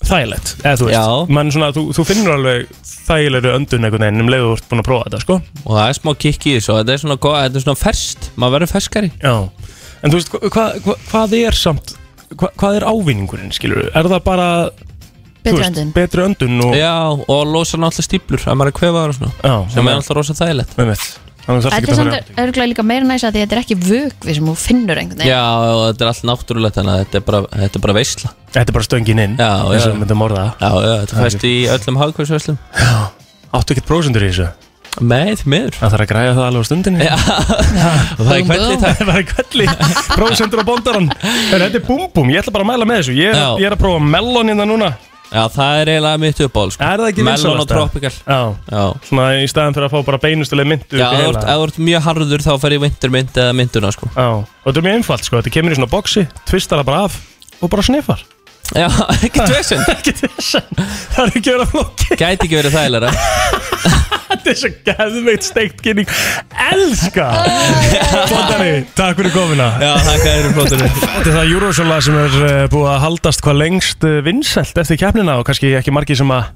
[SPEAKER 1] þægilegt eða þú
[SPEAKER 9] Já.
[SPEAKER 1] veist, Man, svona, þú, þú finnur alveg þægilegri öndun einhvern veginn um leið og þú ert búin að prófa þetta sko.
[SPEAKER 9] Og það er smá kikk í þessu og Þetta er svona, góð, þetta er svona ferst Maður verður ferskari
[SPEAKER 1] Já. en þú veist, hva, hva, hvað er samt hva, hvað er ávinningurinn, skilur er það bara þú
[SPEAKER 3] betri
[SPEAKER 1] veist,
[SPEAKER 3] öndun
[SPEAKER 1] betri öndun og,
[SPEAKER 9] Já, og losa náttúrulega stíplur Að maður er kvefaður og svona
[SPEAKER 1] já,
[SPEAKER 9] Sem er alltaf rosa þægilegt
[SPEAKER 1] með mitt þannig þarf
[SPEAKER 3] Þetta
[SPEAKER 1] ekki
[SPEAKER 3] er
[SPEAKER 1] að
[SPEAKER 3] samt
[SPEAKER 1] fara
[SPEAKER 3] örgulega líka meira næs að því þetta er ekki vökvi sem þú finnur einhvern veginn
[SPEAKER 9] Já, og þetta er allt náttúrulegt Þannig að þetta er bara, þetta er bara veisla
[SPEAKER 1] þetta er bara stöngin inn
[SPEAKER 9] Já,
[SPEAKER 1] eins og
[SPEAKER 9] já.
[SPEAKER 1] við myndum orða
[SPEAKER 9] Já, já, þetta fæst í öllum hagkvæmsverslum
[SPEAKER 1] áttu ekkert prósendur í þessu
[SPEAKER 9] Með, því miður
[SPEAKER 1] það þarf að græja það alveg á stundinni
[SPEAKER 9] Já, og það er hvernig það
[SPEAKER 1] Það var kalli, prósendur og bóndaran En þetta er búm búm, ég ætla bara að mæla með þessu Ég,
[SPEAKER 9] Já.
[SPEAKER 1] ég er að prófa melon hérna núna
[SPEAKER 9] Já, það er eiginlega mitt uppáhald sko.
[SPEAKER 1] Er það ekki
[SPEAKER 9] Melon og
[SPEAKER 1] vinsælasta?
[SPEAKER 9] tropical
[SPEAKER 1] Já,
[SPEAKER 9] Já,
[SPEAKER 1] svona í staðan fyrir að fá bara beinustuleg myndu
[SPEAKER 9] já ef þú ert- ef þú ert mjög harður þá fer ég vintermynd eða mynduna sko
[SPEAKER 1] Já, og þetta er mjög einfalt sko, þetta kemur í svona boksi, tvistar það bara af og bara sniffar
[SPEAKER 9] Já, ekki tvesen
[SPEAKER 1] Ekki þessan, það er ekki verið að flóki
[SPEAKER 9] Gæti ekki verið þægilega
[SPEAKER 1] Þetta er svo geðveikt steikt kynning Elska! Bóndari, takk fyrir komina
[SPEAKER 9] Já, þakka þér um flótunum
[SPEAKER 1] Þetta er það Eurosola sem er uh, búið að haldast hvað lengst uh, vinsælt eftir keppnina og kannski ekki margi sem að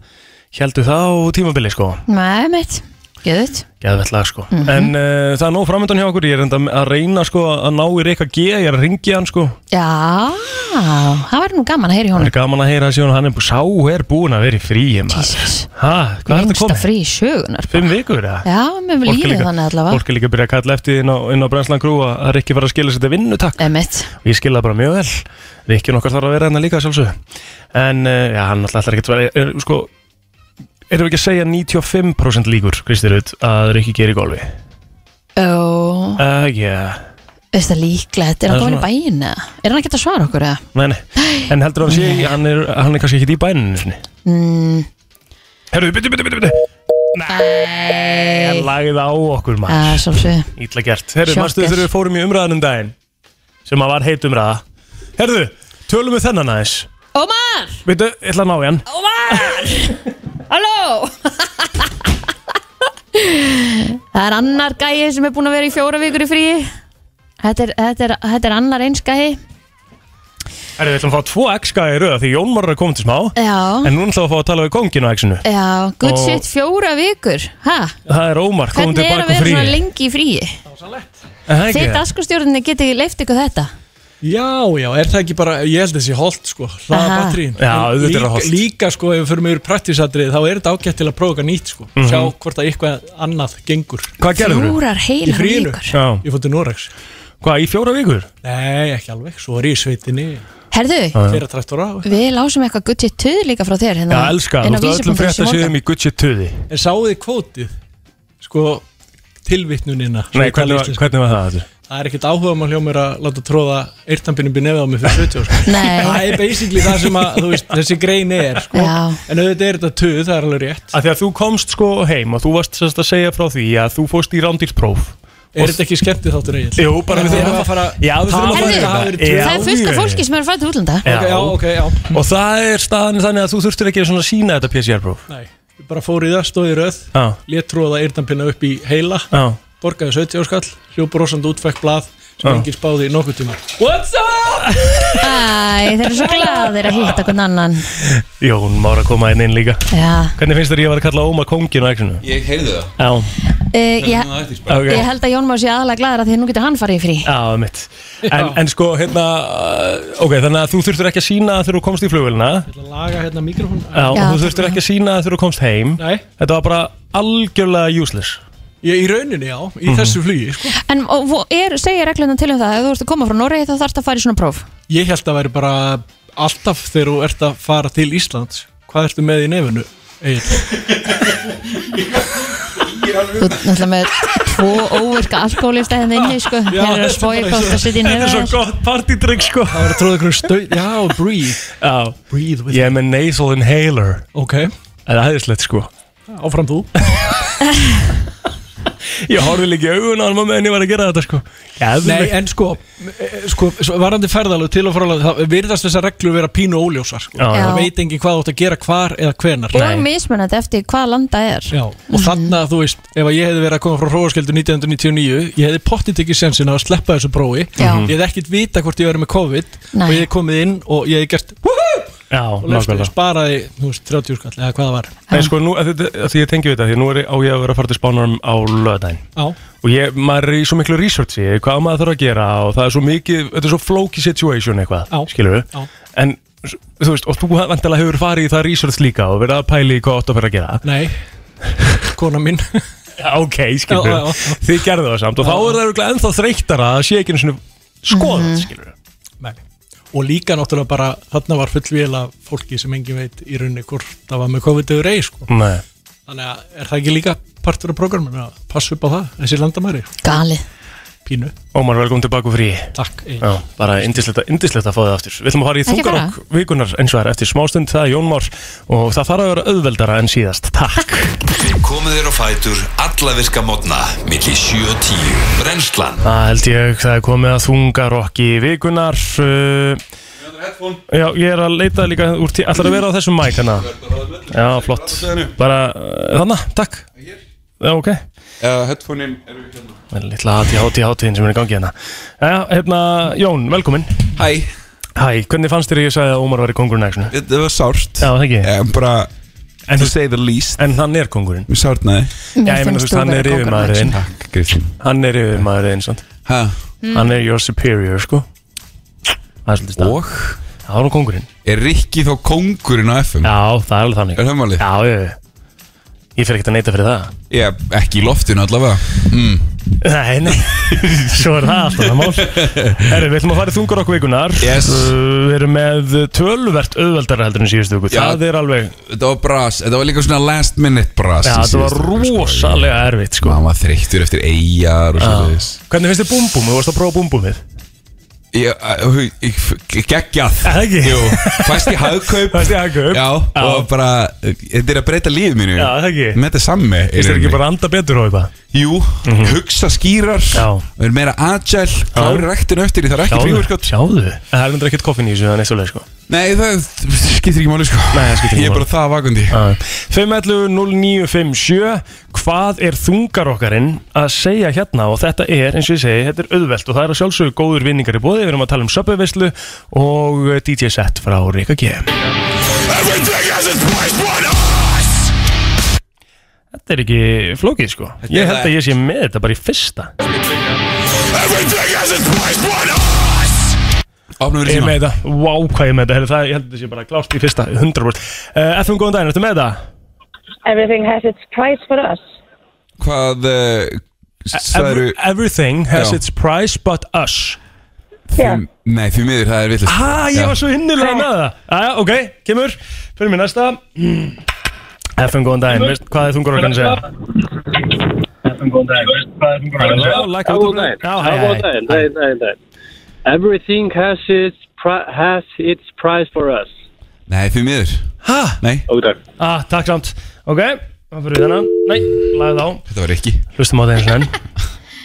[SPEAKER 1] heldu það á tímabili sko
[SPEAKER 3] Nei, mitt, geðut
[SPEAKER 1] Geðvett lag sko En uh, það er nóg framöndan hjá okkur Ég er enda að reyna sko að ná í Rikka G Ég er að ringja hann sko
[SPEAKER 3] Já, það var nú gaman að heyra í
[SPEAKER 1] Það
[SPEAKER 3] honum
[SPEAKER 1] er gaman að heyra síðan hann er búið Sá er búin að vera í fríi maður
[SPEAKER 3] Jesus,
[SPEAKER 1] Hæ, hvað er þetta
[SPEAKER 3] minnsta
[SPEAKER 1] komið?
[SPEAKER 3] frí í sögunar
[SPEAKER 1] Fimm vikur eða?
[SPEAKER 3] Já, mér vil
[SPEAKER 1] Fólk er
[SPEAKER 3] lífið
[SPEAKER 1] líka-
[SPEAKER 3] þannig allavega
[SPEAKER 1] Fólk er líka að byrja að kalla eftir því inn á, inn á Brensland Crew að að Rikki fara að skila sér til vinnu takk
[SPEAKER 3] Emmett,
[SPEAKER 1] Ég skila það bara mjög vel Rikki nokkar þarf að vera hérna líka sjálfsög En uh, já, hann alltaf ætlar ekki að vera er, sko, Erum við ekki að segja 95% líkur, Kristi Rut að Rikki gerir í golfi?
[SPEAKER 3] ó,
[SPEAKER 1] Uh, yeah.
[SPEAKER 3] veist það líklegt Er
[SPEAKER 1] Það er
[SPEAKER 3] hann komin í
[SPEAKER 1] svona-
[SPEAKER 3] bæinn eða? Er hann ekkert að svara okkur eða?
[SPEAKER 1] Nei, nei. En heldur hann sé, hann er, hann er kannski ekki í bæninu sinni.
[SPEAKER 3] Mm,
[SPEAKER 1] Herru, byttu, byttu, byttu, byttu.
[SPEAKER 3] Nei,
[SPEAKER 1] En lagið á okkur,
[SPEAKER 3] það
[SPEAKER 1] maður.
[SPEAKER 3] er svolítið
[SPEAKER 1] Ítla gert. Herru,
[SPEAKER 3] Shocker.
[SPEAKER 1] marstu þegar við fórum í umræðanum daginn, sem að var heit umræða. Herru, tölum við þennan aðeins.
[SPEAKER 3] Ómar,
[SPEAKER 1] Byttu, ég ætla að ná í hann.
[SPEAKER 3] Ómar Halló Það er annar gæi sem er búin að vera í fjóra vikur í fríi Þetta er, þetta er, þetta er annar eins gæi
[SPEAKER 1] Herru, við ætlum að fá tvo X-ga í rauða því Jón Már er að koma til smá.
[SPEAKER 3] Já,
[SPEAKER 1] En núna ætlum við að fá að tala við kongin á X-inu.
[SPEAKER 3] já, good
[SPEAKER 1] Og-
[SPEAKER 3] shit, fjóra vikur Hæ?
[SPEAKER 1] Það er Ómar, komum
[SPEAKER 3] Hvernig er að
[SPEAKER 1] tilbaka
[SPEAKER 3] vera
[SPEAKER 1] frí.
[SPEAKER 3] svona lengi í fríi? Þitt
[SPEAKER 1] Hvernig
[SPEAKER 3] askustjórnir geti leift ykkur þetta
[SPEAKER 10] Já, já, er það ekki bara, ég held þessi holt sko, hlaða
[SPEAKER 3] Aha.
[SPEAKER 10] batterín
[SPEAKER 1] Já,
[SPEAKER 10] En
[SPEAKER 1] auðvitað er
[SPEAKER 10] líka,
[SPEAKER 1] það hollt.
[SPEAKER 10] líka sko, ef við förum yfir praktisatrið þá er þetta ágætt til að prófa eitthvað nýtt sko sjá hvort að eitthvað annað gengur
[SPEAKER 1] Mhm. Hvað gerður þú?
[SPEAKER 3] Fjórar heilar
[SPEAKER 10] Í fríinu?
[SPEAKER 3] vikur
[SPEAKER 1] Já,
[SPEAKER 10] Ég fór til Norex
[SPEAKER 1] Hvað, í fjóra vikur?
[SPEAKER 10] Nei, ekki alveg, svo er ég í sveitinni
[SPEAKER 3] Herðu,
[SPEAKER 10] Fyrir 13 ára
[SPEAKER 3] við lásum eitthvað gutt í töð líka frá þér hérna
[SPEAKER 1] Já, elska,
[SPEAKER 3] inn á
[SPEAKER 1] þú ert
[SPEAKER 3] vísi.is í
[SPEAKER 1] öllum fréttasviðum
[SPEAKER 3] morgun.
[SPEAKER 1] um í Gucci tuði
[SPEAKER 10] En sáðu þið kvótið Sko, tilvitnunina svo
[SPEAKER 1] Nei,
[SPEAKER 10] ég tala
[SPEAKER 1] hvernig var,
[SPEAKER 10] íslensku.
[SPEAKER 1] hvernig var það þetta?
[SPEAKER 10] Það er ekkert áhuga maður hjá mér að láta tróða eirtampinu byrja nefið á mig fyrir 70 sko.
[SPEAKER 3] Nei.
[SPEAKER 10] Það er basically það sem að, þú veist, þessi grein er sko.
[SPEAKER 3] Já.
[SPEAKER 10] En auðvitað er þetta töð, það er alveg rétt
[SPEAKER 1] Af því að þú komst sko heim og þú varst sérst að segja frá því að þú fóst í rándýrspróf
[SPEAKER 10] Er þetta ekki skemmtið þáttur eigin?
[SPEAKER 1] Jú, bara við þurfum að fara
[SPEAKER 10] Já, við þurfum um að
[SPEAKER 3] Herðu,
[SPEAKER 10] fara
[SPEAKER 1] Herðu, Já,
[SPEAKER 3] það er fullt af
[SPEAKER 1] mjög.
[SPEAKER 3] fólki sem er að fara til útlanda
[SPEAKER 1] Já.
[SPEAKER 10] Ok, já, ok, já
[SPEAKER 1] Og það er staðan þannig að þú þurftir ekki svona að sína þetta PCR-próf
[SPEAKER 10] Nei, ég bara fór í það, stóð í röð
[SPEAKER 1] Já,
[SPEAKER 10] Lét tróða eirtampinu upp í heila
[SPEAKER 1] já
[SPEAKER 10] Borgaði 70 skall, hljópa rosand útfæk blað sem
[SPEAKER 1] Já.
[SPEAKER 10] enginn spáði í nokkuð tíma
[SPEAKER 3] Æ, þeir eru svo glaðir að hitta hvern annan
[SPEAKER 1] Jón Már að koma inn inn líka
[SPEAKER 3] Já,
[SPEAKER 1] Hvernig finnst þér ég var að kalla Óma kongin á exinu?
[SPEAKER 9] Ég heyrði það
[SPEAKER 1] Já,
[SPEAKER 3] Eh, ég,
[SPEAKER 9] Það er eftir,
[SPEAKER 1] ok
[SPEAKER 3] ég held að Jón Már sé aðalega glaðir að því að nú getur hann farið í frí
[SPEAKER 1] Já, mitt en, en sko, hérna uh, Ok, þannig að þú þurftur ekki að sína þegar þú komst í flugvélina
[SPEAKER 10] Ég ætla að laga hérna mikrofón
[SPEAKER 1] Já, og
[SPEAKER 3] Já,
[SPEAKER 1] þú
[SPEAKER 3] takk
[SPEAKER 1] þurftur ekki að sína þegar þú komst heim
[SPEAKER 10] Nei,
[SPEAKER 1] Þetta var bara algjörlega useless Mhm.
[SPEAKER 10] ég í rauninni já, í þessu flugi sko.
[SPEAKER 3] En og vo- er, segir reglunum til um það Ef þú ert að koma frá Noregi þá þarfst að fara í svona próf
[SPEAKER 10] Ég held að væri bara alltaf þegar þú ert að fara til Íslands Hvað ertu með í nefinu? Egil?
[SPEAKER 3] Þú ert náttúrulega með tvo óvirka alkoholista hérna inni sko Þeir eru
[SPEAKER 10] þetta
[SPEAKER 3] að
[SPEAKER 10] er
[SPEAKER 3] spói
[SPEAKER 10] bara
[SPEAKER 3] hvort
[SPEAKER 10] svo-
[SPEAKER 3] að sitja í
[SPEAKER 1] Þetta er svo
[SPEAKER 3] nefnir
[SPEAKER 1] gott partytrygg, sko
[SPEAKER 10] Það var að tróða ykkur stöð Já, breathe
[SPEAKER 1] Já,
[SPEAKER 10] Breathe with
[SPEAKER 1] ég er með nasal inhaler
[SPEAKER 10] Ok,
[SPEAKER 1] Það er aðeinslegt, sko
[SPEAKER 10] áfram þú
[SPEAKER 1] Ég horfði líka í augun á hann meðan ég var að gera þetta, sko
[SPEAKER 10] Nei,
[SPEAKER 1] Geðveikt.
[SPEAKER 10] en sko, eh, sko svo varandi ferðalög til og frá landi, Það virðast þessar reglur vera pínu óljósar sko.
[SPEAKER 1] Já,
[SPEAKER 3] já.
[SPEAKER 10] Það veit enginn hvað þú átt að gera hvar eða hvenar
[SPEAKER 3] Og mismunandi eftir hvað landa er
[SPEAKER 10] Já, og þarna, þú veist, ef að ég hefði verið að koma frá Hróaskjöldu 1999, ég hefði pottið ekki sensin að sleppa þessu prófi, Mhm.
[SPEAKER 3] Já.
[SPEAKER 10] ég hefði ekkert vita hvort ég verið með COVID
[SPEAKER 3] Nei.
[SPEAKER 10] og ég hefði komið inn og ég hefði gert "Woohoo!"
[SPEAKER 1] Já,
[SPEAKER 10] og lefstu,
[SPEAKER 1] nákvæmlega
[SPEAKER 10] sparaði, þú veist, 30 skall eða hvað það var.
[SPEAKER 1] Nei, sko, nú, að þetta- að því ég tengi við þetta Því að nú er, ég- á ég að vera að fara til spánarum á löðdæn
[SPEAKER 10] Já,
[SPEAKER 1] og ég, maður er í svo miklu researchi hvað maður þarf að gera og það er svo mikið þetta er svo flóki situation eitthvað,
[SPEAKER 10] Já.
[SPEAKER 1] skilur
[SPEAKER 10] Já.
[SPEAKER 1] en s- þú veist, og þú vantilega hefur farið í það research líka og verið að pæli hvað átt að fara að gera
[SPEAKER 10] nei, kona mín,
[SPEAKER 1] Já, ok, skilur,
[SPEAKER 10] Já, já, já.
[SPEAKER 1] þið gerðu það samt og þá er það örugglega ennþá þreyttara að sé ekki einu svona skoðan,
[SPEAKER 3] Mhm.
[SPEAKER 1] mm skilur
[SPEAKER 10] nei. Og líka náttúrulega bara, þarna var fullvél af fólki sem engin veit í rauninni hvort það var með COVID eða rey, sko.
[SPEAKER 1] Nei.
[SPEAKER 10] Þannig að er það ekki líka partur af prógraminu að passa upp á það, þessi landamæri,
[SPEAKER 3] Galið
[SPEAKER 10] pínu,
[SPEAKER 1] Ómar, velkomin tilbaka úr frí
[SPEAKER 10] takk. Egill.
[SPEAKER 1] Já, bara indislegt indislegt að fá það aftur Við ætlum að fara í
[SPEAKER 3] Ekki
[SPEAKER 1] þungarokk vikunar eins og er eftir smástund, það er Jón Már og það þarf að vera auðveldara en síðast, takk
[SPEAKER 2] Við komum þér á fætur alla virka mótna milli 7 og 10 Brennslan
[SPEAKER 1] Það held ég, það er komið að þungarokk í vikunar uh, Já, ég er að leita líka úr tí Ætlar að vera á þessum mæk hana Já, flott Bara uh, þannig, takk Já, ok
[SPEAKER 11] Eða headphone-in eru hérna
[SPEAKER 1] Það er Lítla hati hati hatiðin sem er í gangi hérna Já, hérna, Jón, velkomin
[SPEAKER 11] Hæ,
[SPEAKER 1] Hæ, hvernig fannst þér að ég sagði að Ómar var í kongurinn Já,
[SPEAKER 11] þetta var sárt
[SPEAKER 1] það ekki
[SPEAKER 11] En bara,
[SPEAKER 1] En
[SPEAKER 11] to
[SPEAKER 1] þú-
[SPEAKER 11] say the least
[SPEAKER 1] En hann er kongurinn
[SPEAKER 11] Mér sárnaði
[SPEAKER 1] Já, ég meina, þú veist, hann er yfirmaðurinn
[SPEAKER 11] Takk, Kristín
[SPEAKER 1] Hann er yfirmaðurinn, sant
[SPEAKER 11] Hæ,
[SPEAKER 1] Hann er your superior, sko Það er svolítið stað
[SPEAKER 11] og
[SPEAKER 1] Það var nú kongurinn
[SPEAKER 11] Er Rikki þá kongurinn á FM?
[SPEAKER 1] Já, það er alveg þannig
[SPEAKER 11] Er það málið?
[SPEAKER 1] Já, ég, ég fer ekkert að neyta fyrir það
[SPEAKER 11] Já, ekki í loftinu allavega mm.
[SPEAKER 1] Nei, nei, svo er það alltaf það mál Herru, við ætlum að fara í þungar okkur vikunar
[SPEAKER 11] Yes.
[SPEAKER 1] Uh, Við erum með tölvert auðveldara heldur en síðustu viku
[SPEAKER 11] Já.
[SPEAKER 1] Það er alveg,
[SPEAKER 11] Þetta var bras, þetta var líka svona last minute bras
[SPEAKER 1] já, það var rosalega erfitt sko.
[SPEAKER 11] Mamma sko. þreyttur eftir eigjar og svo þess
[SPEAKER 1] Hvernig finnst þið búmbúmið? Þú varst að prófa búmbúmið
[SPEAKER 11] Ég, ég, ég, ég geggjað
[SPEAKER 1] Er það ekki?
[SPEAKER 11] Jú, fæst í hagkaup
[SPEAKER 1] Fæst í hagkaup.
[SPEAKER 11] Já,
[SPEAKER 1] Já.
[SPEAKER 11] og bara, þetta er að breyta lífið mínu
[SPEAKER 1] Já, er það ekki?
[SPEAKER 11] Með þetta sammi
[SPEAKER 1] Finnst þið ekki bara að anda betur á eitthvað?
[SPEAKER 11] Jú, hugsa skýrar
[SPEAKER 1] Mhm. Já.
[SPEAKER 11] Verður meira agile Klári rektinu eftir því, það er ekki
[SPEAKER 1] Sjáðu,
[SPEAKER 11] fríverkot
[SPEAKER 1] sjáðu En Það er myndir ekkert koffin í þessu, það er neitt svolítið sko
[SPEAKER 11] Nei, það skiptir ekki máli sko
[SPEAKER 1] Nei, það skiptir ekki
[SPEAKER 11] Ég er
[SPEAKER 1] máli.
[SPEAKER 11] bara það vakandi
[SPEAKER 1] 511-0957 Hvað er þungar okkarinn að segja hérna og þetta er, eins og ég segi, þetta er auðvelt og það er að sjálfsögðu góður vinningar í bóði við erum að tala um söpöveislu og eh, DJ set frá Rika G Þetta er ekki flókið sko Ég held að ég sé með þetta bara í fyrsta
[SPEAKER 11] Opnum við
[SPEAKER 1] Ég er
[SPEAKER 11] síma
[SPEAKER 1] með þetta, vá hvað ég er með þetta Heyrðu, það, Ég held að þetta sé bara klárt í fyrsta, 100% uh, FM, góðan daginn, ertu með þetta?
[SPEAKER 12] Everything has its price for us.
[SPEAKER 11] Hvað, eh, sagðirðu-
[SPEAKER 1] E-, Everything has
[SPEAKER 11] Já.
[SPEAKER 1] its price but us
[SPEAKER 11] Því- Nei, því miður, það er villist
[SPEAKER 1] Ah, ég var svo hinnilega með það Aja, ok, kemur, fyrir mér næsta FM, góðan daginn, veist hvað er þungur okkar að segja?
[SPEAKER 5] FM, góðan daginn. Hvað er þungur
[SPEAKER 1] okkar að segja? Já,
[SPEAKER 5] Góðan daginn.
[SPEAKER 1] Já,
[SPEAKER 5] Já,
[SPEAKER 1] hæ, hæ,
[SPEAKER 5] Góðan daginn, daginn, daginn, daginn. Everything has its, pri- has its price for us.
[SPEAKER 11] Nei, því miður
[SPEAKER 1] Hæ?
[SPEAKER 11] Nei
[SPEAKER 5] Og takk
[SPEAKER 1] Ah, takk samt, ok, þá fyrir við þennan Nei, lagði á
[SPEAKER 11] Þetta var ekki
[SPEAKER 1] Hlustum á þeim hlenn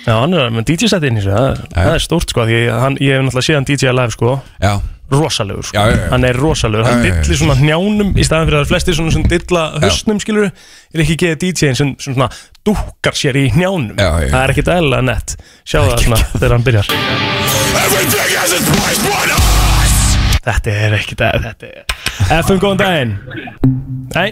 [SPEAKER 1] Já, hann er með DJ-sett inn í þessu, það, það er stórt sko, því hann, ég hef náttúrulega séð hann DJ-a live sko
[SPEAKER 11] Já
[SPEAKER 1] Rosalegur sko,
[SPEAKER 11] Já, já, já.
[SPEAKER 1] hann er rosalegur, hann
[SPEAKER 11] Já, já, já.
[SPEAKER 1] dillir svona njánum í staðan fyrir að það er flestir svona sem dilla höstnum skilur Er ekki geðið DJ-in sem, sem svona dúkkar sér í njánum, já, já. það er ekkit eðlilega nett Sjá það svona þegar hann byrjar
[SPEAKER 2] Everything has its price but us
[SPEAKER 1] Þetta er ekkit eðlilega, þetta er FM góðan daginn Nei,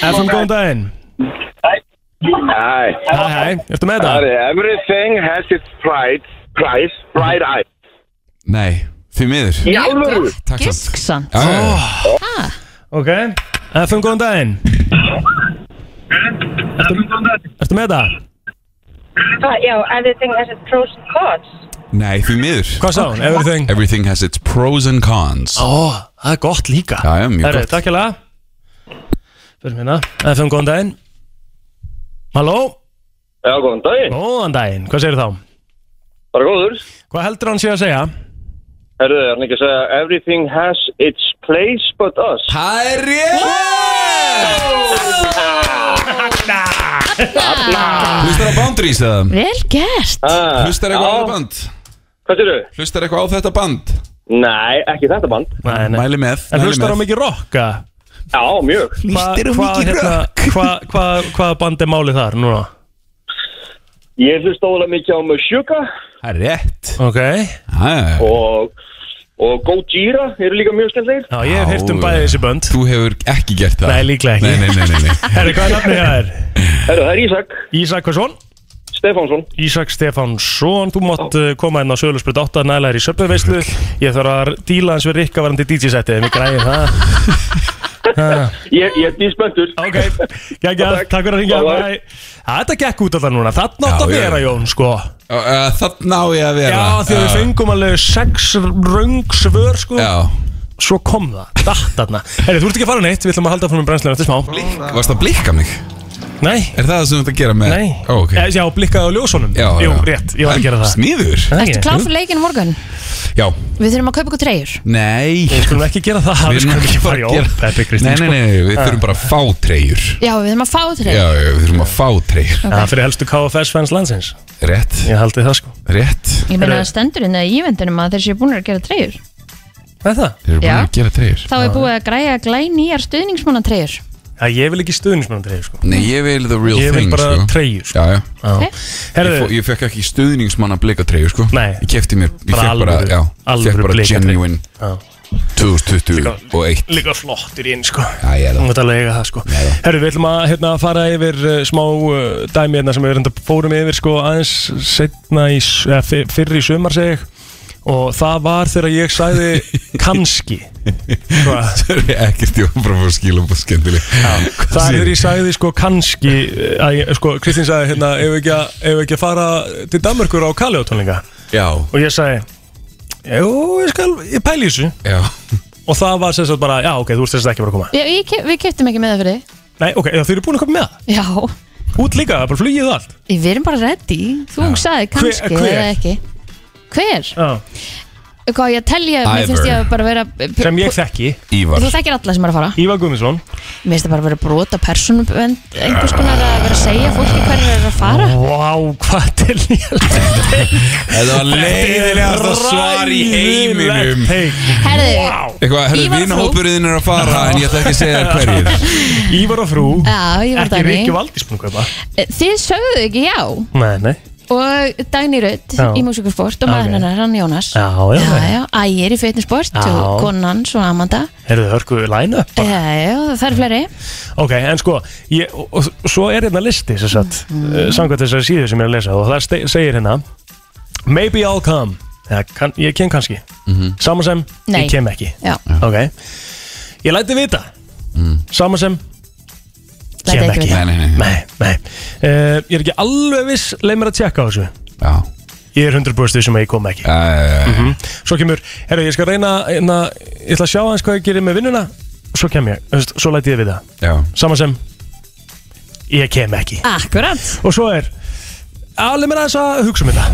[SPEAKER 1] FM góðan daginn
[SPEAKER 12] Hi.
[SPEAKER 1] Hi, hi. Ertu með
[SPEAKER 12] þetta? Everything has its price, price, bright eye.
[SPEAKER 11] Nei, því miður
[SPEAKER 12] Í alvöru?
[SPEAKER 11] Takk samt.
[SPEAKER 3] Gisksan
[SPEAKER 11] Já, já, já.
[SPEAKER 1] Ok, FM góðan daginn Ertu, ertu með það?
[SPEAKER 13] Uh, já, everything has its pros and cons.
[SPEAKER 11] Nei, því miður
[SPEAKER 1] Hvað sá hún? Everything
[SPEAKER 11] Everything has its pros and cons
[SPEAKER 1] Ó, það er gott líka
[SPEAKER 11] Já, já, mjög
[SPEAKER 1] Herru,
[SPEAKER 11] gott
[SPEAKER 1] takk hérlega Fyrir minna, FM góðan daginn Halló
[SPEAKER 5] Já, góðan daginn
[SPEAKER 1] Góðan daginn, hvað segir þá?
[SPEAKER 5] Bara góður
[SPEAKER 1] Hvað heldur hann sé að segja?
[SPEAKER 5] Herðu, er hann ekki að segja Everything has its place but us
[SPEAKER 11] Það er rétt Hlustar á Boundaries eða?
[SPEAKER 3] Vel gert
[SPEAKER 11] Hlustar eitthvað á þetta band?
[SPEAKER 5] Ah, Hvað sér þau?
[SPEAKER 11] Hlustar eitthvað á þetta band?
[SPEAKER 5] Nei, ekki þetta band
[SPEAKER 1] Nei,
[SPEAKER 11] nei. Mæli með
[SPEAKER 1] En
[SPEAKER 11] mæli
[SPEAKER 1] hlustar á
[SPEAKER 11] með.
[SPEAKER 1] mikið rock?
[SPEAKER 5] Já, mjög
[SPEAKER 1] Hlustar á mikið rock? Hvað hva, hva band er málið þar núna?
[SPEAKER 5] Ég hlusta ólega mikið á Meshuga
[SPEAKER 11] Það er rétt
[SPEAKER 1] Ok
[SPEAKER 11] Eh.
[SPEAKER 5] og, og Gojira eru líka mjög skemmtlegir
[SPEAKER 1] Já, ég hef heyrt um bæði þessi bönd
[SPEAKER 11] Þú hefur ekki gert það
[SPEAKER 1] Nei, líklega ekki.
[SPEAKER 11] Nei, nei, nei, nei, nei.
[SPEAKER 1] Herru, hvað er nafnið hérna? hér?
[SPEAKER 5] Herru, það er Ísak
[SPEAKER 1] Ísak Hversson?
[SPEAKER 5] Stefánsson
[SPEAKER 1] Ísak Stefánsson, þú mátt uh, koma inn á Sölusbrit 8 nælæðir í söpveveislu Ég þarf að díla hans við Rikka varandi DJ-setti Við græðum það
[SPEAKER 11] Eh.
[SPEAKER 5] Ég, ég er díspöntur
[SPEAKER 1] Ok, Gægja, takk fyrir að ringja
[SPEAKER 5] Bye-bye.
[SPEAKER 1] Bye. Að Þetta gekk út alltaf núna, þarna átt að
[SPEAKER 11] Já, já.
[SPEAKER 1] vera Jón sko
[SPEAKER 11] Uh, Þann á ég að vera
[SPEAKER 1] Já, því við fengum alveg sex röng svör sko
[SPEAKER 11] Já.
[SPEAKER 1] Svo kom það, datt þarna Herri, þú ert ekki að fara neitt, við ætlum að halda frá með brennslinu eftir smá Blink.
[SPEAKER 11] Varst að blikka mig?
[SPEAKER 1] Nei
[SPEAKER 11] Er það það sem þú ert að gera með?
[SPEAKER 1] Nei,
[SPEAKER 11] Ó, ok.
[SPEAKER 1] Eh, já, blikkaði á ljósunum
[SPEAKER 11] Já,
[SPEAKER 1] Jú,
[SPEAKER 11] já.
[SPEAKER 1] rétt, ég var að gera það
[SPEAKER 11] Sniður
[SPEAKER 3] Ertu klár fyrir leikinn á morgun?
[SPEAKER 11] Já
[SPEAKER 3] Við þurfum að kaupa ykkur treyjur
[SPEAKER 11] Nei
[SPEAKER 1] Við skulum ekki gera það
[SPEAKER 11] Við skulum ekki fara að gera
[SPEAKER 1] Peppi Kristín,
[SPEAKER 11] Nei, nei,
[SPEAKER 1] sko.
[SPEAKER 11] nei, nei, við
[SPEAKER 1] Ah.
[SPEAKER 11] þurfum bara að fá treyjur
[SPEAKER 3] Já, við þurfum að fá
[SPEAKER 11] Já,
[SPEAKER 3] treyjur
[SPEAKER 11] já, við þurfum að fá treyjur
[SPEAKER 1] Það fyrir helstu KFS-fans landsins
[SPEAKER 11] Rétt
[SPEAKER 1] Ég haldi það sko
[SPEAKER 11] Rétt
[SPEAKER 3] Ég meina það stendur inn að í vendunum að þeir séu búin að gera treyjur
[SPEAKER 1] Hvað er það?
[SPEAKER 11] Þeir eru búin að gera treyjur
[SPEAKER 3] Þá er búið að græja glænýjar stuðningsmanna treyjur
[SPEAKER 1] Já, ég vil ekki stuðnismenn treyju sko
[SPEAKER 11] Nei, ég vil the real
[SPEAKER 1] Ég vil
[SPEAKER 11] thing
[SPEAKER 1] bara
[SPEAKER 11] sko.
[SPEAKER 1] treyju
[SPEAKER 11] sko. Já, já
[SPEAKER 1] okay.
[SPEAKER 11] Ég, fó, ég fekk ekki stuðningsmann að blika treyju sko Nei Ég kefti mér Ég
[SPEAKER 1] Bara
[SPEAKER 11] fekk bara,
[SPEAKER 1] alvöru-
[SPEAKER 11] já
[SPEAKER 1] alvöru
[SPEAKER 11] Fekk bara
[SPEAKER 1] blikatreyju.
[SPEAKER 11] genuine 2021
[SPEAKER 1] Sko-
[SPEAKER 11] og eitt
[SPEAKER 1] Líka flottur inn sko
[SPEAKER 11] Já, ég er
[SPEAKER 1] Þú mátt alveg eiga það sko Herru, við ætlum að hérna, fara yfir uh, smá uh, dæmi hérna sem við reynda fórum yfir sko aðeins setna í, s- eða, fyr- fyrr í sumar segi ég og það var þegar ég sagði kannski sko. Hvað?
[SPEAKER 11] Sorry, ekkert ég var bara að fá skilum og skemmtileg
[SPEAKER 1] Það er þegar ég sagði sko kannski eh, að ég, sko, Kristín sagði hérna ef við ekki, að- eigum við ekki að fara til Danmörkur á Kaljótónlinga
[SPEAKER 11] Já
[SPEAKER 1] og ég sagði Jú, ég skal, ég pæli í þessu
[SPEAKER 11] Já
[SPEAKER 1] Og það var sem sagt bara, já ok, þú ert sem sagt ekki bara að koma
[SPEAKER 3] Já, ég, ke- Við keftum ekki með það fyrir þig.
[SPEAKER 1] Nei, ok, já, þau eru búin að koma með það
[SPEAKER 3] Já,
[SPEAKER 1] Út líka, það er bara flugið og allt
[SPEAKER 3] við erum bara ready Þú sagði
[SPEAKER 1] Hver-
[SPEAKER 3] kannski
[SPEAKER 1] hver?
[SPEAKER 3] eða ekki Hver?
[SPEAKER 1] Já.
[SPEAKER 3] Hvað ég að telja, mér finnst ég að bara vera
[SPEAKER 1] Sem ég þekki
[SPEAKER 3] Þú þekkir alla sem er að fara
[SPEAKER 1] Ívar Guðmundsson
[SPEAKER 3] Mér finnst það bara að vera brota persónubönd Einhvers konar að vera að segja fólki hverju er að fara
[SPEAKER 1] Vá, hvað til
[SPEAKER 11] Þetta var leiðilegast að svar í heiminum
[SPEAKER 3] Herðu,
[SPEAKER 11] Eitthvað, herru,
[SPEAKER 3] Ívar og frú.
[SPEAKER 11] vinahópurinn er að fara En ég ætla ekki að segja þér hverjir
[SPEAKER 1] Ívar og frú
[SPEAKER 3] Já, Ívar og
[SPEAKER 1] Ekki
[SPEAKER 3] Dagný.
[SPEAKER 1] Rikki Valdís búin að kaupa
[SPEAKER 3] þið sögðu ekki já
[SPEAKER 1] Nei, nei
[SPEAKER 3] Og Dagný Rutt
[SPEAKER 1] Já.
[SPEAKER 3] í Músikursport og
[SPEAKER 1] Ok.
[SPEAKER 3] maður hennar hann Jónas
[SPEAKER 1] Já, já,
[SPEAKER 3] já,
[SPEAKER 1] já.
[SPEAKER 3] já Ægir í Fitnessport
[SPEAKER 1] Já.
[SPEAKER 3] og konan svo Amanda
[SPEAKER 1] Eru þau hörku line up?
[SPEAKER 3] Já, já, það er fleiri
[SPEAKER 1] Ok, en sko, ég, og, og, svo er hérna listi sem sagt,
[SPEAKER 3] Mhm.
[SPEAKER 1] mm. samkvæmt þessari síðu sem ég er að lesa og það ste- segir hérna Maybe I'll come ja, kann, Ég kem kannski Sama sem,
[SPEAKER 3] Nei.
[SPEAKER 1] ég kem ekki
[SPEAKER 3] Já.
[SPEAKER 1] Ok Ég læti vita mm. Sama sem,
[SPEAKER 3] Læti
[SPEAKER 1] kem
[SPEAKER 3] ekki
[SPEAKER 1] ekki
[SPEAKER 3] vita.
[SPEAKER 1] nei, nei, nei. Uh, ég er ekki alveg viss, leið mér að tjekka á þessu
[SPEAKER 11] Já
[SPEAKER 1] Ég er 100% vissum um að ég kom ekki
[SPEAKER 11] uh,
[SPEAKER 1] mm Svo kemur, herru, ég skal reyna na, Ég ætla að sjá aðeins hvað ég gerir með vinnuna og Svo kem ég, Þú veist, svo læti ég við það
[SPEAKER 11] Já.
[SPEAKER 1] Sama sem Ég kem ekki
[SPEAKER 3] Akkurat
[SPEAKER 1] Og svo er, alveg mér aðeins að hugsa um þetta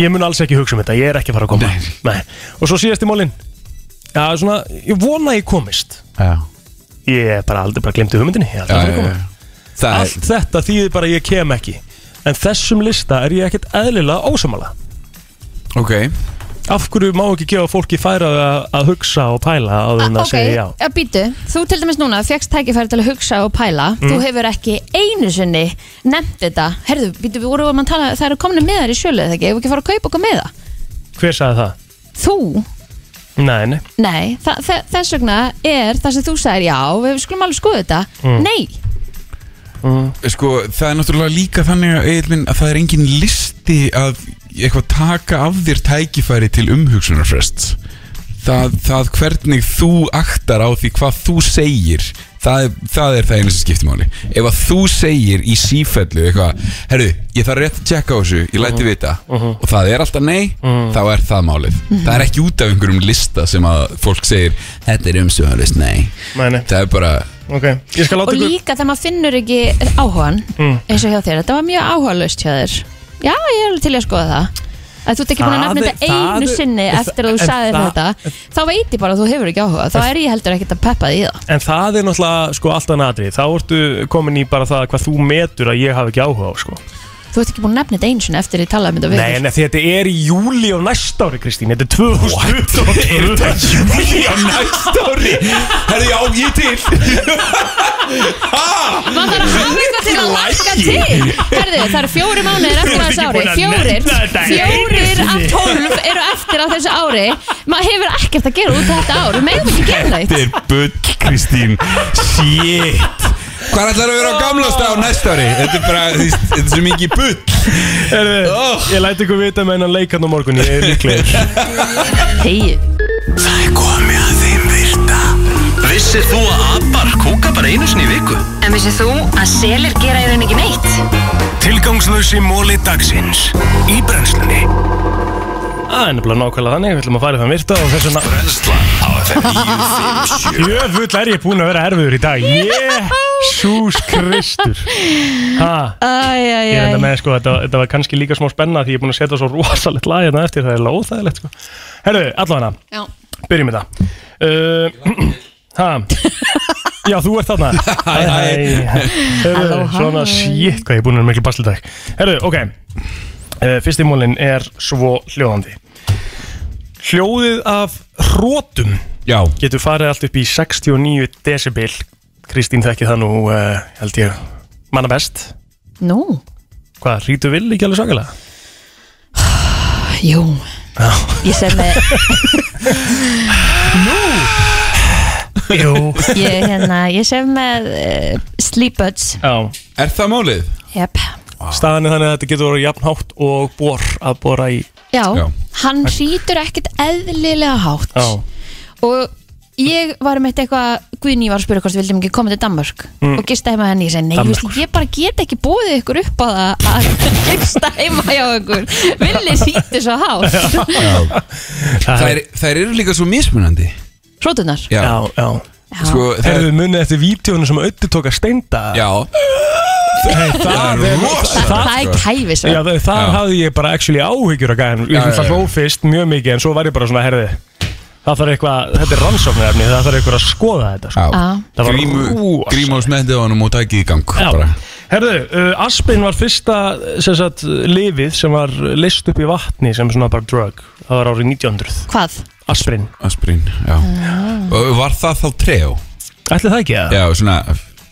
[SPEAKER 1] Ég mun alls ekki hugsa um þetta Ég er ekki að fara að koma Nei. Og svo síðast í mólin Já, svona, ég vona að ég komist
[SPEAKER 11] Já.
[SPEAKER 1] Ég er bara aldrei bara glemti hugmyndinni Ég er aldrei
[SPEAKER 11] Já,
[SPEAKER 1] að fara að
[SPEAKER 11] já,
[SPEAKER 1] koma
[SPEAKER 11] já. Það er-
[SPEAKER 1] Allt þetta þýðir bara að ég kem ekki En þessum lista er ég ekkert eðlilega ósamala
[SPEAKER 11] Ok
[SPEAKER 1] Af hverju má ekki gefa fólki færa að, að hugsa og pæla áður en að
[SPEAKER 3] Ah, Ok,
[SPEAKER 1] segja já
[SPEAKER 3] að býtu, þú til dæmis núna fegst tækifæri til að hugsa og pæla
[SPEAKER 1] Mm.
[SPEAKER 3] þú hefur ekki einu sinni nefnt þetta, herðu, býtu, við vorum að tala það eru komin með þær í sjölu eða ekki, ef við ekki fara að kaupa okkur með það,
[SPEAKER 1] Hver sagði það?
[SPEAKER 3] þú
[SPEAKER 1] Nei, nei
[SPEAKER 3] nei, þa þe þess vegna er það sem þú sagir, já, við skulum alveg skoða þetta
[SPEAKER 11] Mm.
[SPEAKER 3] nei,
[SPEAKER 1] Mm.
[SPEAKER 11] Sko, það er náttúrulega líka þannig að, Eilin, að það er engin listi að eitthvað taka af þér tækifæri til umhugsunarfrest það, það hvernig þú aktar á því hvað þú segir það, er- það er það einu sem skiptir máli ef að þú segir í sífellu eitthvað, herru, ég þarf rétt að tjekka á þessu ég læti
[SPEAKER 1] Mhm.
[SPEAKER 11] vita og það er alltaf nei þá er það málið það er ekki út af einhverjum lista sem að fólk segir þetta er umsöðanlist, nei.
[SPEAKER 1] nei, nei
[SPEAKER 11] það er bara
[SPEAKER 1] Ok, ég skal
[SPEAKER 3] og líka þegar maður finnur ekki áhugan
[SPEAKER 11] Mm.
[SPEAKER 3] eins og hjá þér, þetta var mjög áhugalust hjá þér já, ég er alveg til í að skoða það að þú ert ekki búin að
[SPEAKER 1] Það
[SPEAKER 3] nefna
[SPEAKER 1] er-
[SPEAKER 3] þetta einu
[SPEAKER 1] það er-
[SPEAKER 3] sinni
[SPEAKER 1] en
[SPEAKER 3] eftir að þú
[SPEAKER 1] það-
[SPEAKER 3] sagðir
[SPEAKER 1] en það-
[SPEAKER 3] þetta þá veit ég bara að þú hefur ekki áhuga þá er ég heldur ekkert að peppa því í það
[SPEAKER 1] En það er náttúrulega sko alltaf natri Þá ertu komin í bara það hvað þú metur að ég hafi ekki áhuga á sko
[SPEAKER 3] Þú ert ekki búin að nefna þetta einu sinni eftir ég talaði um þetta við
[SPEAKER 1] Nei, nei, þetta er í júli á næsta ári, Kristín Þetta er 2022 Er þetta
[SPEAKER 11] júli á næsta ári? Herðu, já, ég til
[SPEAKER 3] Maður þarf að hafa eitthvað til að langa
[SPEAKER 11] Ekki
[SPEAKER 3] til
[SPEAKER 11] Ah! lægi.
[SPEAKER 3] Herðu, það eru fjóri mánuðir eftir
[SPEAKER 11] Þú
[SPEAKER 3] að þessu
[SPEAKER 11] ert ekki
[SPEAKER 3] ári
[SPEAKER 11] búin að
[SPEAKER 3] Fjórir,
[SPEAKER 11] nefna þetta
[SPEAKER 3] fjórir
[SPEAKER 11] einu
[SPEAKER 3] af
[SPEAKER 11] sinni.
[SPEAKER 3] tólf eru eftir að þessu ári Maður hefur ekkert að gera út af þetta ár Við meðum ekki gera neitt
[SPEAKER 11] Þetta er bull, Kristín Shit Hvað ætlar að vera á gamlasta á næsta ári? Þetta er bara, þú veist, þetta er svo mikið Oh. bull
[SPEAKER 1] Ég læti ykkur vita með hennan leikarn á morgun Ég er líklegir
[SPEAKER 3] Hei
[SPEAKER 2] Það er komið að þeim virta Vissir þú að abar kúka bara einu sinni í viku?
[SPEAKER 8] En vissið þú að selir gera í raun ekki neitt?
[SPEAKER 1] Tilgangslösi móli dagsins Í brennslunni Það er nefnilega nákvæmlega þannig Við ætlum að fara í þann virta og þess vegna
[SPEAKER 2] Brennslan á FM 957
[SPEAKER 1] Jöfull er ég búin að vera erfiður í dag Jésús Kristur Ha Ég er enda
[SPEAKER 3] Æjæjæj
[SPEAKER 1] með sko, þetta, þetta var kannski líka smá spenna því ég er búin að setja svo rosalegt lag hérna eftir, það er eiginlega óþægilegt sko. Herru, allavega
[SPEAKER 3] Já.
[SPEAKER 1] byrjum við það uh, Ha Já, þú ert þarna Hæ, hæ Herru,
[SPEAKER 3] Halló, hæ.
[SPEAKER 1] svona shit hvað ég er búin að vera miklu baslidag Herru, ok uh, Fyrsti múlin er svo hljóðandi Hljóðið af hrótum
[SPEAKER 11] Já.
[SPEAKER 1] Getur farið allt upp í 69 decibel Kristín þekki það nú, uh, held ég, manna best
[SPEAKER 3] Nú,
[SPEAKER 1] Hvað, rítu vill ekki alveg svakalega?
[SPEAKER 3] jú Ég sem með
[SPEAKER 1] Jú
[SPEAKER 3] Ég, hérna, ég sem með uh, Sleep Buds
[SPEAKER 1] Já
[SPEAKER 11] Er það málið?
[SPEAKER 3] yep.
[SPEAKER 1] Staðan er þannig að þetta getur verið jafnhátt og bor að bora í
[SPEAKER 3] Já,
[SPEAKER 1] Já.
[SPEAKER 3] hann hrýtur ekkert eðlilega hátt
[SPEAKER 1] Já
[SPEAKER 3] og ég var um eitt eitthvað Guðný var að spura hvort við vildum ekki koma til Danmörk
[SPEAKER 1] Mm.
[SPEAKER 3] og gista heima hjá henni, ég segi nei,
[SPEAKER 1] Danmerkur.
[SPEAKER 3] veist, ég bara get ekki bóðið ykkur upp á það að gista heima hjá ykkur villi sýti svo hátt
[SPEAKER 11] Þær, þær eru líka svo mismunandi
[SPEAKER 3] Rótunar
[SPEAKER 11] Já.
[SPEAKER 1] Já, já,
[SPEAKER 3] Já.
[SPEAKER 11] Sko, það
[SPEAKER 1] Herðu munið eftir vídjónu sem auðvitað tók að steinda
[SPEAKER 11] Já
[SPEAKER 1] hey, Það er
[SPEAKER 3] það, það er kæfis
[SPEAKER 1] Já, það, þar
[SPEAKER 3] Já.
[SPEAKER 1] hafði ég bara actually áhyggjur að gæðan
[SPEAKER 11] Já,
[SPEAKER 1] Ég
[SPEAKER 11] já,
[SPEAKER 1] það
[SPEAKER 11] já.
[SPEAKER 1] hló fyrst mjög mikið en svo var ég bara svona herði Það þarf eitthvað, þetta er rannsóknarefni Það þarf eitthvað að skoða þetta sko.
[SPEAKER 11] Já.
[SPEAKER 1] Það var
[SPEAKER 11] Grímu,
[SPEAKER 1] rosa.
[SPEAKER 11] grímu á smettið á honum og takið í gang
[SPEAKER 1] Já.
[SPEAKER 11] bara.
[SPEAKER 1] Herðu, uh, Aspin var fyrsta sem sagt, lifið sem var list upp í vatni sem svona bara drug Það var árið 1900
[SPEAKER 3] Hvað?
[SPEAKER 1] Aspirin
[SPEAKER 11] Aspirín, já
[SPEAKER 1] Ah.
[SPEAKER 11] Og Var það þá treo?
[SPEAKER 1] Ætli það ekki að?
[SPEAKER 11] Já, svona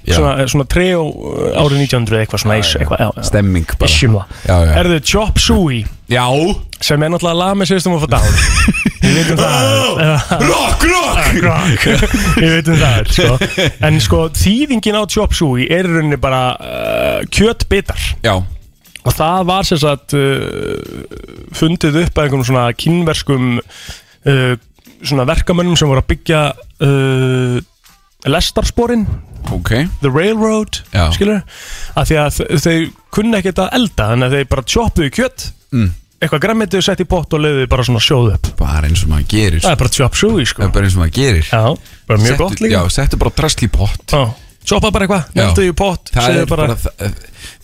[SPEAKER 11] já.
[SPEAKER 1] Svona, eh, svona treo uh, árið 1900 eitthvað svona eis eitthvað, já, já.
[SPEAKER 11] Stemming bara
[SPEAKER 1] Issue um það.
[SPEAKER 11] Já, já
[SPEAKER 1] Herðu, Chop Suey
[SPEAKER 11] Já
[SPEAKER 1] Sem er náttúrulega lag með sýstum og fór dál Við veitum það Ah,
[SPEAKER 11] Rock, rock
[SPEAKER 1] Rock Við veitum það sko. En sko, þýðingin á Chop Suey er í rauninni bara uh, kjötbitar
[SPEAKER 11] Já
[SPEAKER 1] Og það var sem sagt uh, fundið upp að einhverjum svona kínverskum eh, uh, svona verkamönnum sem voru að byggja uh, eh, lestarsporin
[SPEAKER 11] okay.
[SPEAKER 1] The Railroad
[SPEAKER 11] Já.
[SPEAKER 1] skilur, af því að þ- þau kunna ekkert að elda, þannig að þeir bara choppuðu kjött
[SPEAKER 11] Mm.
[SPEAKER 1] eitthvað græmmetið sett í pott og leiðu bara svona sjóð upp
[SPEAKER 11] bara eins og maður gerir
[SPEAKER 1] það er bara chop suey sko
[SPEAKER 11] það er bara eins og maður gerir
[SPEAKER 1] já, bara mjög gott líka.
[SPEAKER 11] já, settu bara drasl í pott
[SPEAKER 1] já. choppa bara eitthvað,
[SPEAKER 11] Já.
[SPEAKER 1] neldu í pott
[SPEAKER 11] Það
[SPEAKER 1] segðu
[SPEAKER 11] er bara, bara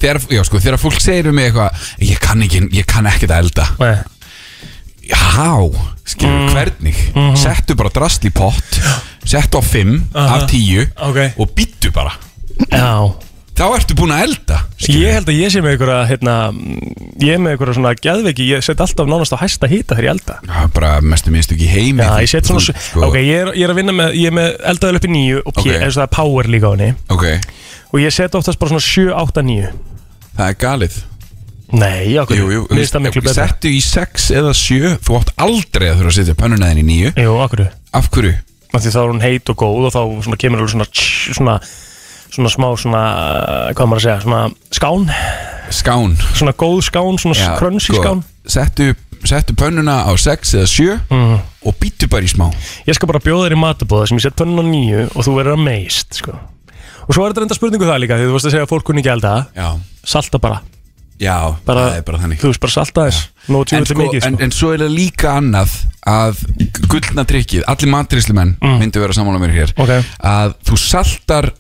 [SPEAKER 11] þegar, já, sko, þegar fólk segir um mig eitthvað Ég kann ekki, ég kann ekkert að elda
[SPEAKER 1] Nei. Mm.
[SPEAKER 11] Já, skilur, hvernig
[SPEAKER 1] Mhm.
[SPEAKER 11] Settu bara drasl í pott Settu á 5
[SPEAKER 1] Aha.
[SPEAKER 11] af 10
[SPEAKER 1] okay.
[SPEAKER 11] Og býttu bara
[SPEAKER 1] Já
[SPEAKER 11] Þá ertu búin að elda
[SPEAKER 1] Ég held að ég sé með einhverja hérna, Ég er með einhverja svona geðveiki Ég set alltaf nánast á hæsta hýta þegar ég elda
[SPEAKER 11] Já, bara mestu minnstu ekki heimi
[SPEAKER 1] Já, ég set svona sko. Ok, ég er, ég er að vinna með Ég er með eldaðil upp í nýju Og okay.
[SPEAKER 11] Ok.
[SPEAKER 1] eins og það er power líka á henni
[SPEAKER 11] Ok,
[SPEAKER 1] Og ég set oftast bara svona 7, 8, 9
[SPEAKER 11] það er galið
[SPEAKER 1] Nei, okkur
[SPEAKER 11] Jú, jú,
[SPEAKER 1] Mér finnst það miklu betra.
[SPEAKER 11] Settu í 6 eða 7 Þú átt aldrei að þurfa að setja pönnuna þinn í 9
[SPEAKER 1] Jú, okkur
[SPEAKER 11] Af hverju?
[SPEAKER 1] Því þá er hún heit og góð Og þá svona kemur alveg svona tss, Svona, svona smá svona Hvað á maður að segja Svona skán
[SPEAKER 11] Skán
[SPEAKER 1] Svona góð skán Svona
[SPEAKER 11] Já,
[SPEAKER 1] krönsi
[SPEAKER 11] sko,
[SPEAKER 1] skán
[SPEAKER 11] Settu, settu pönnuna á 6 eða 7 Og býttu bara í smá
[SPEAKER 1] Mhm. Ég skal bara bjóða þér í matabóða sem ég set pönnun á nýju og þú verður að meist sko. Og svo er þetta reynda spurningu það líka því þú vorst að segja að fólk kunni ekki elda
[SPEAKER 11] Já.
[SPEAKER 1] Salta bara,
[SPEAKER 11] Já,
[SPEAKER 1] bara,
[SPEAKER 11] það er bara þannig
[SPEAKER 1] Þú veist bara salta þess Nó
[SPEAKER 11] en,
[SPEAKER 1] tjóður til mikið
[SPEAKER 11] en,
[SPEAKER 1] sko.
[SPEAKER 11] en svo er það líka annað að gullna drikkið, allir matrislumenn myndu vera sammála mér hér
[SPEAKER 1] Mm. Ok.
[SPEAKER 11] að þú saltar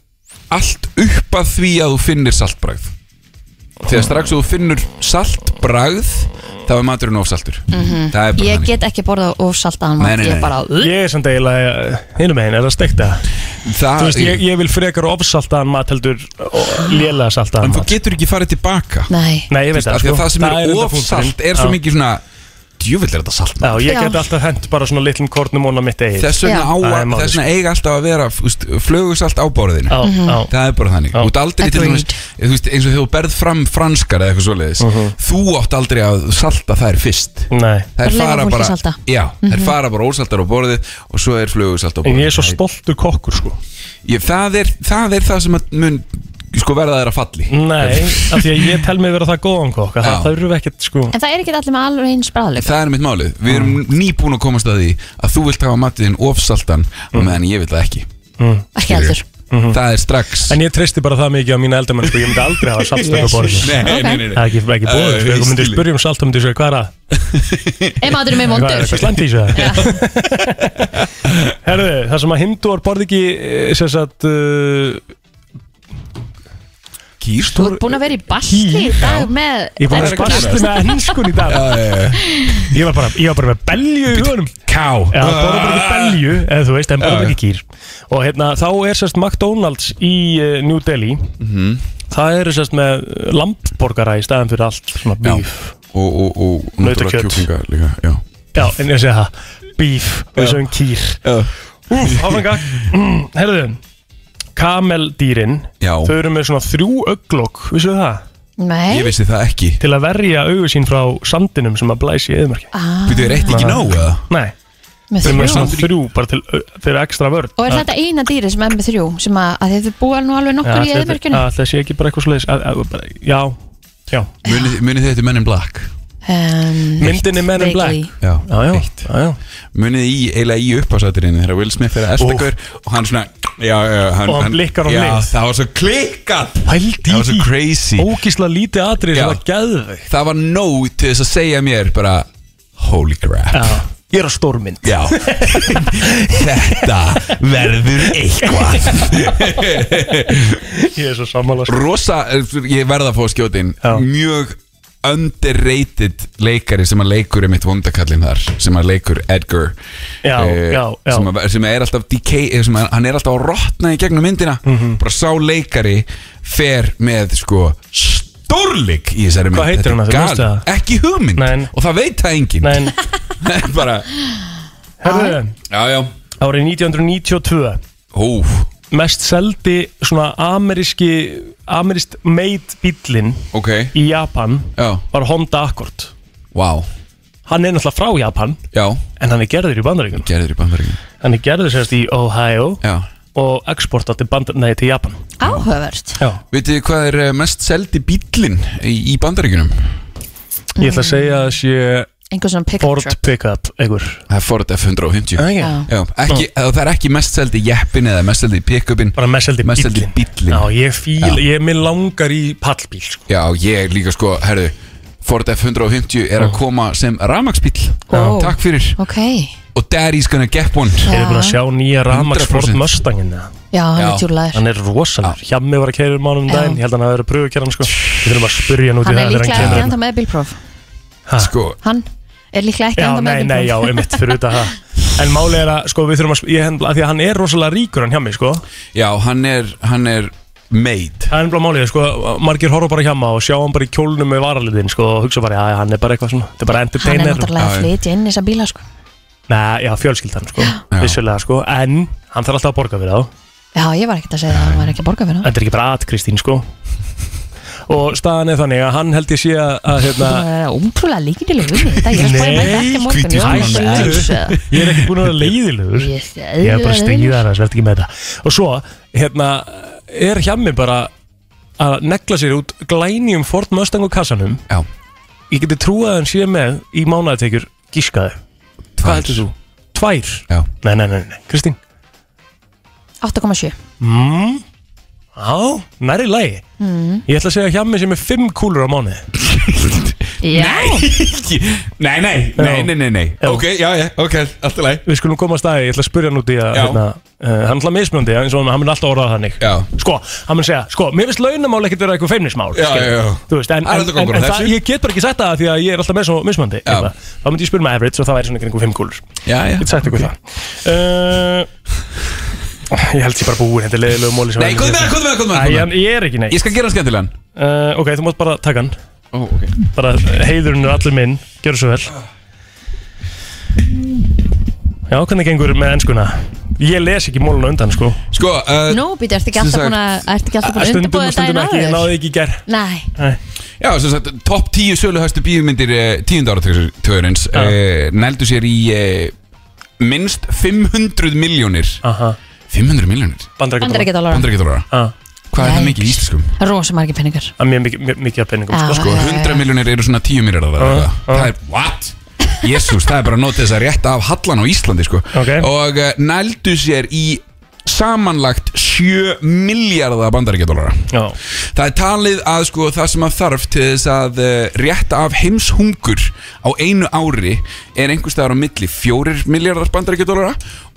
[SPEAKER 11] allt upp að því að þú finnir saltbragð þegar strax þú finnur saltbragð þá er maturinn ofsaltur
[SPEAKER 3] Mhm.
[SPEAKER 11] það er bara
[SPEAKER 3] Ég
[SPEAKER 11] þannig
[SPEAKER 3] get ekki borðað of saltaðan
[SPEAKER 11] Nei,
[SPEAKER 3] mat
[SPEAKER 11] nei,
[SPEAKER 3] Ég
[SPEAKER 11] nei.
[SPEAKER 3] bara
[SPEAKER 1] Ég er samt eiginlega eh, hinum megin, er það steikta
[SPEAKER 11] Það-
[SPEAKER 1] Þú veist, ég, ég vil frekar ofsaltaðan mat heldur lélega saltaðan
[SPEAKER 11] en
[SPEAKER 1] mat
[SPEAKER 11] þú getur ekki farið tilbaka
[SPEAKER 3] Nei
[SPEAKER 1] Nei, ég veit
[SPEAKER 11] það,
[SPEAKER 1] það
[SPEAKER 11] sko. það sem er,
[SPEAKER 1] enda
[SPEAKER 11] ofsalt
[SPEAKER 1] punkturinn.
[SPEAKER 11] er svo
[SPEAKER 1] Já.
[SPEAKER 11] mikið svona djúvill er þetta salt
[SPEAKER 1] Já, ég
[SPEAKER 3] Já.
[SPEAKER 1] get alltaf hent bara svona litlum kornum ón á mitt eigið
[SPEAKER 11] Þess vegna, á,
[SPEAKER 1] Það er
[SPEAKER 11] að-
[SPEAKER 1] málið,
[SPEAKER 11] þess
[SPEAKER 1] sko.
[SPEAKER 11] vegna eiga alltaf að vera úst, flugusalt á borðinu
[SPEAKER 1] Já, Mhm. já.
[SPEAKER 11] Það er bara þannig Þú ert aldrei til dæmis þú veist, eins og þegar þú berð fram franskar eða eitthvað svoleiðis Þú átt aldrei að salta þær fyrst
[SPEAKER 1] Mhm. Nei
[SPEAKER 11] Þær
[SPEAKER 3] Bara leyfa
[SPEAKER 11] fara
[SPEAKER 3] fólki
[SPEAKER 11] bara,
[SPEAKER 3] salta.
[SPEAKER 11] já, þær
[SPEAKER 3] Mhm.
[SPEAKER 11] fara bara ósaltar á borðið og svo er flugusalt á
[SPEAKER 1] En
[SPEAKER 11] borðið
[SPEAKER 1] ég er svo stoltur kokkur sko
[SPEAKER 11] ég, það, er, það er það sem að mun sko verða þær að falli
[SPEAKER 1] Nei, af því að ég tel mig vera það góðan kokk
[SPEAKER 11] Já.
[SPEAKER 1] að Það það eru ekkert sko
[SPEAKER 3] En það er ekki allir með alveg eins bræðleika
[SPEAKER 11] Það er mitt málið, við erum
[SPEAKER 1] Mm.
[SPEAKER 11] nýbúin að komast að því að þú vilt hafa matiðin ofsaltan mm. og meðan ég vil það ekki
[SPEAKER 1] Mm. Mm-hmm.
[SPEAKER 3] Ekki heldur
[SPEAKER 11] Það er strax
[SPEAKER 1] En ég treysti bara það mikið á mína eldamenn sko, ég myndi aldrei hafa saltstöku á borðinu
[SPEAKER 11] Nei, nei, nei, nei.
[SPEAKER 1] Það er ekki, ekki búið,
[SPEAKER 11] Eh,
[SPEAKER 1] sko, ég myndi
[SPEAKER 11] skil.
[SPEAKER 1] spyrja um salt og myndi segja hvað er að
[SPEAKER 3] Ef maturinn er
[SPEAKER 1] Hvað er
[SPEAKER 3] vondur
[SPEAKER 1] það, slæmt í þessu það? Herðu, það sem að hindúar borði ekki eh, sem sagt uh,
[SPEAKER 11] Kýr?
[SPEAKER 3] Þú ert búin að vera í basli í dag með
[SPEAKER 1] Ég var að spasta með ennskun í dag Ég var bara, ég var bara með belju í hugunum
[SPEAKER 11] Ká Ah.
[SPEAKER 1] Já, borða bara ekki belju, eða þú veist, en borða
[SPEAKER 11] Já, já.
[SPEAKER 1] ekki kýr Og hérna, þá er sérst McDonalds í uh, New Delhi
[SPEAKER 11] Mhm.
[SPEAKER 1] Það eru sérst með lampborgara í staðan fyrir allt svona
[SPEAKER 11] Já.
[SPEAKER 1] bíf
[SPEAKER 11] og, og, og náttúrulega
[SPEAKER 1] Nautakjöt.
[SPEAKER 11] kjúklinga líka já.
[SPEAKER 1] Já, en ég segi það Bíf
[SPEAKER 11] Já.
[SPEAKER 1] og þessu um kýr Úf, áfranga Mm, Herðu, kameldýrin
[SPEAKER 11] Já.
[SPEAKER 1] Þau eru með svona þrjú auglokk Vissu það?
[SPEAKER 3] Nei
[SPEAKER 11] ég vissi það ekki
[SPEAKER 1] Til að verja augu sín frá sandinum sem að blæsi í eðumörki
[SPEAKER 3] Ah,
[SPEAKER 11] Býtu, er eitt ekki
[SPEAKER 1] Nei.
[SPEAKER 11] nóg eða?
[SPEAKER 1] Nei,
[SPEAKER 3] með
[SPEAKER 1] þau eru með
[SPEAKER 3] þrjú.
[SPEAKER 1] svona þrjú bara til, fyrir ekstra vörð
[SPEAKER 3] Og er þetta eina dýri sem er með þrjú sem að, að þið búa nú alveg nokkur í eðmerkjunum
[SPEAKER 1] Það sé ekki bara eitthvað svoleiðis að- að- bara- Já, já
[SPEAKER 11] munið muni þetta Men in Black
[SPEAKER 3] Ehm,
[SPEAKER 1] Myndin er Men in Black.
[SPEAKER 11] já,
[SPEAKER 1] Já, já,
[SPEAKER 11] eitt.
[SPEAKER 1] já, já.
[SPEAKER 11] munið í, eiginlega í uppásatirinn þegar Will Smith er að espekur og hann svona já, já,
[SPEAKER 1] Og hann blikkar á
[SPEAKER 11] já,
[SPEAKER 1] hlið.
[SPEAKER 11] það var svo klikkað
[SPEAKER 1] Pældi
[SPEAKER 11] það var svo crazy
[SPEAKER 1] Ógísla lítið atrið sem
[SPEAKER 11] Já.
[SPEAKER 1] var geðveik
[SPEAKER 11] það var nóg til þess að segja mér bara holy crap
[SPEAKER 1] Já, ég er á stórmynd
[SPEAKER 11] já þetta verður eitthvað
[SPEAKER 1] Ég er svo sammála sko.
[SPEAKER 11] rosa, eh, ég verða að fá að skjóta inn mjög underrated leikari sem að leikur er mitt vondakallin þar, sem að leikur Edgar
[SPEAKER 1] Já,
[SPEAKER 11] eh,
[SPEAKER 1] já, já.
[SPEAKER 11] Sem, að, sem er alltaf decay, eh, sem að, hann er alltaf að rotna í gegnum myndina
[SPEAKER 1] Mhm.
[SPEAKER 11] bara sá leikari fer með sko stórleik í þessari mynd
[SPEAKER 1] Hvað heitir
[SPEAKER 11] Þetta
[SPEAKER 1] hann
[SPEAKER 11] er
[SPEAKER 1] aftur, veistu
[SPEAKER 11] galið.
[SPEAKER 1] það?
[SPEAKER 11] ekki hugmynd
[SPEAKER 1] Nein.
[SPEAKER 11] og það veit það engin
[SPEAKER 1] Nein.
[SPEAKER 11] bara,
[SPEAKER 1] Herðu,
[SPEAKER 11] já, já,
[SPEAKER 1] árið 1992
[SPEAKER 11] ó
[SPEAKER 1] mest seldi svona ameríski ameríst made bílinn
[SPEAKER 11] ok,
[SPEAKER 1] í Japan
[SPEAKER 11] Já.
[SPEAKER 1] var Honda Accord
[SPEAKER 11] wow
[SPEAKER 1] hann er náttúrulega frá Japan
[SPEAKER 11] já,
[SPEAKER 1] en hann er gerður í Bandaríkjunum
[SPEAKER 11] gerður í bandaríkinu
[SPEAKER 1] hann er gerður sérst í Ohio
[SPEAKER 11] já
[SPEAKER 1] og exportað til, bandar, nei, til Japan
[SPEAKER 3] Áhöfvert
[SPEAKER 1] Já.
[SPEAKER 11] Vitið þið hvað er eh, mest seldi bílinn í, í bandaríkunum?
[SPEAKER 1] ég ætla að segja að sé
[SPEAKER 3] einhver svona pickup truck
[SPEAKER 11] pickup einhver Það er Ford F150
[SPEAKER 3] Ah, já.
[SPEAKER 11] Já, ekki, Það er ekki mest seldi jeppin eða mest seldi pickupin Bara mest seldi bíllin
[SPEAKER 1] Já, ég fíl, ég er mér langar í pallbíl sko.
[SPEAKER 11] Já, ég líka sko, herðu Ford F150 er að koma sem ramagsbíl
[SPEAKER 3] Ó.
[SPEAKER 11] Takk fyrir
[SPEAKER 3] Ok,
[SPEAKER 11] Og daddy's gonna get one
[SPEAKER 3] Eruð þið búin að
[SPEAKER 1] sjá nýja Ramax Ford Mustangin
[SPEAKER 3] já, hann er tjúlaður
[SPEAKER 1] Hann er rosalur,
[SPEAKER 11] Ah.
[SPEAKER 1] hjemmi var að keira um mánum
[SPEAKER 3] Já.
[SPEAKER 1] daginn Ég held að hann hafi verið að pröfu að kera hann sko Við þurfum að spyrja hann út í
[SPEAKER 3] Hann er
[SPEAKER 1] það þegar
[SPEAKER 3] líklega ekki
[SPEAKER 1] hann
[SPEAKER 3] enda með bílpróf
[SPEAKER 1] kemur
[SPEAKER 11] Sko,
[SPEAKER 3] Hann er líklega ekki
[SPEAKER 1] Já,
[SPEAKER 3] enda með
[SPEAKER 1] nei, nei, já,
[SPEAKER 3] bílpróf
[SPEAKER 1] einmitt fyrir utan það En máli er að, sko, við þurfum að sp- ég, hend- af Því að hann er rosalega ríkur hann hjá mig, sko
[SPEAKER 11] Já, hann er, hann er made
[SPEAKER 1] Það er ennblá málið, sko, margir horfa bara hjá maður og sjá hann bara í kjólnum með varalitin, sko og hugsa bara, já, hann er bara eitthvað svona, þetta er bara
[SPEAKER 3] Hann
[SPEAKER 1] entertainer
[SPEAKER 3] er náttúrulega að
[SPEAKER 1] Já, já.
[SPEAKER 3] flytja inn í þessa bíla sko.
[SPEAKER 1] Nei, já, fjölskyldan, sko, vissulega, sko En, hann þarf alltaf að borga fyrir þá
[SPEAKER 3] Já, ég var ekkert að segja að hann var ekki að borga fyrir það
[SPEAKER 1] Þetta er ekki bara at Kristín, sko Og staðan er þannig að hann held ég sé að, að
[SPEAKER 3] Þú
[SPEAKER 1] hérna,
[SPEAKER 3] er ótrúlega líkindileg við þetta Ég er að spæði mæta ekki á morgun Ég var að segja þessu.
[SPEAKER 1] Ég er ekki búin að vera leiðilegur
[SPEAKER 3] Ég
[SPEAKER 1] Ég er bara að stengið það Svert ekki með þetta Og svo, hérna, er hjemmi bara að negla sér út glænjum Ford Mustang og kassanum
[SPEAKER 11] Já
[SPEAKER 1] Ég geti trúið að hann sé með í mánaðatekjur gískaði Hvað heldur þú? Tvær?
[SPEAKER 11] Já
[SPEAKER 1] Nei, nei, nei, nei, Kristín
[SPEAKER 3] 8,7
[SPEAKER 1] mm, Á, nærri lagi
[SPEAKER 3] Mm.
[SPEAKER 1] Ég ætla að segja að hjemmi sé með fimm kúlur á mánuði
[SPEAKER 11] Nei, nei, nei, nei, nei, nei. Ok, já, já, ok, allt í lagi
[SPEAKER 1] Við skulum koma að staði, ég ætla að spyrja hann út í að
[SPEAKER 11] Já.
[SPEAKER 1] hérna, uh, hann ætla mismjöndi, eins og hann mun alltaf orðað þannig
[SPEAKER 11] Já.
[SPEAKER 1] Sko, hann mun segja, sko, mér finnst launamál ekkert vera eitthvað feimnismál
[SPEAKER 11] Já,
[SPEAKER 1] skilur.
[SPEAKER 11] já, já.
[SPEAKER 1] Þú veist,
[SPEAKER 11] Það er
[SPEAKER 1] en, en,
[SPEAKER 11] alltaf
[SPEAKER 1] en,
[SPEAKER 11] gangur á
[SPEAKER 1] en það,
[SPEAKER 11] þessu.
[SPEAKER 1] ég get bara ekki sagt það því að ég er alltaf með svo mismjöndi Þá myndi ég spyrja með average og það væri svona einhver fimm kúlur
[SPEAKER 11] Já, já
[SPEAKER 1] Ég get sagt ykkur það uh, Ég held sér bara búin, þetta er leiðilegu móli
[SPEAKER 11] Nei, komdu með hann, komdu með hann, komdu með hann, komdu með hann.
[SPEAKER 1] Æ, ég er ekki neitt
[SPEAKER 11] Ég skal gera hann skemmtilegan
[SPEAKER 1] uh, Ok, þú mátt bara taka hann
[SPEAKER 11] Ó, ok
[SPEAKER 1] Bara heiðurinn er allir minn, gjör svo vel Já, hvernig gengur með enskuna? Ég les ekki mólun undan, sko
[SPEAKER 11] Sko, uh,
[SPEAKER 3] Nú, býtti, ertu ekki alltaf búin að Ertu ekki alltaf búin að
[SPEAKER 1] Stundum
[SPEAKER 3] undirbúða
[SPEAKER 1] og stundum ekki, ég
[SPEAKER 3] daginn
[SPEAKER 1] náði
[SPEAKER 3] áður
[SPEAKER 1] ekki í ger
[SPEAKER 3] Nei,
[SPEAKER 11] Já, sem sagt, topp 10 söluhæstu eh, bíumindir tíund áratöðurins uh, nældu sér í uh, minnst 500 miljónir 500 miljónir?
[SPEAKER 3] Bandaríkjadollara.
[SPEAKER 11] Bandarækjadólara Hvað er það mikið í íslenskum?
[SPEAKER 3] rosa margir penningar
[SPEAKER 1] Það er mjög mikið- mjög mikið af penningum
[SPEAKER 3] Já,
[SPEAKER 11] Sko,
[SPEAKER 3] já, já,
[SPEAKER 11] 100 miljónir eru svona 10 miljardar uh, Það er, what? Jésús, það er bara að nota þess að rétta af hallan á Íslandi sko. okay. Og uh, nældu sér í samanlagt 7 miljardar bandarækjadólara
[SPEAKER 1] Já
[SPEAKER 11] Það er talið að sko það sem að þarf til þess að eh, rétta af heimshungur á einu ári er einhvers staðar á milli 4 miljardar bandarækjadólara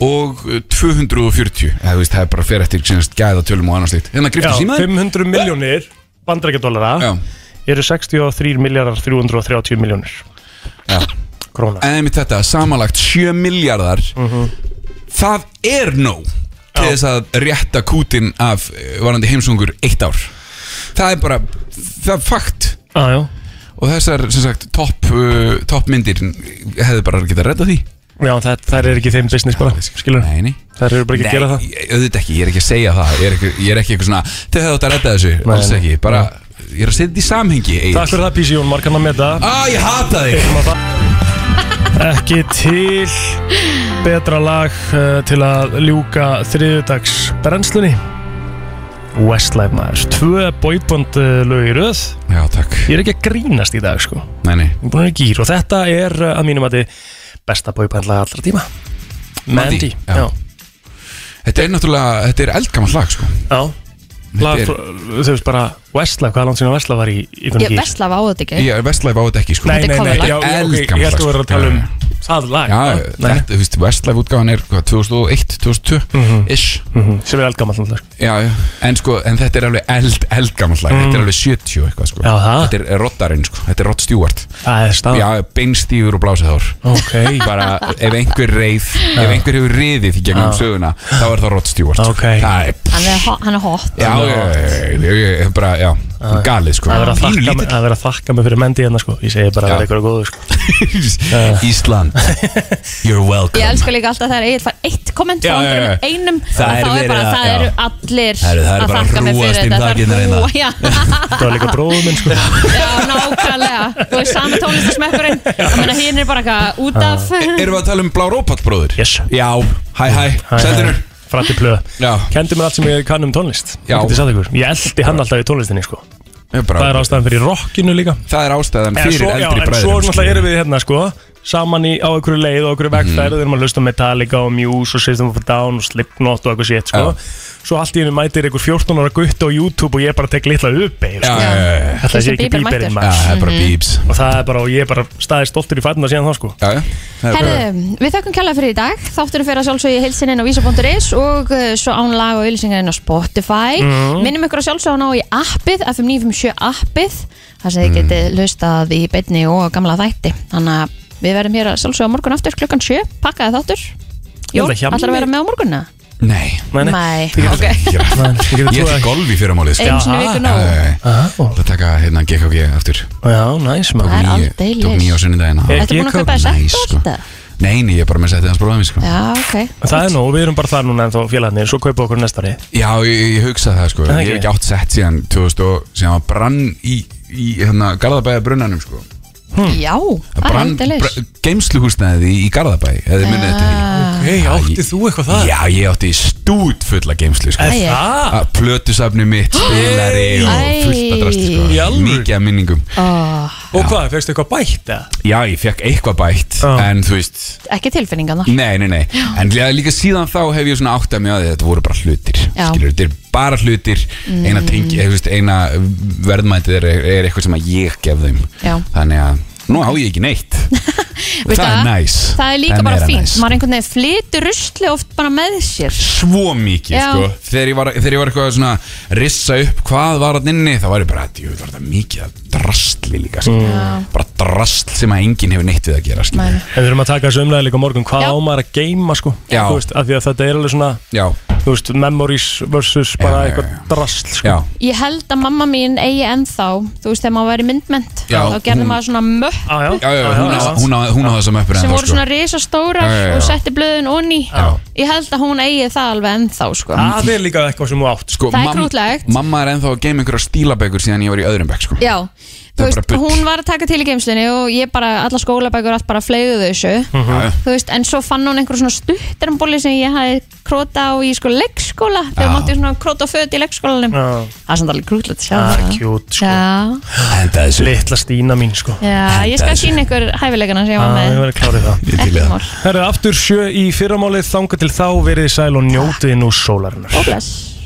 [SPEAKER 11] og eh, 240 eða þú veist það er bara fyrir eftir sínast gæðatölum og annars lít Hérna griftu
[SPEAKER 1] Já,
[SPEAKER 11] símaður
[SPEAKER 1] 500 miljónir bandarækjadólara eru 63 miljardar 330 miljónir krónar
[SPEAKER 11] En einmitt þetta, samanlagt 7 miljardar
[SPEAKER 1] Mhm.
[SPEAKER 11] það er nóg til þess að rétta kútin af eh, varandi heimshungur eitt ár Það er bara, það er fakt
[SPEAKER 1] ah,
[SPEAKER 11] Og þessar, sem sagt, topp uh, top myndir hefðu bara getað að redda því
[SPEAKER 1] Já, það, það er ekki þeim business bara, skilur
[SPEAKER 11] Nei, nei
[SPEAKER 1] Það eru bara ekki að gera það
[SPEAKER 11] Nei, auðvitað ekki, ég er ekki að segja það Ég er ekki, ég er ekki eitthvað svona, þau hefðu átt að redda þessu
[SPEAKER 1] Nei,
[SPEAKER 11] Alls
[SPEAKER 1] nei.
[SPEAKER 11] ekki, bara, ég er að setja þetta í samhengi Egill.
[SPEAKER 1] Takk fyrir það, PC Jón, markann að meta
[SPEAKER 11] Á, ég hata þig
[SPEAKER 1] Erum að fa- Ekki til betra lag uh, til að ljúka þriðudags brennslunni Westlife maður Tvö bóibond uh, lög í röð
[SPEAKER 11] Já, takk
[SPEAKER 1] Ég er ekki að grínast í dag, sko
[SPEAKER 11] Nei, nei
[SPEAKER 1] Ég er búin að vera í gýr og þetta er uh, að mínum að þið besta bóibond lag allra tíma Mandy, já.
[SPEAKER 11] Þetta er náttúrulega, þetta er eldgammal lag, sko
[SPEAKER 1] Já
[SPEAKER 11] Þetta
[SPEAKER 1] Lag,
[SPEAKER 11] er-
[SPEAKER 1] frá- Þú veist bara Westlife, hvað er langt síðan að Westlife var í, í
[SPEAKER 3] ég
[SPEAKER 1] Gýr?
[SPEAKER 3] bestla á þetta ekki
[SPEAKER 11] Ég er vestlæf á þetta ekki, sko
[SPEAKER 1] Nei, nei, nei, já, já, ok, ég held að þú verður að tala um
[SPEAKER 11] Já,
[SPEAKER 1] það lag
[SPEAKER 11] Já, þetta, þú veist, vestlæf útgáðan er, hvað, 2001,
[SPEAKER 1] Mhm.
[SPEAKER 11] 2002 Ish
[SPEAKER 1] Sem er eldgammal náttúrulega
[SPEAKER 11] Já, já, en sko, en þetta er alveg eld, eldgammal lag,
[SPEAKER 1] Mm.
[SPEAKER 11] þetta er alveg 70 og eitthvað sko
[SPEAKER 1] Já, það?
[SPEAKER 11] Þetta er Roddarinn sko, þetta er Rod Stewart
[SPEAKER 1] Það er stað
[SPEAKER 11] Já, beinstífur og blásið hár
[SPEAKER 1] Ok
[SPEAKER 11] Bara ef einhver reið, ef einhver hefur reiðið í gegnum
[SPEAKER 1] Já.
[SPEAKER 11] söguna, þá er það Rod Stewart sko.
[SPEAKER 1] Ok.
[SPEAKER 11] Það er,
[SPEAKER 3] Hann er ho- hann er hot
[SPEAKER 11] já, já, já, já, já, bara, já, galið sko
[SPEAKER 1] Það er að þakka mig- það er að þakka mig fyrir mendi hérna sko Ég segi bara að það er eitthvað góðu sko
[SPEAKER 11] Ísland You're welcome
[SPEAKER 3] Ég elska líka alltaf þegar Egil fær eitt komment frá
[SPEAKER 11] Já, já, já.
[SPEAKER 3] einhverjum einum
[SPEAKER 11] Það
[SPEAKER 3] að
[SPEAKER 11] er
[SPEAKER 3] þá er
[SPEAKER 11] verið
[SPEAKER 3] bara
[SPEAKER 11] að-
[SPEAKER 3] það
[SPEAKER 11] já.
[SPEAKER 3] eru allir
[SPEAKER 11] Það eru- það eru
[SPEAKER 3] að
[SPEAKER 11] bara hérna.
[SPEAKER 3] þakka mig fyrir
[SPEAKER 11] hrúgast inn
[SPEAKER 3] þetta það
[SPEAKER 11] þakið
[SPEAKER 3] er
[SPEAKER 11] þeirra.
[SPEAKER 3] hrúa- já,
[SPEAKER 1] Það var líka bróðum minn sko
[SPEAKER 3] já, nákvæmlega Þú veist, sami tónlistasmekkurinn Ég meina, hinn er bara eitthvað út af
[SPEAKER 11] Erum við að tala um Blá Rópat bróður?
[SPEAKER 1] Yes
[SPEAKER 11] Já, hæ, hæ, sendinur
[SPEAKER 1] Frætti plöð
[SPEAKER 11] Já
[SPEAKER 1] Kendi mér allt sem ég kann um tónlist
[SPEAKER 11] Já.
[SPEAKER 1] Ég geti sagt ykkur Ég eldi hann alltaf í tónlistinni sko Það er ástæðan fyrir rockinu líka
[SPEAKER 11] Það er ástæðan
[SPEAKER 1] En
[SPEAKER 11] fyrir
[SPEAKER 1] svo, já,
[SPEAKER 11] eldri
[SPEAKER 1] en
[SPEAKER 11] bræðrum,
[SPEAKER 1] svo náttúrulega
[SPEAKER 11] skilur.
[SPEAKER 1] erum við hérna sko Saman í, á einhverju leið og einhverju vegferð
[SPEAKER 11] Mhm.
[SPEAKER 1] Við erum að hlusta á Metallica og Muse og System of a Down og Slipknot og eitthvað sétt sko Svo allt í hennu mætir einhver 14 ára gutt á YouTube og ég bara tek litla uppi sko.
[SPEAKER 11] Já, já, já, já.
[SPEAKER 1] Þetta sé
[SPEAKER 11] Justin
[SPEAKER 1] ekki
[SPEAKER 11] Bieber
[SPEAKER 1] bíberinn
[SPEAKER 11] mættur. Já, það er bara Mhm. Biebs.
[SPEAKER 1] Og það er bara, og ég er bara staðið stoltur í fætuna síðan þá sko
[SPEAKER 11] Já, já
[SPEAKER 3] Herðu, við þökkum kjærlega fyrir í dag Þátturinn fyrir að sjálfsögja heilsininn á vísa.is og uh, svo án lag og auðlýsingarinn á Spotify
[SPEAKER 14] Mhm.
[SPEAKER 3] Minnum ykkur að sjálfsögja ná í appið FM957 appið þar sem
[SPEAKER 11] Mhm.
[SPEAKER 3] þið getið hlustað í beinni og gamla þætti Þannig að við verðum hér að sjálfsögja á morgun aftur klukkan 7 Pakkaði þáttur
[SPEAKER 11] Ég
[SPEAKER 3] Jón,
[SPEAKER 11] ætla að hjá
[SPEAKER 3] ætlar að
[SPEAKER 11] mér.
[SPEAKER 3] vera með á morgunna?
[SPEAKER 11] Nei
[SPEAKER 1] Nei,
[SPEAKER 3] ok
[SPEAKER 11] Ég ætti golf í fyrramálið sko.
[SPEAKER 3] Einu sinni í viku nóg.
[SPEAKER 11] Það taka hérna GKG aftur
[SPEAKER 1] Já, næs maður
[SPEAKER 3] Það er aldeilis.
[SPEAKER 11] Tók nýja á sunnudaginn
[SPEAKER 1] Er
[SPEAKER 3] Ertu búin að kaupa þess
[SPEAKER 11] Næs,
[SPEAKER 3] eftir
[SPEAKER 11] sko.
[SPEAKER 3] alltaf?
[SPEAKER 11] Nei, nei, ég er bara með settið hans bróðum sko.
[SPEAKER 3] Já, ok
[SPEAKER 1] Það er nú, við erum bara það núna en þá félagarnir Svo kaupa okkur næstari
[SPEAKER 11] Já, ég, ég hugsa það sko
[SPEAKER 1] Það
[SPEAKER 11] Ég hef
[SPEAKER 1] ekki.
[SPEAKER 11] ekki átt sett síðan 2000 og síðan var brann í, í hérna, Garðabæða brunnanum sko
[SPEAKER 3] Já,
[SPEAKER 11] Það
[SPEAKER 3] það er
[SPEAKER 11] brann
[SPEAKER 3] aldeilis
[SPEAKER 11] geimsluhúsnaðið í, í Garðabæ eða þið munið eftir
[SPEAKER 3] Ah.
[SPEAKER 11] því Ok, átti þú eitthvað það? Já, ég átti stút fulla geimslu sko.
[SPEAKER 3] Er það?
[SPEAKER 11] Að Plötusafni mitt, spilari og
[SPEAKER 3] Æ.
[SPEAKER 11] fullt að drasti
[SPEAKER 3] Í
[SPEAKER 11] sko.
[SPEAKER 1] alvöru?
[SPEAKER 11] Mikið að minningum
[SPEAKER 3] oh,
[SPEAKER 1] Og hvað, fegstu eitthvað bætt eða?
[SPEAKER 11] Já, ég fekk eitthvað bætt En þú veist,
[SPEAKER 3] Ekki tilfinningarna
[SPEAKER 11] nei, nei, nei En líka- líka síðan þá hef ég svona áttað mig á því að Þetta voru bara hlutir
[SPEAKER 3] Já.
[SPEAKER 11] Skilur, þetta er bara hlutir
[SPEAKER 3] Mm.
[SPEAKER 11] Eina, tengi, eh, þú veist, eina verðmætið er, er eitthvað sem að ég gef þeim
[SPEAKER 3] Já.
[SPEAKER 11] Þannig að, nú á ég ekki neitt
[SPEAKER 3] Veistu
[SPEAKER 11] Það er
[SPEAKER 3] það?
[SPEAKER 11] næs
[SPEAKER 3] Það er líka
[SPEAKER 11] Það er
[SPEAKER 3] bara
[SPEAKER 11] meira
[SPEAKER 3] fínt,
[SPEAKER 11] næs.
[SPEAKER 3] maður einhvern veginn flytur rusli oft bara með sér
[SPEAKER 11] svo mikið
[SPEAKER 3] Já.
[SPEAKER 11] sko. þegar, ég var, þegar ég var eitthvað svona að rissa upp hvað var hann inni þá var ég bara, djú, það var þetta mikið af drastli líka sko.
[SPEAKER 3] Mm.
[SPEAKER 1] Já.
[SPEAKER 11] bara drastl sem að enginn hefur neitt við að gera sko.
[SPEAKER 1] En við erum að taka þessu umlega líka á morgun Hvað
[SPEAKER 11] Já.
[SPEAKER 1] á maður að geima sko
[SPEAKER 11] Já.
[SPEAKER 1] Þú veist, af því að þetta er alveg svona
[SPEAKER 11] Já.
[SPEAKER 1] Þú veist, memories versus bara eitthvað drasl sko Já,
[SPEAKER 3] Ég held að mamma mín eigi ennþá Þú veist, þegar maður væri myndmönd
[SPEAKER 11] Já,
[SPEAKER 3] Þá gerði
[SPEAKER 11] hún-
[SPEAKER 3] maður svona möpp
[SPEAKER 1] Ah, já,
[SPEAKER 11] já, já, hún, á, hún, á, hún á þessa möppur
[SPEAKER 3] Sem
[SPEAKER 11] ennþá,
[SPEAKER 3] voru svona risastórar
[SPEAKER 11] sko. Já, já, já.
[SPEAKER 3] Og setti blöðin onni Ég held að hún eigi það alveg ennþá sko.
[SPEAKER 1] Ah, Það er líka eitthvað sem þú átt
[SPEAKER 11] sko,
[SPEAKER 3] Það er
[SPEAKER 11] mam-
[SPEAKER 3] krútlegt.
[SPEAKER 11] mamma er ennþá að geima einhverja stílabækur síðan ég var í öðrum bekk sko.
[SPEAKER 3] Já, þú
[SPEAKER 11] Það er bara
[SPEAKER 3] veist,
[SPEAKER 11] bull.
[SPEAKER 3] hún var að taka til í geimslinni Og ég bara, alla skólabækur, allt bara fleigðu þessu
[SPEAKER 11] Já, já.
[SPEAKER 3] Þú veist, en svo fann hún einhver svona stuttarmbóli sem ég hafði króta á í sko leggskóla þegar
[SPEAKER 11] Já.
[SPEAKER 3] mátti svona króta á föt í leggskólanum Það er samt alveg grútlegt að sjá
[SPEAKER 1] Það er
[SPEAKER 3] það.
[SPEAKER 1] kjút sko
[SPEAKER 3] Já,
[SPEAKER 11] Henda þessu
[SPEAKER 1] Litla Stína mín sko Ah,
[SPEAKER 3] já ég skal sína ykkur hæfileikana sem ég var
[SPEAKER 1] Ég
[SPEAKER 3] með
[SPEAKER 1] verði klárið það
[SPEAKER 11] Ég
[SPEAKER 3] Ekki mál
[SPEAKER 1] Herðu, aftur sjö í fyrramálið Þanga til þá verið þið sæl og njótið nú sólarinnar
[SPEAKER 3] Og bless